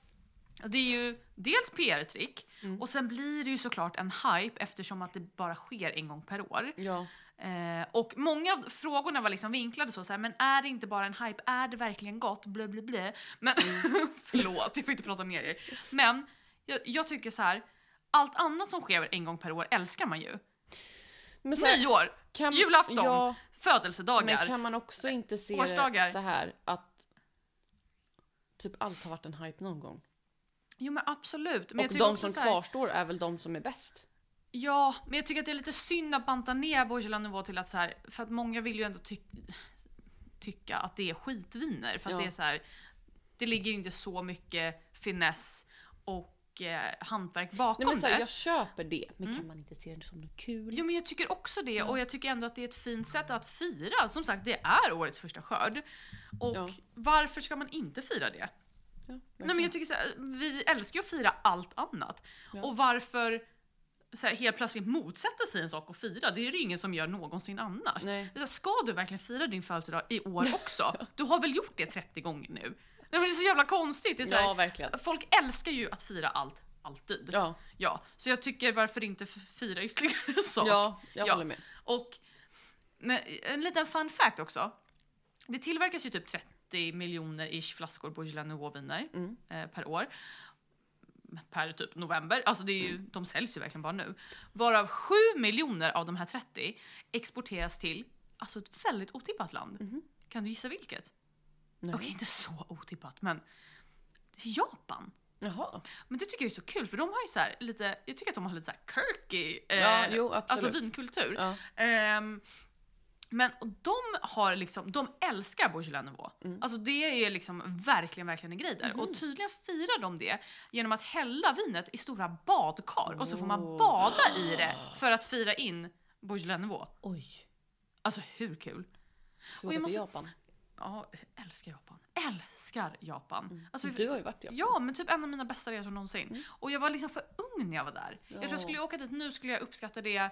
[SPEAKER 1] det är ju dels PR-trick
[SPEAKER 2] Mm.
[SPEAKER 1] och sen blir det ju såklart en hype eftersom att det bara sker en gång per år.
[SPEAKER 2] ja.
[SPEAKER 1] Eh, och många av frågorna var liksom vinklade så, så här, men är det inte bara en hype? Är det verkligen gott? Blö, blö, blö. Men
[SPEAKER 2] Mm.
[SPEAKER 1] förlåt, jag får inte prata ner er. Men jag, jag tycker så här, allt annat som sker en gång per år älskar man ju.
[SPEAKER 2] Men så här,
[SPEAKER 1] Nyår,
[SPEAKER 2] kan,
[SPEAKER 1] julafton,
[SPEAKER 2] Ja, men
[SPEAKER 1] födelsedagar.
[SPEAKER 2] kan man också inte se
[SPEAKER 1] Årsdagar.
[SPEAKER 2] det så här att typ allt har varit en hype någon gång?
[SPEAKER 1] Jo men absolut. Men jag
[SPEAKER 2] och
[SPEAKER 1] tycker
[SPEAKER 2] de
[SPEAKER 1] också
[SPEAKER 2] som
[SPEAKER 1] så här-
[SPEAKER 2] kvarstår är väl de som är bäst?
[SPEAKER 1] Ja, men jag tycker att det är lite synd att banta ner Bourgeois nivå till att så här, för att många vill ju ändå ty- tycka att det är skitviner för att
[SPEAKER 2] Ja.
[SPEAKER 1] det är så här, det ligger inte så mycket finess och eh, hantverk bakom
[SPEAKER 2] Nej, men så här,
[SPEAKER 1] det. Mm.
[SPEAKER 2] jag köper det, men kan man inte se det som något kul?
[SPEAKER 1] Jo men jag tycker också det
[SPEAKER 2] Mm.
[SPEAKER 1] och jag tycker ändå att det är ett fint sätt att fira. Som sagt, det är årets första skörd. Och
[SPEAKER 2] Ja.
[SPEAKER 1] varför ska man inte fira det?
[SPEAKER 2] Ja,
[SPEAKER 1] Nej, men jag tycker så här, vi älskar ju att fira allt annat.
[SPEAKER 2] Ja.
[SPEAKER 1] Och varför så här, helt plötsligt motsätta sig en sak och fira? Det är ju ingen som gör någonsin annars.
[SPEAKER 2] Nej.
[SPEAKER 1] Det är så här, ska du verkligen fira din födelsedag i år också? Du har väl gjort det 30 gånger nu? Nej, men det är så jävla konstigt. Det är så
[SPEAKER 2] ja
[SPEAKER 1] här,
[SPEAKER 2] verkligen.
[SPEAKER 1] Folk älskar ju att fira allt, alltid. Ja.
[SPEAKER 2] Ja,
[SPEAKER 1] så jag tycker varför inte f- fira ytterligare en sak?
[SPEAKER 2] ja jag
[SPEAKER 1] Ja.
[SPEAKER 2] håller med.
[SPEAKER 1] Och men, en liten fun fact också. Det tillverkas ju typ 30 miljoner ish flaskor Bourgeois Nouveau-viner
[SPEAKER 2] Mm.
[SPEAKER 1] eh, per år. Per typ november. Alltså det är
[SPEAKER 2] Mm.
[SPEAKER 1] ju, de säljs ju verkligen bara nu. Varav 7 miljoner av de här 30 exporteras till alltså ett väldigt otippat land.
[SPEAKER 2] Mhm.
[SPEAKER 1] Kan du gissa vilket?
[SPEAKER 2] Nej.
[SPEAKER 1] Okej, inte så otippat men Japan.
[SPEAKER 2] Jaha.
[SPEAKER 1] Men det tycker jag är så kul för de har ju så här lite, jag tycker att de har lite så här quirky, eh,
[SPEAKER 2] Ja, jo, absolut.
[SPEAKER 1] alltså vinkultur.
[SPEAKER 2] Ja.
[SPEAKER 1] Ehm, men de har liksom, de älskar Bourgeois Nouveau.
[SPEAKER 2] Mm. Mhm.
[SPEAKER 1] Alltså det är liksom verkligen, verkligen en grej där. Och tydligen firar de det genom att hälla vinet i stora badkar och så får man
[SPEAKER 2] Oh.
[SPEAKER 1] bada i det för att fira in Bourgeois Nouveau.
[SPEAKER 2] Oj.
[SPEAKER 1] Alltså hur kul?
[SPEAKER 2] Ska
[SPEAKER 1] Och
[SPEAKER 2] vi
[SPEAKER 1] jag
[SPEAKER 2] åka
[SPEAKER 1] måste-
[SPEAKER 2] till Japan?
[SPEAKER 1] Ja, jag älskar Japan. Älskar Japan. Alltså,
[SPEAKER 2] Mm. du har ju varit i Japan.
[SPEAKER 1] Ja, men typ en av mina bästa resor någonsin. Och jag var liksom för ung när jag var där. Jag tror
[SPEAKER 2] Ja.
[SPEAKER 1] jag skulle jag åka dit nu skulle jag uppskatta det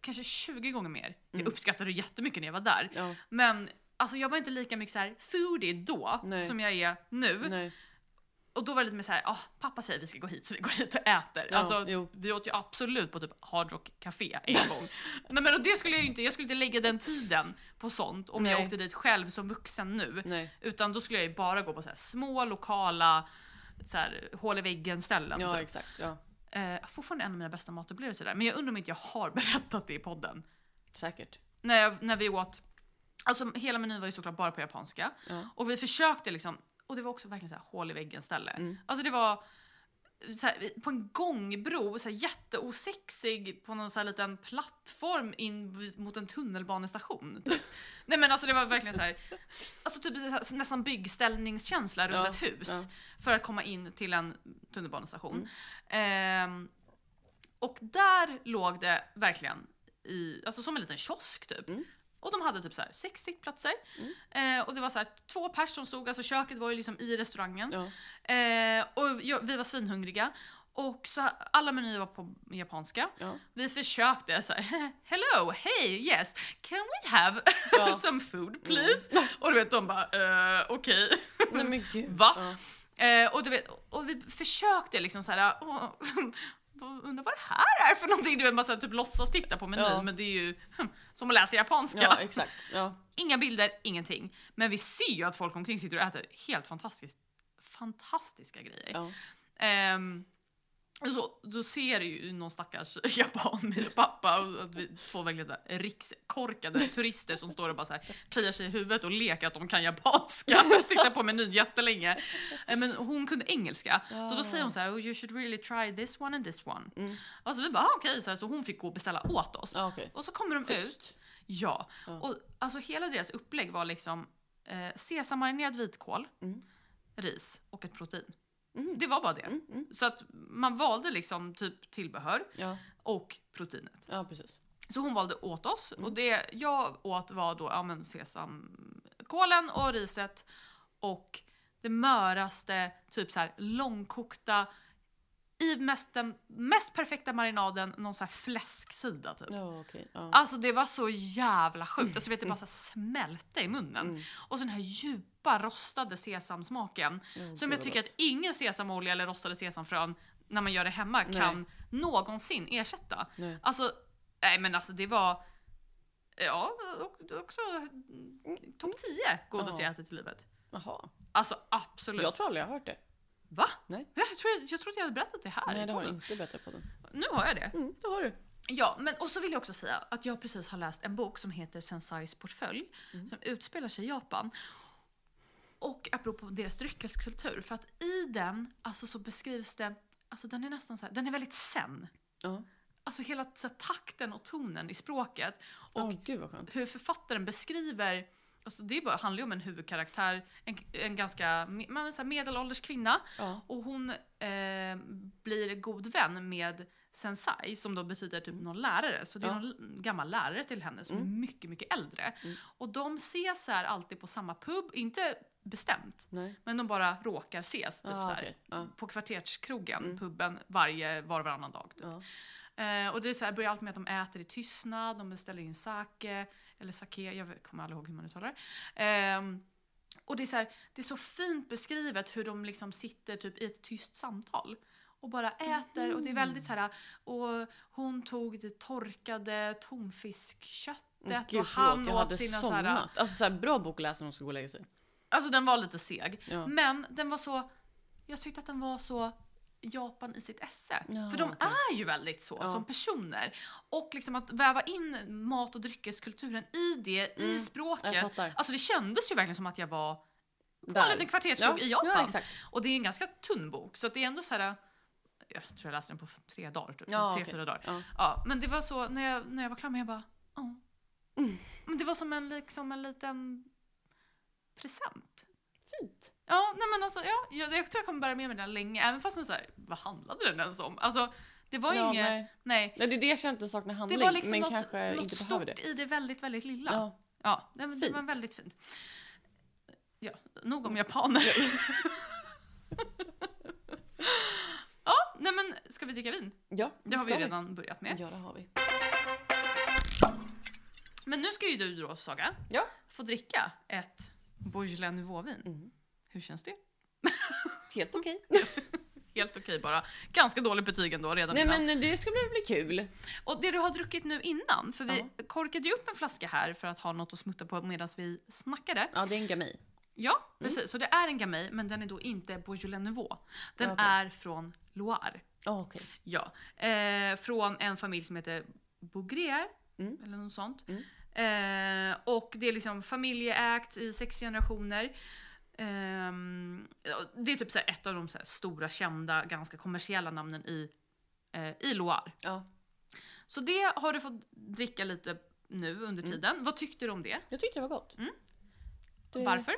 [SPEAKER 1] kanske 20 gånger mer.
[SPEAKER 2] Mm.
[SPEAKER 1] Jag uppskattade det jättemycket när jag var där.
[SPEAKER 2] Ja.
[SPEAKER 1] Men alltså, jag var inte lika mycket så här foodie då
[SPEAKER 2] Nej.
[SPEAKER 1] som jag är nu.
[SPEAKER 2] Nej.
[SPEAKER 1] Och då var det lite mer så här, ah, pappa säger vi ska gå hit så vi går hit och äter.
[SPEAKER 2] Ja,
[SPEAKER 1] alltså,
[SPEAKER 2] jo.
[SPEAKER 1] vi åt ju absolut på typ Hard Rock Café en gång. Nej, men och det skulle jag ju inte, jag skulle inte lägga den tiden på sånt om jag
[SPEAKER 2] Nej.
[SPEAKER 1] åkte dit själv som vuxen nu.
[SPEAKER 2] Nej.
[SPEAKER 1] Utan då skulle jag ju bara gå på så här små lokala så här, hål i väggen ställen.
[SPEAKER 2] Ja
[SPEAKER 1] typ.
[SPEAKER 2] exakt. Ja.
[SPEAKER 1] eh, fortfarande en av mina bästa matupplevelser där. Men jag undrar om inte jag har berättat det i podden.
[SPEAKER 2] Säkert.
[SPEAKER 1] När, jag, när vi åt, alltså hela menyn var ju såklart bara på japanska.
[SPEAKER 2] Ja.
[SPEAKER 1] Och vi försökte liksom, och det var också verkligen så här hål i väggen ställe.
[SPEAKER 2] Mm.
[SPEAKER 1] Alltså det var så här, på en gångbro, så här jätteosexig på någon så här liten plattform in vid- mot en tunnelbanestation. Typ. Nej men alltså det var verkligen så här, alltså typ så här, nästan byggställningskänsla runt
[SPEAKER 2] Ja,
[SPEAKER 1] ett hus
[SPEAKER 2] ja.
[SPEAKER 1] för att komma in till en tunnelbanestation.
[SPEAKER 2] Mm.
[SPEAKER 1] Ehm, och där låg det verkligen i, alltså som en liten kiosk typ.
[SPEAKER 2] Mm.
[SPEAKER 1] Och de hade typ så här sex sittplatser. Eh, och det var så här, två personer som stod, alltså köket var ju liksom i restaurangen.
[SPEAKER 2] Ja.
[SPEAKER 1] Eh, och jag, vi var svinhungriga. Och så alla menyer var på japanska.
[SPEAKER 2] Ja.
[SPEAKER 1] Vi försökte så här, hello, hey, yes, can we have
[SPEAKER 2] Ja. Mm.
[SPEAKER 1] some food please? Och du vet de bara, eh, okej.
[SPEAKER 2] Nej men gud.
[SPEAKER 1] Va?
[SPEAKER 2] Ja.
[SPEAKER 1] Eh, och, du vet, och vi försökte liksom såhär, åh, undrar vad det här är för någonting? Du vet man så här, typ låtsas titta på menyn
[SPEAKER 2] Ja.
[SPEAKER 1] men det är ju hm, som att läsa japanska.
[SPEAKER 2] Ja exakt. Ja.
[SPEAKER 1] Inga bilder, ingenting. Men vi ser ju att folk omkring sitter och äter helt fantastiskt, fantastiska grejer.
[SPEAKER 2] ja.
[SPEAKER 1] Ehm, och så, då ser ju någon stackars japan med pappa och att vi två verkligen så här rikskorkade turister som står och bara så här kliar sig i huvudet och leker att de kan japanska. Tittar på menyn jättelänge. Eh, Men hon kunde engelska. Så då säger hon så här, oh, you should really try this one and this one.
[SPEAKER 2] Mm.
[SPEAKER 1] Och så vi bara, ah, okej, så, här, så hon fick gå och beställa åt oss.
[SPEAKER 2] Ja okej.
[SPEAKER 1] Och så kommer de ut.
[SPEAKER 2] Schysst.
[SPEAKER 1] Ja.
[SPEAKER 2] Ja.
[SPEAKER 1] Och alltså hela deras upplägg var liksom eh, sesammarinerad vitkål,
[SPEAKER 2] Mm.
[SPEAKER 1] ris och ett protein.
[SPEAKER 2] Mm.
[SPEAKER 1] Det var bara det.
[SPEAKER 2] Mm, mm.
[SPEAKER 1] Så att man valde liksom typ tillbehör
[SPEAKER 2] Ja.
[SPEAKER 1] och proteinet.
[SPEAKER 2] ja, precis.
[SPEAKER 1] Så hon valde åt oss
[SPEAKER 2] Mm.
[SPEAKER 1] och det jag åt var då ja, men sesamkålen och riset och det möraste, typ så här långkokta i mest, den mest perfekta marinaden, någon så här fläsksida typ.
[SPEAKER 2] Ja, okej. Ja.
[SPEAKER 1] Alltså det var så jävla sjukt. Alltså, du vet, det bara så här smälte i munnen.
[SPEAKER 2] Mm.
[SPEAKER 1] Och så den här djupa rostade sesamsmaken.
[SPEAKER 2] Ja,
[SPEAKER 1] Som
[SPEAKER 2] gud,
[SPEAKER 1] jag
[SPEAKER 2] vad
[SPEAKER 1] tycker att ingen sesamolja eller rostade sesamfrön när man gör det hemma
[SPEAKER 2] Nej.
[SPEAKER 1] kan någonsin ersätta.
[SPEAKER 2] Nej.
[SPEAKER 1] Alltså, nej men alltså det var... Ja, och- också mm, topp 10 godaste
[SPEAKER 2] Ja.
[SPEAKER 1] jag ätit i livet.
[SPEAKER 2] gott. Jaha.
[SPEAKER 1] Alltså absolut.
[SPEAKER 2] Jag tror aldrig jag har hört det.
[SPEAKER 1] Va?
[SPEAKER 2] Nej.
[SPEAKER 1] Jag, tror, jag, jag trodde jag hade berättat det här.
[SPEAKER 2] Nej,
[SPEAKER 1] i
[SPEAKER 2] det har jag
[SPEAKER 1] podden.
[SPEAKER 2] inte berättat på den.
[SPEAKER 1] Nu har jag det.
[SPEAKER 2] Mm, det har du.
[SPEAKER 1] Ja, men och så vill jag också säga att jag precis har läst en bok som heter Sensais portfölj som utspelar sig i Japan. Och apropå deras dryckeskultur, för att i den alltså, så beskrivs det, alltså den är nästan så här, den är väldigt sen.
[SPEAKER 2] Ja.
[SPEAKER 1] Alltså hela så här, takten och tonen i språket och
[SPEAKER 2] Åh, gud vad skönt.
[SPEAKER 1] hur författaren beskriver Alltså det är bara, handlar ju om en huvudkaraktär, en, en ganska me- men, så här, medelålders kvinna
[SPEAKER 2] Ja.
[SPEAKER 1] och hon eh, blir god vän med sensai som då betyder typ någon lärare. Så det är
[SPEAKER 2] Mm. Ja.
[SPEAKER 1] någon gammal lärare till henne som är mycket, mycket äldre.
[SPEAKER 2] Mm.
[SPEAKER 1] Och de ses så här alltid på samma pub, inte bestämt,
[SPEAKER 2] Nej.
[SPEAKER 1] men de bara råkar ses typ
[SPEAKER 2] Ah,
[SPEAKER 1] så här,
[SPEAKER 2] okej. Ja.
[SPEAKER 1] på kvarterskrogen,
[SPEAKER 2] Mm.
[SPEAKER 1] puben, varje, var och varannan dag. Typ.
[SPEAKER 2] Ja.
[SPEAKER 1] Eh, och det är så här, börjar allt med att de äter i tystnad, de beställer in sake, eller sake, jag vet- kommer aldrig ihåg hur man uttalar det. Ehm, och det är, så här, det är så fint beskrivet hur de liksom sitter typ i ett tyst samtal och bara äter och det är väldigt så här och hon tog det torkade tonfiskköttet
[SPEAKER 2] Gud,
[SPEAKER 1] och han
[SPEAKER 2] förlåt, jag hade
[SPEAKER 1] åt sina så här,
[SPEAKER 2] somnat. Alltså så här, bra bok att läsa när man ska gå och lägga sig.
[SPEAKER 1] alltså den var lite seg
[SPEAKER 2] Ja.
[SPEAKER 1] men den var så, jag tyckte att den var så Japan i sitt esse.
[SPEAKER 2] Ja,
[SPEAKER 1] För de
[SPEAKER 2] okej.
[SPEAKER 1] är ju väldigt så
[SPEAKER 2] Ja.
[SPEAKER 1] som personer. Och liksom att väva in mat och dryckeskulturen i det, i
[SPEAKER 2] Mm, Jag
[SPEAKER 1] språket.
[SPEAKER 2] fattar.
[SPEAKER 1] Alltså det kändes ju verkligen som att jag var på en
[SPEAKER 2] Där.
[SPEAKER 1] liten kvarterskrog i Japan.
[SPEAKER 2] Ja, exakt.
[SPEAKER 1] Och det är en ganska tunn bok så att det är ändå så här. Jag tror jag läste den på tre dagar, typ.
[SPEAKER 2] Ja,
[SPEAKER 1] tre,
[SPEAKER 2] okej.
[SPEAKER 1] fyra dagar.
[SPEAKER 2] Ja.
[SPEAKER 1] Ja, men det var så när jag, när jag var klar med jag bara, ja.
[SPEAKER 2] Mm.
[SPEAKER 1] Men det var som en, liksom, en liten present.
[SPEAKER 2] Fint.
[SPEAKER 1] Ja, nej men alltså, ja, jag, jag tror jag kommer bära med mig den länge, även fast den så här, vad handlade den ens om? Alltså, det var
[SPEAKER 2] Ja,
[SPEAKER 1] inget, nej.
[SPEAKER 2] nej. Nej, det är det jag känner inte saknar
[SPEAKER 1] Det
[SPEAKER 2] handling.
[SPEAKER 1] var liksom
[SPEAKER 2] men
[SPEAKER 1] något,
[SPEAKER 2] kanske
[SPEAKER 1] något
[SPEAKER 2] inte
[SPEAKER 1] stort
[SPEAKER 2] behöver det.
[SPEAKER 1] i det väldigt, väldigt lilla. Ja,
[SPEAKER 2] Ja.
[SPEAKER 1] nej, men det
[SPEAKER 2] Fint.
[SPEAKER 1] var väldigt fint. Ja, nog om japaner. ja, nej men ska vi dricka vin?
[SPEAKER 2] ja,
[SPEAKER 1] Det har vi
[SPEAKER 2] ska
[SPEAKER 1] redan börjat med.
[SPEAKER 2] Ja, det har vi.
[SPEAKER 1] Men nu ska ju du då, Saga,
[SPEAKER 2] Ja.
[SPEAKER 1] få dricka ett Beaujolais Nouveau-vin.
[SPEAKER 2] Mm.
[SPEAKER 1] Hur känns det?
[SPEAKER 2] Helt okej.
[SPEAKER 1] Helt okej bara. Ganska dåligt betyg ändå redan
[SPEAKER 2] Nej
[SPEAKER 1] innan.
[SPEAKER 2] men det ska bli, bli kul.
[SPEAKER 1] Och det du har druckit nu innan, för vi
[SPEAKER 2] Ja.
[SPEAKER 1] korkade ju upp en flaska här för att ha något att smutta på medan vi snackade.
[SPEAKER 2] Ja, det är en gamay.
[SPEAKER 1] Ja, precis. Så det är en Gamay, men den är då inte Beaujolais Nouveau. Den
[SPEAKER 2] Ja, okej.
[SPEAKER 1] är från Loire.
[SPEAKER 2] Ja, okej.
[SPEAKER 1] Ja. Eh, från en familj som heter Bougrier,
[SPEAKER 2] Mm.
[SPEAKER 1] eller något sånt.
[SPEAKER 2] Mm.
[SPEAKER 1] Eh, och det är liksom familjeägt i sex generationer. Ehm, ja, det är typ så här ett av de så här stora, kända, ganska kommersiella namnen i, eh, i Loire.
[SPEAKER 2] Ja.
[SPEAKER 1] Så det har du fått dricka lite nu
[SPEAKER 2] Mm.
[SPEAKER 1] under tiden. Vad tyckte du om det?
[SPEAKER 2] Jag tyckte det var gott.
[SPEAKER 1] Mm.
[SPEAKER 2] Det-
[SPEAKER 1] Varför?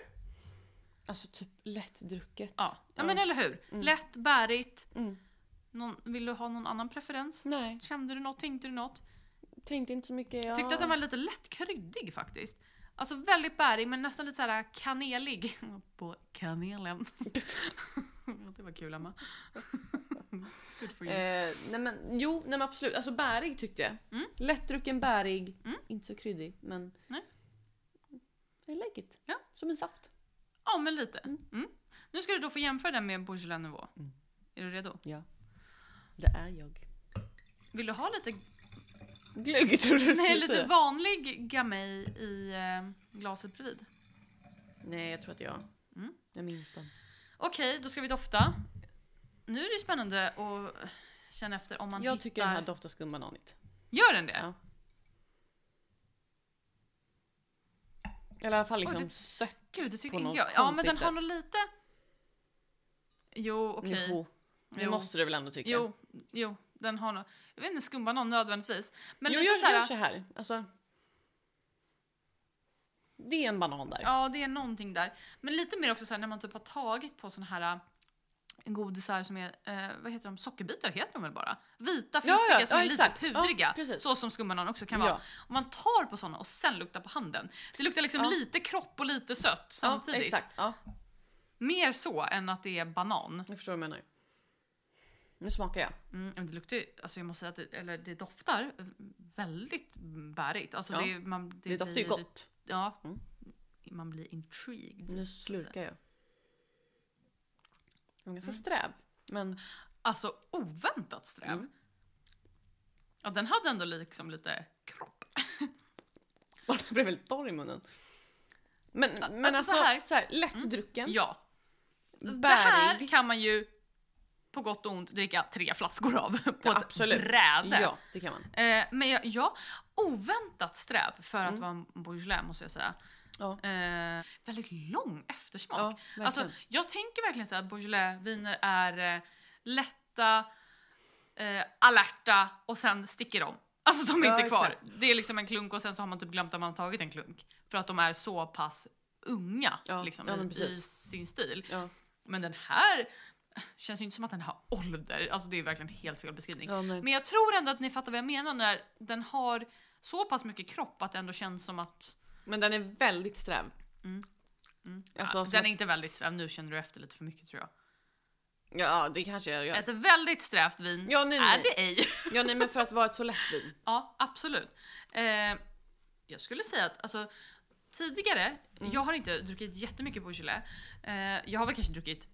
[SPEAKER 2] Alltså typ lättdrucket.
[SPEAKER 1] Ja, ja men eller hur?
[SPEAKER 2] Mm.
[SPEAKER 1] Lätt, bärigt.
[SPEAKER 2] Mm.
[SPEAKER 1] Någon, vill du ha någon annan preferens?
[SPEAKER 2] Nej,
[SPEAKER 1] Kände du något? Tänkte du något?
[SPEAKER 2] tänkte inte så mycket. Jag...
[SPEAKER 1] Tyckte att den var lite lätt kryddig faktiskt. Alltså väldigt bärig men nästan lite så här kanelig. På kanelen. det var kul Emma. Good for you.
[SPEAKER 2] Eh, nej men jo, nej men absolut. Alltså bärig tyckte jag.
[SPEAKER 1] Mm.
[SPEAKER 2] Lättdrucken, bärig.
[SPEAKER 1] Mm.
[SPEAKER 2] Inte så kryddig men...
[SPEAKER 1] Nej.
[SPEAKER 2] I like it.
[SPEAKER 1] Ja.
[SPEAKER 2] Som en saft.
[SPEAKER 1] Ja men lite.
[SPEAKER 2] Mm.
[SPEAKER 1] Mm. Nu ska du då få jämföra den med Beaujolais Nouveau.
[SPEAKER 2] Mm.
[SPEAKER 1] Är du redo?
[SPEAKER 2] Det är jag.
[SPEAKER 1] Vill du ha lite,
[SPEAKER 2] Glögg tror du
[SPEAKER 1] nej,
[SPEAKER 2] skulle
[SPEAKER 1] lite
[SPEAKER 2] säga.
[SPEAKER 1] vanlig Gamay i eh, glaset bredvid?
[SPEAKER 2] Nej jag tror att jag...
[SPEAKER 1] Mm.
[SPEAKER 2] Jag minns den.
[SPEAKER 1] Okej, då ska vi dofta. Nu är det ju spännande att känna efter om man
[SPEAKER 2] jag
[SPEAKER 1] hittar...
[SPEAKER 2] tycker den här doftar skumbananigt.
[SPEAKER 1] Gör den det?
[SPEAKER 2] Ja. Eller i alla fall liksom
[SPEAKER 1] det-
[SPEAKER 2] sött.
[SPEAKER 1] Gud, det tycker
[SPEAKER 2] på något
[SPEAKER 1] inte jag. Ja, men
[SPEAKER 2] konstigt
[SPEAKER 1] den har
[SPEAKER 2] sätt.
[SPEAKER 1] nog lite... Jo, okej.
[SPEAKER 2] Jo, det
[SPEAKER 1] Jo.
[SPEAKER 2] måste du väl ändå tycka?
[SPEAKER 1] Jo, jo, den har nog... Jag vet inte, skumbanan nödvändigtvis. Men
[SPEAKER 2] jo,
[SPEAKER 1] lite
[SPEAKER 2] gör,
[SPEAKER 1] så här...
[SPEAKER 2] gör så här. Alltså, det är en banan där.
[SPEAKER 1] Ja, det är någonting där. Men lite mer också så här, när man typ har tagit på såna här äh, godisar som är, eh, vad heter de, sockerbitar heter de väl bara? Vita, fluffiga
[SPEAKER 2] ja,
[SPEAKER 1] som
[SPEAKER 2] ja,
[SPEAKER 1] är
[SPEAKER 2] exakt.
[SPEAKER 1] lite
[SPEAKER 2] Ja,
[SPEAKER 1] pudriga.
[SPEAKER 2] precis.
[SPEAKER 1] så som skumbanan också kan
[SPEAKER 2] Ja.
[SPEAKER 1] vara. Om man tar på såna och sen luktar på handen. Det luktar liksom
[SPEAKER 2] Ja.
[SPEAKER 1] lite kropp och lite sött samtidigt.
[SPEAKER 2] Ja, exakt. Ja,
[SPEAKER 1] Mer så än att det är banan.
[SPEAKER 2] jag förstår vad du menar. Nu smakar jag.
[SPEAKER 1] Mm, men det luktar ju, alltså jag måste säga att det, eller det doftar eh, väldigt bärigt. Alltså
[SPEAKER 2] Ja.
[SPEAKER 1] det, man,
[SPEAKER 2] Det, doftar ju
[SPEAKER 1] blir-
[SPEAKER 2] gott.
[SPEAKER 1] Ja.
[SPEAKER 2] Mm.
[SPEAKER 1] Man blir intrigued.
[SPEAKER 2] Nu slurkar jag. Den är ganska sträv. Men
[SPEAKER 1] Alltså oväntat Mm. sträv.
[SPEAKER 2] Mm.
[SPEAKER 1] Ja, den hade ändå liksom lite kropp.
[SPEAKER 2] den blev väldigt torr i munnen. Men, men
[SPEAKER 1] alltså
[SPEAKER 2] alltså,
[SPEAKER 1] så
[SPEAKER 2] så
[SPEAKER 1] här- Mm.
[SPEAKER 2] här, lättdrucken,
[SPEAKER 1] Ja. Det här
[SPEAKER 2] bärig.
[SPEAKER 1] kan man ju på gott och ont dricka tre flaskor av på
[SPEAKER 2] Ja,
[SPEAKER 1] ett
[SPEAKER 2] absolut.
[SPEAKER 1] bräde.
[SPEAKER 2] Ja, det kan man.
[SPEAKER 1] Eh, men ja, ja, oväntat sträv för att vara en Beaujolais måste jag säga.
[SPEAKER 2] Mm. Ja.
[SPEAKER 1] Eh, väldigt lång eftersmak.
[SPEAKER 2] Ja, verkligen.
[SPEAKER 1] Alltså, jag tänker verkligen så här, Beaujolais-viner är eh, lätta, eh, alerta och sen sticker de. Alltså de är
[SPEAKER 2] Ja,
[SPEAKER 1] inte kvar.
[SPEAKER 2] exakt.
[SPEAKER 1] Det är liksom en klunk och sen så har man typ glömt att man har tagit en klunk. För att de är så pass unga
[SPEAKER 2] Ja,
[SPEAKER 1] liksom,
[SPEAKER 2] ja, men
[SPEAKER 1] i, i
[SPEAKER 2] precis.
[SPEAKER 1] sin stil.
[SPEAKER 2] ja.
[SPEAKER 1] Men den här känns ju inte som att den har ålder. Alltså det är verkligen helt fel beskrivning.
[SPEAKER 2] Ja, nej.
[SPEAKER 1] Men jag tror ändå att ni fattar vad jag menar när den har så pass mycket kropp att det ändå känns som att
[SPEAKER 2] Men den är väldigt sträv. Alltså,
[SPEAKER 1] Mm. ja,
[SPEAKER 2] som
[SPEAKER 1] den
[SPEAKER 2] att-
[SPEAKER 1] är inte väldigt sträv. Nu känner du efter lite för mycket tror jag.
[SPEAKER 2] Ja, det kanske jag gör.
[SPEAKER 1] Ett väldigt strävt vin
[SPEAKER 2] Ja, nej,
[SPEAKER 1] är
[SPEAKER 2] nej.
[SPEAKER 1] det ej.
[SPEAKER 2] Ja, nej, men för att vara ett så lätt vin.
[SPEAKER 1] Ja, absolut. Eh, jag skulle säga att alltså, tidigare,
[SPEAKER 2] Mm.
[SPEAKER 1] jag har inte druckit jättemycket Beaujolais. Eh, jag har väl kanske druckit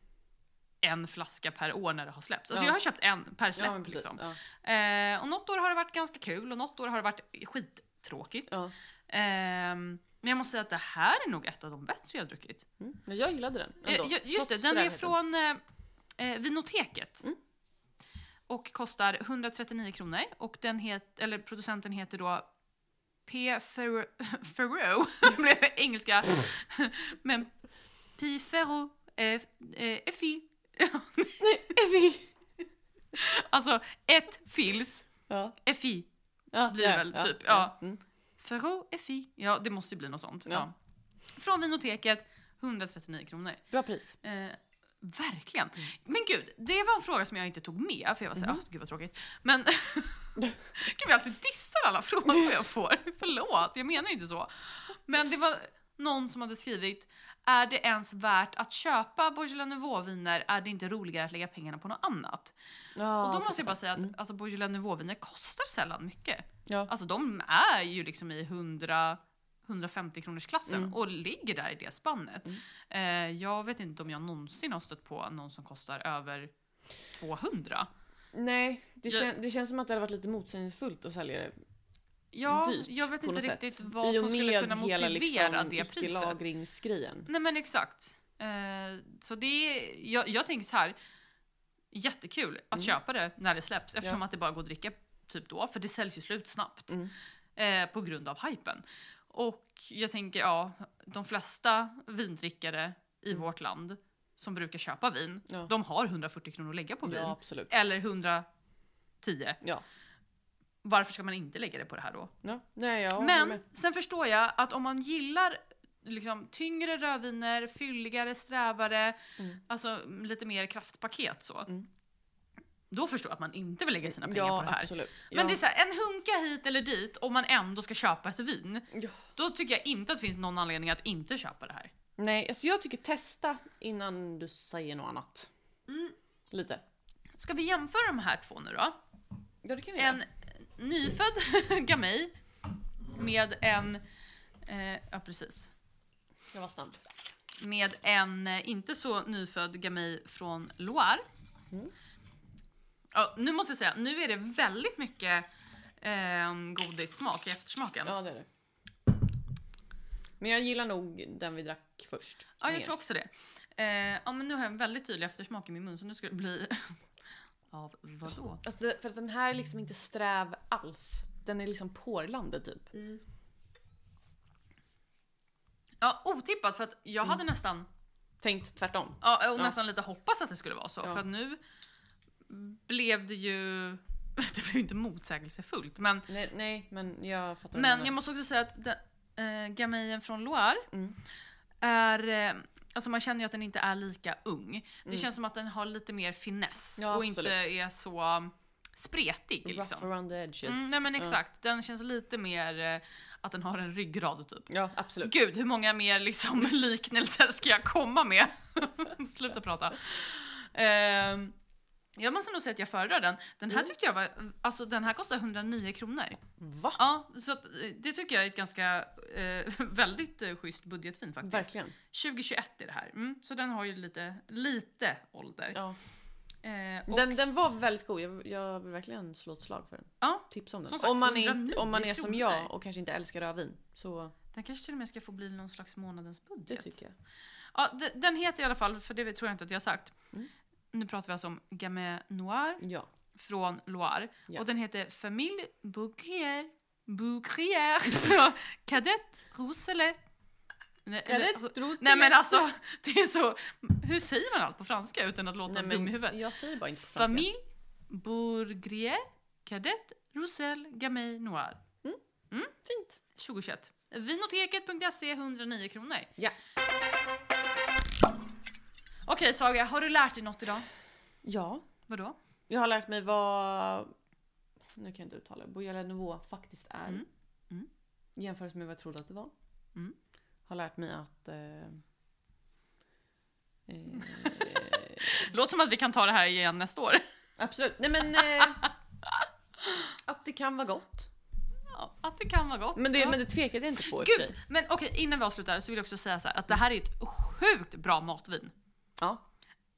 [SPEAKER 1] en flaska per år när det har släppts. Alltså
[SPEAKER 2] Ja.
[SPEAKER 1] jag har köpt en per släpp.
[SPEAKER 2] Ja, men precis.
[SPEAKER 1] liksom.
[SPEAKER 2] Ja.
[SPEAKER 1] eh, och något år har det varit ganska kul och något år har det varit skittråkigt.
[SPEAKER 2] Ja.
[SPEAKER 1] Ehm, men jag måste säga att det här är nog ett av de bättre jag har druckit.
[SPEAKER 2] Mm. Men jag gillade den ändå.
[SPEAKER 1] Eh, ju- just det,
[SPEAKER 2] trots
[SPEAKER 1] den är
[SPEAKER 2] strävheten.
[SPEAKER 1] från eh, eh, Vinoteket.
[SPEAKER 2] Mm.
[SPEAKER 1] Och kostar 139 kronor. Och den het, eller producenten heter då P. Ferro... Ferro. Det blev engelska. Men P. Ferro... Eh, eh, Effie. Alltså, ett fils.
[SPEAKER 2] Ja.
[SPEAKER 1] Effie.
[SPEAKER 2] Ja,
[SPEAKER 1] Blir det väl, typ, ja.
[SPEAKER 2] Mm.
[SPEAKER 1] Ferro Effie. Ja, det måste ju bli något sånt. Ja.
[SPEAKER 2] Ja.
[SPEAKER 1] Från Vinoteket, 139 kronor.
[SPEAKER 2] Bra pris.
[SPEAKER 1] Eh, verkligen. Men gud, det var en fråga som jag inte tog med för jag var såhär, åh gud vad tråkigt. Men gud jag alltid dissar alla frågor jag får. Förlåt, jag menar inte så. Men det var någon som hade skrivit, är det ens värt att köpa Beaujolais Nouveau-viner? Är det inte roligare att lägga pengarna på något annat?
[SPEAKER 2] Ja,
[SPEAKER 1] Och då måste
[SPEAKER 2] fattar.
[SPEAKER 1] jag bara säga att
[SPEAKER 2] Mm.
[SPEAKER 1] alltså, Beaujolais Nouveau-viner kostar sällan mycket.
[SPEAKER 2] Ja.
[SPEAKER 1] Alltså de är ju liksom i 100 150 kronors klassen
[SPEAKER 2] Mm.
[SPEAKER 1] och ligger där i det spannet. Eh, jag vet inte om jag någonsin har stött på någon som kostar över 200.
[SPEAKER 2] Nej, det,
[SPEAKER 1] Jag-
[SPEAKER 2] kän- det känns som att det hade varit lite motsägelsefullt att sälja det.
[SPEAKER 1] Ja,
[SPEAKER 2] Dyrt,
[SPEAKER 1] jag vet
[SPEAKER 2] på
[SPEAKER 1] inte
[SPEAKER 2] något sätt.
[SPEAKER 1] riktigt vad som skulle kunna motivera det priset.
[SPEAKER 2] liksom, icke-lagringsgrejen.
[SPEAKER 1] Nej men exakt. Eh, så det är, jag, jag tänker så här. Jättekul att köpa det när det släpps eftersom
[SPEAKER 2] Mm. Ja.
[SPEAKER 1] att det bara går att dricka typ då för det säljs ju slut snabbt.
[SPEAKER 2] Mm.
[SPEAKER 1] Eh, på grund av hypen. Och jag tänker ja, de flesta vindrickare i vårt land som brukar köpa vin,
[SPEAKER 2] Mm. Ja.
[SPEAKER 1] de har 140 kronor att lägga på vin.
[SPEAKER 2] Ja, absolut.
[SPEAKER 1] Eller 110.
[SPEAKER 2] Ja.
[SPEAKER 1] Varför ska man inte lägga det på det här då?
[SPEAKER 2] ja. Nej, jag håller
[SPEAKER 1] Men
[SPEAKER 2] med.
[SPEAKER 1] sen förstår jag att om man gillar liksom, tyngre rödviner, fylligare, strävare,
[SPEAKER 2] Mm.
[SPEAKER 1] alltså mm, lite mer kraftpaket så.
[SPEAKER 2] Mm.
[SPEAKER 1] Då förstår jag att man inte vill lägga sina pengar
[SPEAKER 2] ja,
[SPEAKER 1] på det här.
[SPEAKER 2] absolut.
[SPEAKER 1] Men
[SPEAKER 2] ja.
[SPEAKER 1] det är så här, en hunka hit eller dit om man ändå ska köpa ett vin.
[SPEAKER 2] Ja.
[SPEAKER 1] Då tycker jag inte att det finns någon anledning att inte köpa det här.
[SPEAKER 2] Nej, alltså jag tycker testa innan du säger något annat.
[SPEAKER 1] Mm.
[SPEAKER 2] Lite.
[SPEAKER 1] Ska vi jämföra de här två nu då?
[SPEAKER 2] Ja, det kan
[SPEAKER 1] En nyfödd gamay med en... Eh, ja precis.
[SPEAKER 2] Jag var snabb.
[SPEAKER 1] med en eh, inte så nyfödd gamay från Loire. Ja, nu måste jag säga, nu är det väldigt mycket eh, godissmak i eftersmaken. Ja,
[SPEAKER 2] Ja, det är det. Men jag gillar nog den vi drack först.
[SPEAKER 1] jag
[SPEAKER 2] mer.
[SPEAKER 1] tror också det. Eh, ja, men nu har jag en väldigt tydlig eftersmak i min mun så nu ska det bli... Av vadå?
[SPEAKER 2] Alltså, det- för att den här är liksom inte sträv alls. Den är liksom porlande typ.
[SPEAKER 1] Mm. Ja, otippat för att jag hade nästan,
[SPEAKER 2] Tänkt tvärtom.
[SPEAKER 1] Mm. ja, och
[SPEAKER 2] Ja.
[SPEAKER 1] nästan lite hoppats att det skulle vara så.
[SPEAKER 2] Ja.
[SPEAKER 1] För att nu blev det ju... Det blev ju inte motsägelsefullt men
[SPEAKER 2] Nej, nej men jag fattar. vad du
[SPEAKER 1] Men
[SPEAKER 2] menar.
[SPEAKER 1] jag måste också säga att den, eh, gamejen från Loire
[SPEAKER 2] Mm.
[SPEAKER 1] är... Eh, alltså man känner ju att den inte är lika ung. Det känns som att den har lite mer finess
[SPEAKER 2] Mm. Ja,
[SPEAKER 1] och inte är så mm, spretig. Liksom.
[SPEAKER 2] Rough around the edges.
[SPEAKER 1] Mm, nej men
[SPEAKER 2] Ja.
[SPEAKER 1] exakt, den känns lite mer eh, att den har en ryggrad typ.
[SPEAKER 2] Ja, absolut.
[SPEAKER 1] Gud, hur många mer liksom, liknelser ska jag komma med? Sluta prata. Ehm, jag måste nog säga att jag föredrar den. Den
[SPEAKER 2] Mm.
[SPEAKER 1] här tyckte jag var, alltså den här kostar 109 kronor.
[SPEAKER 2] Va?
[SPEAKER 1] Ja, så att, eh, det tycker jag är ett ganska, eh, väldigt eh, schysst budgetfin faktiskt.
[SPEAKER 2] Verkligen.
[SPEAKER 1] 2021 är det här, mm, så den har ju lite, lite ålder.
[SPEAKER 2] Ja.
[SPEAKER 1] Eh, och,
[SPEAKER 2] Den, den var väldigt god, jag, jag vill verkligen slå ett slag för den.
[SPEAKER 1] ja,
[SPEAKER 2] Tips om den.
[SPEAKER 1] Som sagt,
[SPEAKER 2] om, man är,
[SPEAKER 1] 109
[SPEAKER 2] inte- om man är som jag
[SPEAKER 1] kronor.
[SPEAKER 2] och kanske inte älskar rödvin så
[SPEAKER 1] den kanske till och med ska få bli någon slags månadens budget.
[SPEAKER 2] det tycker jag.
[SPEAKER 1] Ja, de- den heter i alla fall, för det tror jag inte att jag har sagt.
[SPEAKER 2] Mm.
[SPEAKER 1] Nu pratar vi alltså om Gamay Noir
[SPEAKER 2] Ja.
[SPEAKER 1] från Loire.
[SPEAKER 2] Ja.
[SPEAKER 1] Och den heter Famille Boucrier. Boucrier. Kadett Rousselet. Nej,
[SPEAKER 2] Nej,
[SPEAKER 1] eller- Nej men alltså, det är så... Hur säger man allt på franska utan att låta
[SPEAKER 2] Nej,
[SPEAKER 1] dum i huvudet?
[SPEAKER 2] men jag säger bara inte på franska.
[SPEAKER 1] Famille Bourgrier. Kadett Roussel Gamay Noir.
[SPEAKER 2] Mm.
[SPEAKER 1] Mm.
[SPEAKER 2] Fint.
[SPEAKER 1] 2021. Vinoteket.se 109 kronor.
[SPEAKER 2] Ja.
[SPEAKER 1] Okej Saga, har du lärt dig något idag?
[SPEAKER 2] Ja,
[SPEAKER 1] Vadå?
[SPEAKER 2] jag har lärt mig vad... Nu kan jag inte uttala det. Bourgeois nivå faktiskt är.
[SPEAKER 1] Mm. Mm.
[SPEAKER 2] Jämfört med vad jag trodde att det var.
[SPEAKER 1] Mm.
[SPEAKER 2] Har lärt mig att... Eh,
[SPEAKER 1] Mm.
[SPEAKER 2] eh,
[SPEAKER 1] Låter som att vi kan ta det här igen nästa år.
[SPEAKER 2] absolut. Nej men... Eh, att det kan vara gott.
[SPEAKER 1] Ja, att det kan vara gott.
[SPEAKER 2] Men det,
[SPEAKER 1] ja.
[SPEAKER 2] men det tvekade jag inte på i och för
[SPEAKER 1] Gud!
[SPEAKER 2] sig.
[SPEAKER 1] Men okej, innan vi avslutar så vill jag också säga så här att det här är ett sjukt bra matvin.
[SPEAKER 2] Ja.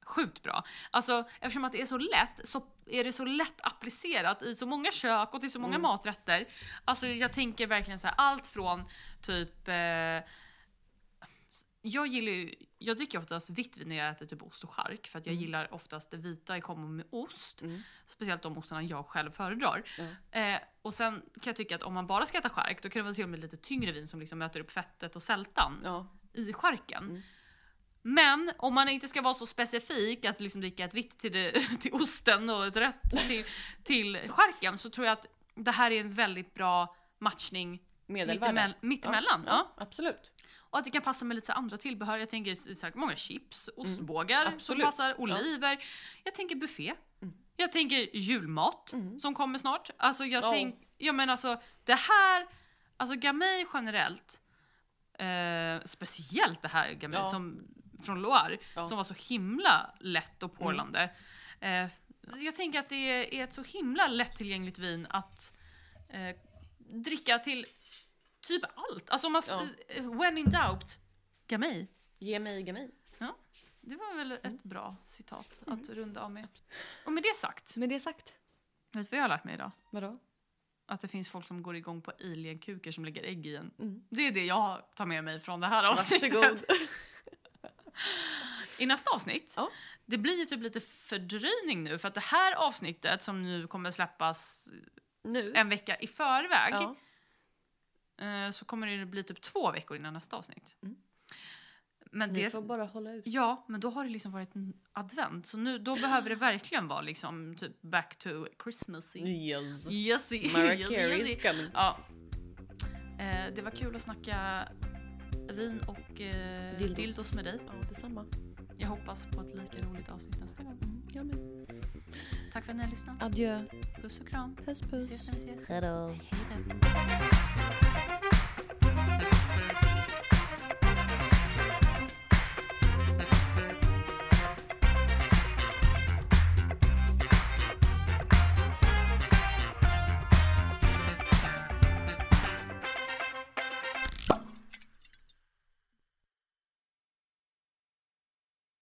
[SPEAKER 1] Sjukt bra. Alltså eftersom att det är så lätt så är det så lätt applicerat i så många kök och till så många maträtter. Alltså jag tänker verkligen så här allt från typ eh, jag gillar ju, jag dricker oftast vitt vin när jag äter typ ost och chark för att jag gillar oftast det vita i kombo med ost.
[SPEAKER 2] Mm.
[SPEAKER 1] Speciellt de ostarna jag själv föredrar. Eh, och sen kan jag tycka att om man bara ska äta chark då kan det vara trevligt med lite tyngre vin som liksom möter upp fettet och sältan
[SPEAKER 2] Ja.
[SPEAKER 1] i charken.
[SPEAKER 2] Mm.
[SPEAKER 1] Men om man inte ska vara så specifik att liksom dricka ett vitt till, det, till osten och ett rött till, till charken så tror jag att det här är en väldigt bra matchning
[SPEAKER 2] Medelvärde.
[SPEAKER 1] mittemell- mittemellan.
[SPEAKER 2] Ja,
[SPEAKER 1] Ja.
[SPEAKER 2] ja, absolut.
[SPEAKER 1] Och att det kan passa med lite så här andra tillbehör. Jag tänker så här, många chips, ostbågar som
[SPEAKER 2] Mm. absolut.
[SPEAKER 1] passar,
[SPEAKER 2] Ja. Mm.
[SPEAKER 1] oliver. Jag tänker buffé. Jag tänker julmat som kommer snart. Alltså jag
[SPEAKER 2] Ja.
[SPEAKER 1] tänk, ja men alltså det här, alltså gamay generellt, eh, speciellt det här gamay
[SPEAKER 2] Ja.
[SPEAKER 1] som, från Loire,
[SPEAKER 2] Ja. Mm.
[SPEAKER 1] som var så himla lätt och porlande. Eh, jag tänker att det är ett så himla lättillgängligt vin att eh, dricka till typ allt. Alltså om man,
[SPEAKER 2] Ja.
[SPEAKER 1] eh, when in doubt, gamay.
[SPEAKER 2] Ge mig, ge mig.
[SPEAKER 1] Ja, det var väl
[SPEAKER 2] Mm.
[SPEAKER 1] ett bra citat att runda av med. Och med det sagt,
[SPEAKER 2] Med det sagt.
[SPEAKER 1] vet du vad jag har lärt mig idag?
[SPEAKER 2] Vadå?
[SPEAKER 1] Att det finns folk som går igång på alien-kukar som lägger ägg i en.
[SPEAKER 2] Mm.
[SPEAKER 1] Det är det jag tar med mig från det här avsnittet.
[SPEAKER 2] Varsågod.
[SPEAKER 1] I nästa avsnitt,
[SPEAKER 2] Ja.
[SPEAKER 1] det blir ju typ lite fördröjning nu för att det här avsnittet som nu kommer släppas
[SPEAKER 2] Nu.
[SPEAKER 1] en vecka i förväg
[SPEAKER 2] Mm. Ja.
[SPEAKER 1] eh, så kommer det bli typ två veckor innan nästa avsnitt.
[SPEAKER 2] Mm.
[SPEAKER 1] Men
[SPEAKER 2] Ni
[SPEAKER 1] det,
[SPEAKER 2] får bara hålla ut.
[SPEAKER 1] Ja, men då har det liksom varit en advent. Så nu, då behöver det verkligen vara liksom typ back to Christmassy.
[SPEAKER 2] Yes.
[SPEAKER 1] Yesy,
[SPEAKER 2] Mariah
[SPEAKER 1] yesy,
[SPEAKER 2] Carey
[SPEAKER 1] yesy.
[SPEAKER 2] is coming.
[SPEAKER 1] Ja. Eh, det var kul att snacka vin och eh,
[SPEAKER 2] Dildos.
[SPEAKER 1] dildos. med dig.
[SPEAKER 2] Ja, detsamma.
[SPEAKER 1] Jag hoppas på ett lika roligt avsnitt nästa gång.
[SPEAKER 2] Mm, ja, men.
[SPEAKER 1] Tack för att ni har lyssnat.
[SPEAKER 2] Adjö.
[SPEAKER 1] Puss och kram.
[SPEAKER 2] Puss
[SPEAKER 1] Vi ses när
[SPEAKER 2] puss.
[SPEAKER 1] vi ses.
[SPEAKER 2] Hejdå.
[SPEAKER 1] Hej då.